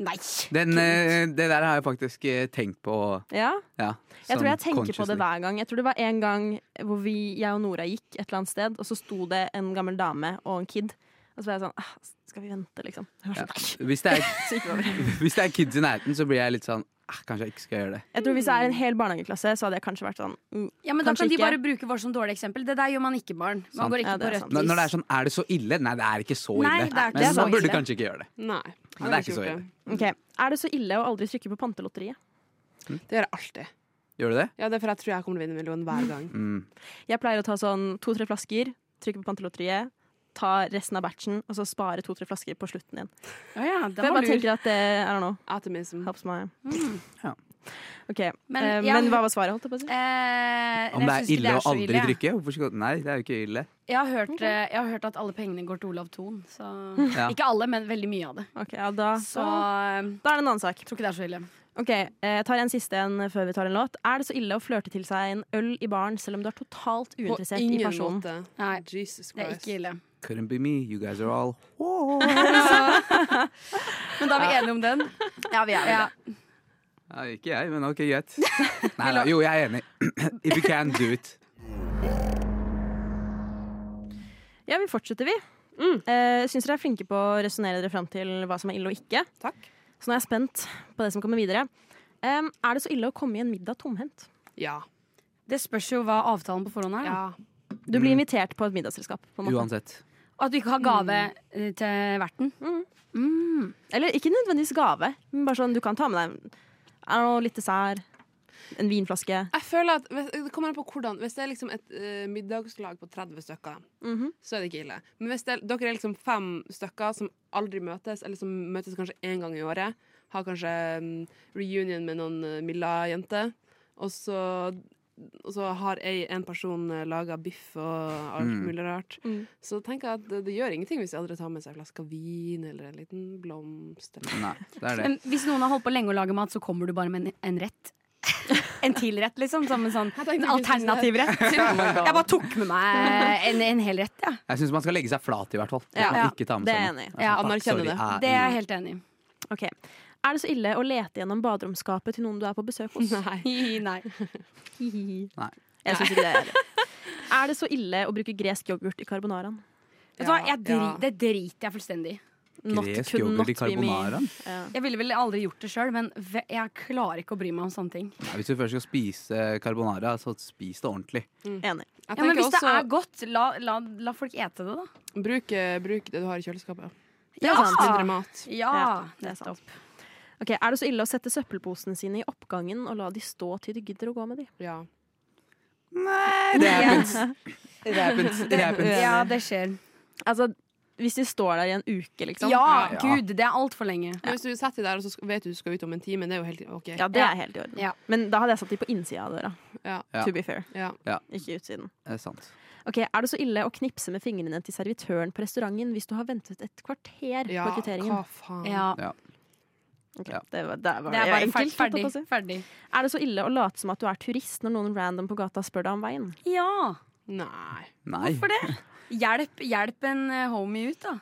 Speaker 4: Nei.
Speaker 6: Den, eh, det der har jeg faktisk eh, tenkt på.
Speaker 5: Ja?
Speaker 6: Ja,
Speaker 5: Jeg tror
Speaker 6: sånn
Speaker 5: jeg tenker på
Speaker 6: consciously.
Speaker 5: det hver gang. Jeg tror det var en gang hvor vi, jeg og Nora gikk et eller annet sted, og så sto det en gammel dame og en kid. Og så var jeg sånn ah, Skal vi vente, liksom? Jeg, var sånn, «Nei».
Speaker 6: Hvis det er,
Speaker 5: Så gikk vi over.
Speaker 6: hvis det er kids i nærheten, så blir jeg litt sånn eh, Kanskje jeg ikke skal gjøre det.
Speaker 5: jeg tror Hvis det er en hel barnehageklasse, så hadde jeg kanskje vært sånn mm.
Speaker 4: Ja, men Da
Speaker 5: Kanskje
Speaker 4: kan de
Speaker 5: ikke.
Speaker 4: bare bruke vår som dårlig eksempel. Det der gjør man ikke, barn. Man
Speaker 6: Sant.
Speaker 4: går ikke
Speaker 5: Ja, det
Speaker 4: på
Speaker 5: er
Speaker 4: rødt
Speaker 5: sant.
Speaker 6: Når, når det er
Speaker 4: lys.
Speaker 6: sånn Er det så ille? Nei, det er ikke så ille.
Speaker 4: Nei, det er ikke så
Speaker 6: Men man burde
Speaker 4: ille.
Speaker 6: kanskje ikke gjøre det.
Speaker 8: Nei.
Speaker 6: Men
Speaker 8: jeg
Speaker 6: det er
Speaker 8: har
Speaker 6: ikke så
Speaker 8: gjort
Speaker 6: ille.
Speaker 5: Ok. Er det så ille å aldri trykke på pantelotteriet?
Speaker 8: Det Det gjør jeg alltid.
Speaker 6: Gjør du det?
Speaker 8: Ja, det er for jeg tror jeg kommer til å vinne en million hver gang.
Speaker 6: Mm.
Speaker 5: Jeg pleier å ta sånn to-tre flasker, trykke på pantelotteriet, ta resten av batchen, og så spare to-tre flasker på slutten igjen.
Speaker 4: Ja,
Speaker 6: sånn-
Speaker 4: ja,
Speaker 5: For
Speaker 4: den
Speaker 5: jeg
Speaker 4: var
Speaker 5: bare
Speaker 4: lur.
Speaker 5: tenker at det I don't know.
Speaker 8: Atomism.
Speaker 5: Helps my
Speaker 6: Ja.
Speaker 5: OK. eh,
Speaker 4: Men
Speaker 5: Men,
Speaker 4: jeg-
Speaker 5: hva var svaret, holdt jeg på å si?
Speaker 4: Eh,
Speaker 6: Om
Speaker 4: jeg
Speaker 6: det
Speaker 4: synes
Speaker 6: er
Speaker 4: ikke
Speaker 6: ille å
Speaker 4: så
Speaker 6: aldri
Speaker 4: ille, jeg.
Speaker 6: drikke? Hvorfor skal Nei, det er jo ikke ille.
Speaker 4: Jeg har, hørt, eh, jeg har hørt at alle pengene går til Olav Thon. Så.
Speaker 6: Ja.
Speaker 4: Ikke alle, men veldig mye av det.
Speaker 5: Ok, ja, da,
Speaker 4: Så eh,
Speaker 5: da er det en annen sak.
Speaker 4: tror ikke det er så ille.
Speaker 5: Ok, eh, Jeg tar en siste en før vi tar en låt. Er det så ille å flørte til seg en øl i baren selv om du er totalt
Speaker 8: På
Speaker 5: uinteressert i
Speaker 8: ingen
Speaker 5: personen?
Speaker 8: måte.
Speaker 4: Nei,
Speaker 8: Jesus
Speaker 4: det er
Speaker 8: Christ.
Speaker 4: ikke ille.
Speaker 6: Couldn't be me, you guys are all
Speaker 4: Men da er vi enige om den. Ja, vi er ja.
Speaker 6: Nei, Ikke jeg, men ok, greit. Nei, nei, jo, jeg er enig. If you can do it.
Speaker 5: Ja, vi fortsetter, vi. Mm. Eh, syns dere er flinke på å resonnere dere fram til hva som er ille og ikke.
Speaker 8: Takk.
Speaker 5: Så nå er jeg spent på det som kommer videre. Em, er det så ille å komme i en middag tomhendt?
Speaker 8: Ja.
Speaker 4: Det spørs jo hva avtalen på forhånd er. da.
Speaker 8: ja.
Speaker 5: Du blir invitert på et middagsselskap. På en måte.
Speaker 6: Uansett.
Speaker 4: Og At du ikke har gave
Speaker 6: Mm.
Speaker 4: eh, til verten.
Speaker 5: Eller ikke nødvendigvis gave, men bare sånn du kan ta med deg I don't know, litt dessert, en vinflaske.
Speaker 8: Jeg føler at hvis, Det kommer an på hvordan. Hvis det er liksom et eh, middagslag på 30 stykker,
Speaker 5: Mhm.
Speaker 8: så er det ikke ille. Men hvis det, er- dere er liksom fem stykker som aldri møtes, eller som møtes kanskje én gang i året, har kanskje mm, reunion med noen uh, Milla-jenter, og eh, så og så har ei, en person laga biff og alt
Speaker 6: Mm.
Speaker 8: mulig rart.
Speaker 5: Mm.
Speaker 8: Så tenker jeg at det, det gjør ingenting hvis de andre tar med seg en flaske vin eller en liten blomst. Eller.
Speaker 6: Nei, det er det.
Speaker 4: Men hvis noen har holdt på lenge å lage mat, så kommer du bare med en, en rett. En til rett, liksom. Som en sånn en alternativ rett.
Speaker 6: Oh
Speaker 4: Jeg bare tok med meg en, en hel rett, jeg.
Speaker 6: Jeg syns man skal legge seg flat, i hvert fall.
Speaker 5: Ja. Ja,
Speaker 6: Man kan Ikke ta med
Speaker 5: det er
Speaker 6: seg
Speaker 5: jeg
Speaker 6: noe.
Speaker 5: enig i.
Speaker 6: Nei,
Speaker 8: Ja,
Speaker 6: fuck,
Speaker 8: anerkjenne
Speaker 6: sorry,
Speaker 8: det.
Speaker 6: jeg
Speaker 4: Det er jeg helt enig i.
Speaker 5: Ok. Er det så ille å lete gjennom baderomsskapet til noen du er på besøk hos?
Speaker 8: Nei.
Speaker 4: Hi, Nei.
Speaker 6: Nei.
Speaker 5: Jeg synes ikke det Er ille. Er det så ille å bruke gresk yoghurt i carbonaraen?
Speaker 4: Vet du hva,
Speaker 8: Ja,
Speaker 4: jeg dri,
Speaker 8: ja.
Speaker 4: det driter jeg fullstendig i.
Speaker 5: Not-
Speaker 6: Gresk
Speaker 5: could
Speaker 6: yoghurt i
Speaker 5: not be me.
Speaker 6: carbonaraen?
Speaker 5: Ja.
Speaker 4: Jeg ville vel aldri gjort det sjøl, men ve- jeg klarer ikke å bry meg om sånne ting.
Speaker 6: Nei, Hvis du først skal spise carbonara, så spis det ordentlig.
Speaker 5: Enig.
Speaker 8: Jeg
Speaker 4: Ja, men
Speaker 8: tenker
Speaker 4: hvis det
Speaker 8: også,
Speaker 4: er godt, la, la, la folk ete det, da.
Speaker 8: Bruk, eh, bruk det du har i kjøleskapet.
Speaker 5: Det er sant.
Speaker 8: Mindre mat.
Speaker 4: Ja,
Speaker 5: Ja, det er
Speaker 4: nettopp.
Speaker 5: Ok, Er det så ille å sette søppelposene sine i oppgangen og la de stå til du gidder å gå med de?
Speaker 8: Ja.
Speaker 6: Det happens. Det happens. Det happens.
Speaker 4: Ja, det skjer.
Speaker 5: Altså, Hvis de står der i en uke, liksom.
Speaker 4: Ja,
Speaker 6: Ja.
Speaker 4: gud, det er altfor lenge.
Speaker 8: Men hvis du setter deg der, og så sk- vet du du skal ut om en time, det er jo helt OK.
Speaker 5: Ja, det er helt i orden.
Speaker 4: Ja.
Speaker 5: Men da hadde jeg satt de på innsida av døra.
Speaker 8: Ja.
Speaker 6: Ja.
Speaker 5: To be fair.
Speaker 8: Ja.
Speaker 5: Ikke utsiden.
Speaker 6: Det er sant.
Speaker 5: Ok, Er det så ille å knipse med fingrene til servitøren på restauranten hvis du har ventet et kvarter
Speaker 8: Ja,
Speaker 5: på kvitteringen?
Speaker 8: hva faen.
Speaker 4: Ja,
Speaker 5: Ok,
Speaker 6: Ja.
Speaker 5: Det var, der var
Speaker 4: det er
Speaker 5: jo
Speaker 4: bare fer-
Speaker 5: enkelt, holdt jeg
Speaker 4: ferdig.
Speaker 5: på å si.
Speaker 4: ferdig.
Speaker 5: Er det så ille å late som at du er turist når noen random på gata spør deg om veien?
Speaker 4: Ja,
Speaker 8: Nei.
Speaker 6: Nei.
Speaker 4: for det. Hjelp, hjelp en eh, homie ut, da.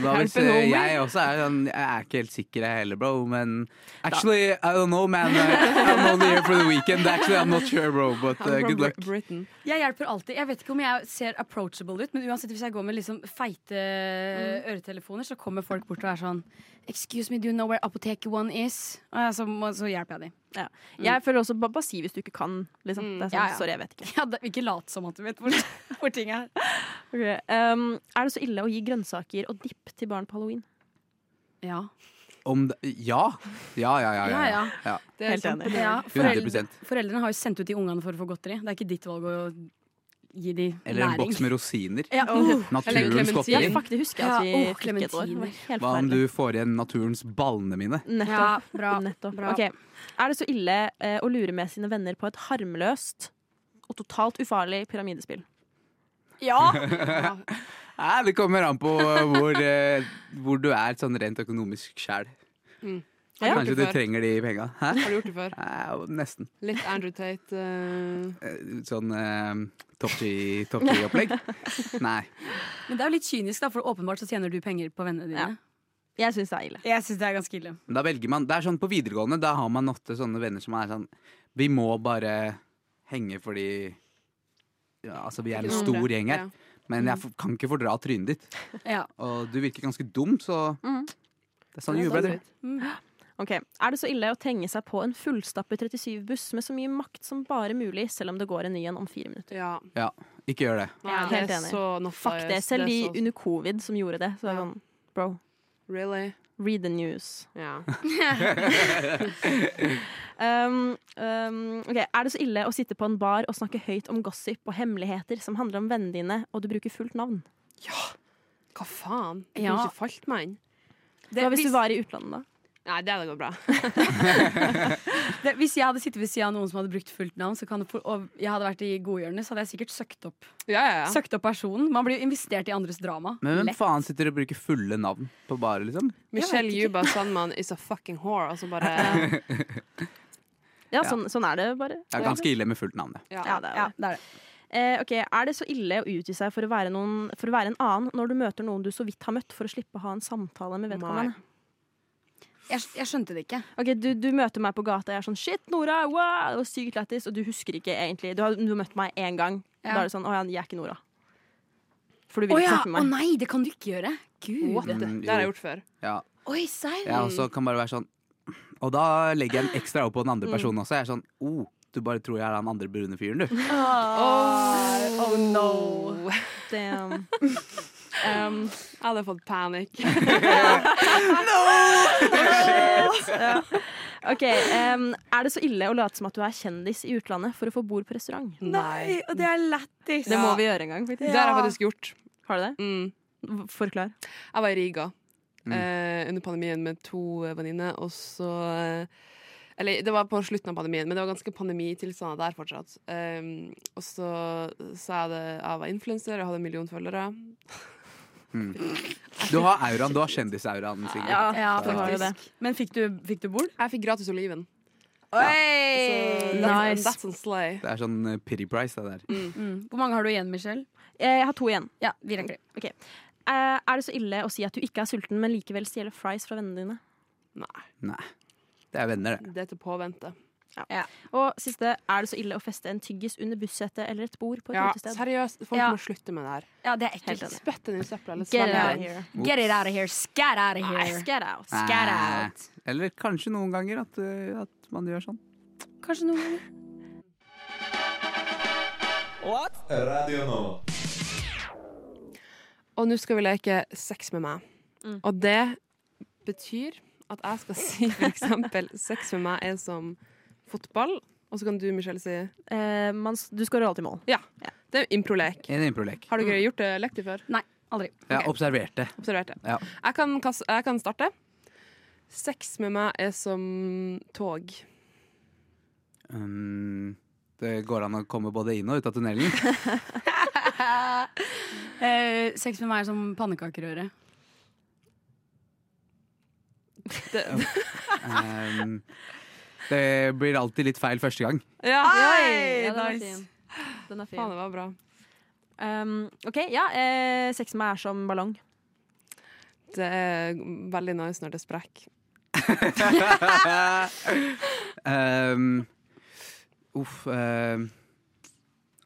Speaker 6: Hva hvis
Speaker 8: Hjelpen
Speaker 6: eh,
Speaker 8: over.
Speaker 6: jeg også er sånn Jeg er ikke helt sikker jeg heller, bro, men Actually, I don't know, man. Eh, I'm only here for the weekend. Actually, I'm not sure, bro, but
Speaker 8: I'm
Speaker 6: uh,
Speaker 8: from
Speaker 6: good luck.
Speaker 8: Br- Britain.
Speaker 4: Jeg hjelper alltid. Jeg vet ikke om jeg ser approachable ut, men uansett hvis jeg går med liksom feite Mm. øretelefoner, så kommer folk bort og er sånn Excuse me, do you know where apoteket one is? Og jeg, så, må- så hjelper jeg dem.
Speaker 5: Jeg føler også, bare, bare si hvis du ikke kan. Liksom.
Speaker 8: Mm,
Speaker 5: Det er sånn,
Speaker 4: ja, ja.
Speaker 5: Sorry, jeg vet ikke.
Speaker 4: Ja, da, ikke lat som at du vet hvor, hvor ting er.
Speaker 5: Ok, Um, er det så ille å gi grønnsaker og dipp til barn på halloween?
Speaker 4: Ja.
Speaker 6: Om det, ja. Ja, ja, ja. ja,
Speaker 4: Ja, ja.
Speaker 6: ja.
Speaker 8: Det er sånn-
Speaker 5: Helt enig.
Speaker 8: kjempedårlig.
Speaker 4: ja
Speaker 6: 100
Speaker 4: foreldre, foreldrene har jo sendt ut de ungene for å få godteri. Det er ikke ditt valg å gi de
Speaker 6: Eller en
Speaker 4: næring.
Speaker 6: boks med rosiner.
Speaker 4: ja, uh,
Speaker 8: Eller
Speaker 6: Naturens
Speaker 8: clementin.
Speaker 5: oh, Ja,
Speaker 6: godteri.
Speaker 5: faktisk husker jeg at vi
Speaker 4: Ja, åh,
Speaker 5: fikk et år. Det var
Speaker 4: clementiner.
Speaker 5: helt
Speaker 6: Hva om
Speaker 5: forferdelig.
Speaker 6: du får igjen naturens ballene mine?
Speaker 5: Nettopp.
Speaker 4: ja bra.
Speaker 5: Nettopp.
Speaker 4: Bra.
Speaker 5: Ok. Er det så ille eh, å lure med sine venner på et harmløst og totalt ufarlig pyramidespill?
Speaker 4: Ja!
Speaker 6: Nei, det kommer an på eh, hvor, eh, hvor du er sånn rent økonomisk sjæl.
Speaker 8: Har du gjort
Speaker 6: Kanskje du
Speaker 8: det før?
Speaker 6: trenger de penga. Hæ?
Speaker 8: Har du gjort det før?
Speaker 6: Eh, Nesten.
Speaker 8: Litt Andrew Tate. eh,
Speaker 6: Eh, Sånn eh, topp ti-opplegg. Nei.
Speaker 4: Men det er jo litt kynisk, da, for åpenbart så tjener du penger på vennene dine.
Speaker 5: Jeg syns det er ille.
Speaker 4: Jeg syns det er ganske ille.
Speaker 6: Da velger man, det er sånn På videregående da har man ofte sånne venner som er sånn Vi må bare henge fordi ja, Altså, vi er en
Speaker 8: noen
Speaker 6: stor
Speaker 8: andre.
Speaker 6: gjeng her,
Speaker 8: Ja.
Speaker 6: men jeg f- kan ikke fordra trynet ditt.
Speaker 4: Ja.
Speaker 6: Og du virker ganske dum, så
Speaker 5: Mhm.
Speaker 6: Det er sånn you brother.
Speaker 4: Mm.
Speaker 5: Ok. Er det så ille å trenge seg på en fullstappet 37-buss med så mye makt som bare mulig, selv om det går en ny en om fire minutter?
Speaker 8: Ja.
Speaker 6: Ikke gjør det.
Speaker 8: Nei,
Speaker 5: Ja.
Speaker 8: det
Speaker 5: Helt
Speaker 8: er
Speaker 5: enig.
Speaker 8: så noe
Speaker 5: Fuck det. Selv
Speaker 8: er
Speaker 5: de
Speaker 8: så-
Speaker 5: under covid som gjorde det. Så er det
Speaker 8: Ja.
Speaker 5: sånn, bro,
Speaker 8: Really?
Speaker 5: read the news.
Speaker 8: Ja.
Speaker 5: Um, um, ok. Er det så ille å sitte på en bar og snakke høyt om gossip og hemmeligheter som handler om vennene dine, og du bruker fullt navn?
Speaker 8: Hva faen? Det kunne
Speaker 4: Ja.
Speaker 8: ikke falt meg inn.
Speaker 5: Hva hvis du var i utlandet, da?
Speaker 8: Nei, det hadde gått bra.
Speaker 4: det, hvis jeg hadde sittet ved siden av noen som hadde brukt fullt navn, så kan det, for- og jeg hadde vært i godhjørnet, så hadde jeg sikkert søkt opp,
Speaker 8: Ja, ja, ja.
Speaker 4: søkt opp personen. Man blir jo investert i andres drama.
Speaker 6: Men hvem
Speaker 4: Lett.
Speaker 6: faen sitter og bruker fulle navn på bare, liksom?
Speaker 8: Michelle Juba Sandman is a fucking whore. Altså bare
Speaker 5: Ja, sånn, sånn er det bare.
Speaker 6: Det er ganske ille med fullt navn, det.
Speaker 5: Ja, det er
Speaker 4: Ja,
Speaker 5: det.
Speaker 4: det er det.
Speaker 5: Eh, ok, Er det så ille å utgi seg for å, være noen, for å være en annen når du møter noen du så vidt har møtt, for å slippe å ha en samtale med vedkommende?
Speaker 4: Jeg, jeg skjønte det ikke.
Speaker 5: Ok, du, du møter meg på gata, jeg er sånn 'shit, Nora', wow, og sykt lættis, og du husker ikke egentlig Du har, du har møtt meg én gang.
Speaker 4: Ja.
Speaker 5: Da er det sånn 'å ja, jeg er ikke Nora'. For du
Speaker 4: Å
Speaker 5: vil ikke
Speaker 4: ja!
Speaker 5: snakke
Speaker 4: Å
Speaker 5: med meg.
Speaker 4: nei, det kan du ikke gjøre! Gud.
Speaker 8: What the?
Speaker 6: Mm,
Speaker 8: Det har jeg
Speaker 6: jo.
Speaker 8: gjort før.
Speaker 6: Ja.
Speaker 4: Oi, serr?
Speaker 6: Jeg også kan bare være sånn Og da legger jeg en ekstra opp på den andre personen også. Jeg er sånn oh, du bare tror jeg er han andre brune fyren, du.
Speaker 8: Oh,
Speaker 4: no.
Speaker 5: Damn.
Speaker 8: Um, jeg hadde fått panikk.
Speaker 5: Ja. Ok, em, Er det så ille å late som at du er kjendis i utlandet for å få bord på restaurant?
Speaker 8: Nei.
Speaker 4: og det er lættis.
Speaker 5: Det
Speaker 8: Ja.
Speaker 5: må vi gjøre en gang. faktisk.
Speaker 8: Det har jeg faktisk gjort.
Speaker 5: Har du det?
Speaker 8: Mm.
Speaker 5: Forklar.
Speaker 8: Jeg var i Riga
Speaker 6: Mm.
Speaker 8: eh, under pandemien med to eh, venninner, og så eh, Eller det var på slutten av pandemien, men det var ganske pandemitilstander der fortsatt. Um, og så sa jeg det jeg var influenser og hadde en million følgere.
Speaker 6: Du har auraen, du har kjendisauraen, Sigrid.
Speaker 5: Ja,
Speaker 4: Ja,
Speaker 5: det var jo det.
Speaker 4: faktisk. Men fikk du, fikk du bord?
Speaker 8: Jeg fikk gratis oliven.
Speaker 4: Oi!
Speaker 8: Så
Speaker 5: Nice.
Speaker 8: that's, that's a slay.
Speaker 6: Det er sånn eh, pity price, det der.
Speaker 4: Mm. Hvor mange har du igjen, Michelle?
Speaker 5: Eh, Jeg har to igjen.
Speaker 4: Ja, vi rekker det.
Speaker 5: Eh, Er det så ille å si at du ikke er sulten, men likevel stjele fries fra vennene dine?
Speaker 8: Nei,
Speaker 6: Det er venner, det.
Speaker 8: det er til påvente.
Speaker 5: Og siste, er det så ille å feste en tyggis under bussetet eller et bord på et
Speaker 8: Ja,
Speaker 5: utested?
Speaker 8: seriøst, folk
Speaker 4: Ja.
Speaker 8: må slutte med det her.
Speaker 4: Ja, det er
Speaker 5: Helt
Speaker 4: ekkelt.
Speaker 5: enig.
Speaker 8: Spytt den i søpla, eller
Speaker 5: Get
Speaker 8: svelg
Speaker 5: it out of
Speaker 8: den.
Speaker 5: here.
Speaker 4: Get it out of here. Scat out of
Speaker 5: Nei,
Speaker 4: here.
Speaker 5: Get out.
Speaker 4: Scat out.
Speaker 6: Ah. Eller kanskje noen ganger at, eh, at man gjør sånn.
Speaker 4: Kanskje noen ganger.
Speaker 1: Radio Nova.
Speaker 8: Og nå skal vi leke sex med meg. Og det betyr at jeg skal si for eksempel sex med meg er som fotball, og så kan du, Michelle, si
Speaker 5: Eh, man, s- du skårer alltid mål.
Speaker 8: Det er improlek.
Speaker 6: En improlek.
Speaker 8: Har dere gjort det lekt det før?
Speaker 4: Aldri.
Speaker 6: Jeg har observert det.
Speaker 8: Observert det.
Speaker 6: Ja.
Speaker 8: Jeg, kan kaste, jeg kan starte. Sex med meg er som tog.
Speaker 6: Um, det går an å komme både inn og ut av tunnelen.
Speaker 4: Eh, sex med meg er som pannekakerøre.
Speaker 8: Det,
Speaker 6: Um, det blir alltid litt feil første gang.
Speaker 8: ja,
Speaker 5: Ja, den er
Speaker 4: nice.
Speaker 5: fin. Den er fin.
Speaker 8: faen, det var bra.
Speaker 5: Um, OK, ja. Eh, sex med meg er som ballong.
Speaker 8: Det er veldig nice når det sprekker.
Speaker 6: um, uff um,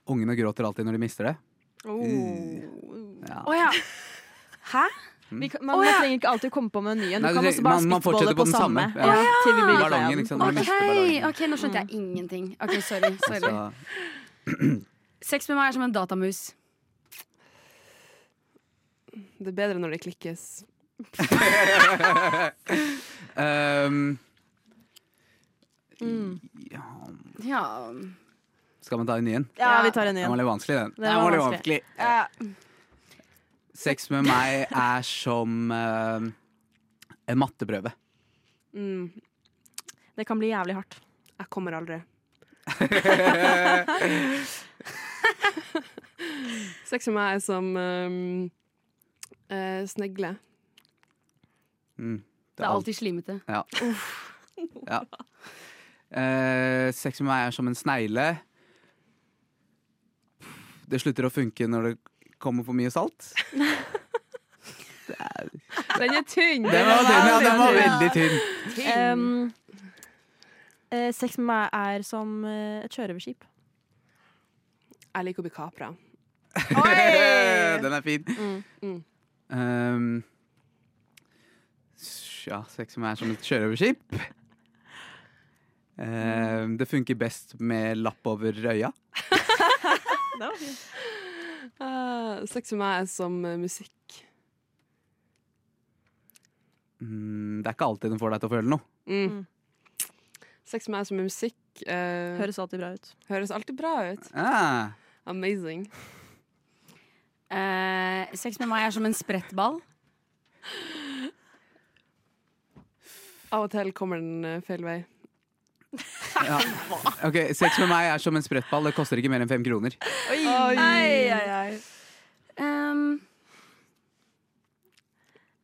Speaker 6: Ungene gråter alltid når de mister det.
Speaker 8: Oh.
Speaker 6: Ja.
Speaker 4: Å ja. Hæ? Mm.
Speaker 5: Vi, kan- man,
Speaker 4: Å, ja.
Speaker 5: man trenger ikke alltid komme på menyen. Du
Speaker 6: Nei, du
Speaker 5: kan
Speaker 6: trenger-
Speaker 5: også bare
Speaker 6: man- man
Speaker 5: spyttbolle
Speaker 6: fortsetter
Speaker 5: på,
Speaker 6: på den
Speaker 5: samme.
Speaker 6: samme. Ja.
Speaker 5: Ja, til vi blir lei av
Speaker 6: Ballongen,
Speaker 5: den.
Speaker 6: ikke sant. Når
Speaker 4: Ok,
Speaker 6: de mister ballongen.
Speaker 4: ok, nå skjønte jeg ingenting. Ok, Sorry. sorry.
Speaker 6: Så-
Speaker 4: Sex med meg er som en datamus.
Speaker 8: Det er bedre når det klikkes.
Speaker 6: Ehm,
Speaker 5: Mm.
Speaker 6: ja,
Speaker 4: Ja.
Speaker 6: skal man ta en ny en?
Speaker 5: Ja, vi tar en ny
Speaker 6: Den var
Speaker 5: en.
Speaker 6: litt vanskelig, den.
Speaker 5: Den var
Speaker 6: litt
Speaker 5: vanskelig.
Speaker 4: Ja.
Speaker 6: Sex med meg er som ehm, en matteprøve.
Speaker 8: Mm,
Speaker 5: Det kan bli jævlig hardt.
Speaker 8: jeg kommer aldri. Sex med meg er som um, eh, snegle.
Speaker 6: Mm,
Speaker 4: Det er alltid slimete.
Speaker 6: Ja. ja. Eh, sex med meg er som en snegle. Det slutter å funke når det kommer for mye salt.
Speaker 8: Den er tynn!
Speaker 6: Den var, tynn, ja, den var veldig tynn.
Speaker 4: Mm.
Speaker 5: Um, eh, sex med meg er som eh, et sjørøverskip.
Speaker 8: Jeg liker å bli kapra.
Speaker 6: den er fin.
Speaker 8: mm.
Speaker 6: Ehm, s- ja, sex med meg er som et sjørøverskip. Ehm, det funker best med lapp over øya.
Speaker 8: Eh, sex med meg er som eh, musikk.
Speaker 6: Mm, det er ikke alltid den får deg til å føle noe.
Speaker 8: Mm. Sex med meg er som musikk. eh, høres.
Speaker 5: Høres alltid bra ut.
Speaker 8: alltid bra ut.
Speaker 6: Ah,
Speaker 8: Amazing.
Speaker 4: Eh, sex med meg er som en sprettball.
Speaker 8: Av og til kommer den eh, feil vei.
Speaker 6: ja. Ok, Sex med meg er som en sprettball. Det koster ikke mer enn fem kroner.
Speaker 4: Ai, ai, ai. Um,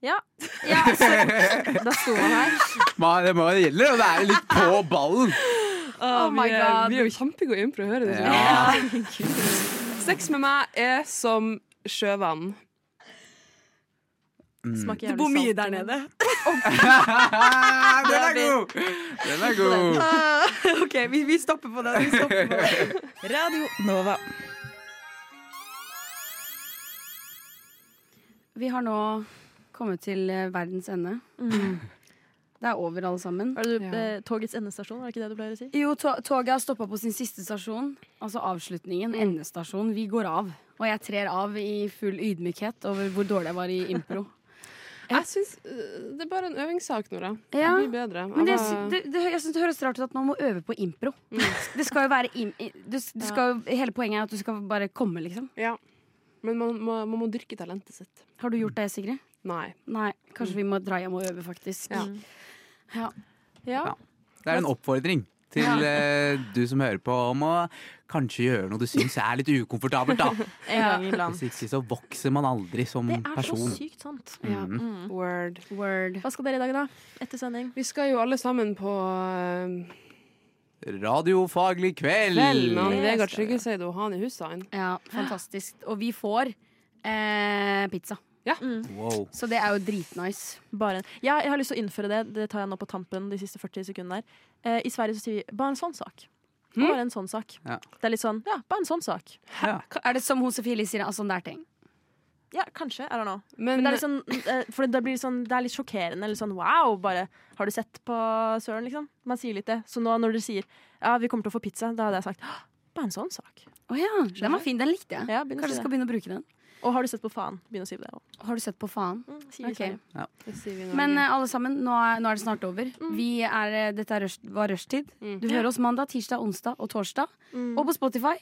Speaker 5: Ja,
Speaker 4: ja, sorry.
Speaker 5: da sto man her.
Speaker 6: Ma, det må det gjelder å være litt på ballen!
Speaker 8: Ah,
Speaker 4: my
Speaker 8: vi, er,
Speaker 4: God.
Speaker 8: vi er jo kjempegode impro, hører du?
Speaker 6: Ja.
Speaker 8: Sex med meg er som sjøvann.
Speaker 6: Mm.
Speaker 5: Smaker jævlig salt.
Speaker 6: Den er god! Den er god.
Speaker 4: ok, vi, stopper på den.
Speaker 7: Radio Nova.
Speaker 4: Vi har nå kommet til eh, verdens ende.
Speaker 5: Mm.
Speaker 4: Det er over, alle sammen.
Speaker 5: Var det du,
Speaker 8: Ja.
Speaker 5: eh, togets endestasjon, var det ikke det du pleier å si?
Speaker 4: Jo, to toget har stoppa på sin siste stasjon. Altså avslutningen. Endestasjon. Vi går av. Og jeg trer av i full ydmykhet over hvor dårlig jeg var i impro.
Speaker 8: Jeg synes, eh, Det er bare en øvingssak, Nora.
Speaker 4: Ja.
Speaker 8: Jeg blir bedre.
Speaker 4: Men det,
Speaker 8: Jeg var-
Speaker 4: det, det, jeg synes det høres rart ut at man må øve på impro. Det skal jo være im, i- du, du skal, jo- Hele poenget er at du skal bare komme, liksom.
Speaker 8: Ja. Men man må, man må dyrke talentet sitt.
Speaker 4: Har du gjort det, Sigrid?
Speaker 8: Nei.
Speaker 5: Mm.
Speaker 4: Nei. Kanskje vi må dra hjem og øve, faktisk.
Speaker 8: Ja.
Speaker 4: Ja.
Speaker 5: Ja.
Speaker 6: Det er en oppfordring til eh, du som hører på, om å kanskje gjøre noe du syns er litt ukomfortabelt, da.
Speaker 5: En gang iblant.
Speaker 6: Hvis ikke så vokser man aldri som
Speaker 5: Det er så
Speaker 6: person.
Speaker 5: sykt sant.
Speaker 6: Mhm.
Speaker 8: Mm. Word.
Speaker 4: Word.
Speaker 5: Hva skal dere i dag, da? Etter sending?
Speaker 8: Vi skal jo alle sammen på eh,
Speaker 6: Radiofaglig kveld!
Speaker 8: kveld med han
Speaker 5: Det
Speaker 8: Vegard
Speaker 5: skal vi.
Speaker 8: Tryggeseid og Hani Hussain.
Speaker 4: Ja, fantastisk. Og vi får eh, pizza.
Speaker 6: Wow.
Speaker 4: Så det er jo dritnice.
Speaker 5: Bare en. Ja, jeg har lyst til å innføre det. Det tar jeg nå på tampen de siste 40 sekundene. her. Eh, I Sverige så sier vi 'bare en sånn sak'. Bare en sånn sak.
Speaker 6: Ja.
Speaker 5: Det er litt sånn 'ja, bare en sånn sak'.
Speaker 6: Ja.
Speaker 4: Er det som Hosefili sier, altså en der ting?
Speaker 5: Ja, kanskje. I don't know.
Speaker 8: Men,
Speaker 5: Men det er litt sånn, eh, for det, blir det sånn, det er litt sjokkerende. Eller sånn wow, bare Har du sett på Søren, liksom? Man sier litt det. Så nå når dere sier ja, vi kommer til å få pizza, da hadde jeg sagt «Hå, bare en sånn sak.
Speaker 4: Å ja, den var fin. Den likte jeg.
Speaker 5: Ja, begynn å
Speaker 4: Kanskje jeg skal
Speaker 5: si det.
Speaker 4: begynne å bruke den.
Speaker 5: Og har du sett på faen? Begynn å si det òg.
Speaker 4: Har du sett på faen?
Speaker 5: Mm, Sier vi
Speaker 4: Ok.
Speaker 5: Sverige.
Speaker 8: det sier vi nå.
Speaker 4: Men eh, alle sammen, nå er, nå er det snart over.
Speaker 5: Mm.
Speaker 4: Vi er, eh, dette er rush, var rushtid. Du hører oss mandag, tirsdag, onsdag og torsdag.
Speaker 5: Mm.
Speaker 4: Og på Spotify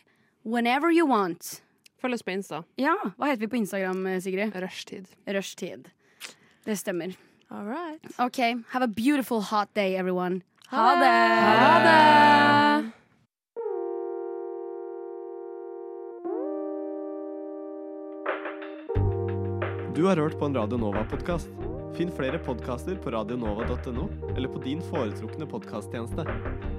Speaker 4: whenever you want.
Speaker 8: Følg oss på Insta.
Speaker 4: Ja, Hva heter vi på Instagram, eh, Sigrid?
Speaker 8: Rushtid.
Speaker 4: Rushtid. Det stemmer.
Speaker 5: All right.
Speaker 4: OK, have a beautiful hot day, everyone. Ha
Speaker 5: Ha det.
Speaker 4: det!
Speaker 5: Ha
Speaker 4: det.
Speaker 9: Du har hørt på en Radio Nova-podkast. Finn flere podkaster på radionova.no eller på din foretrukne podkasttjeneste.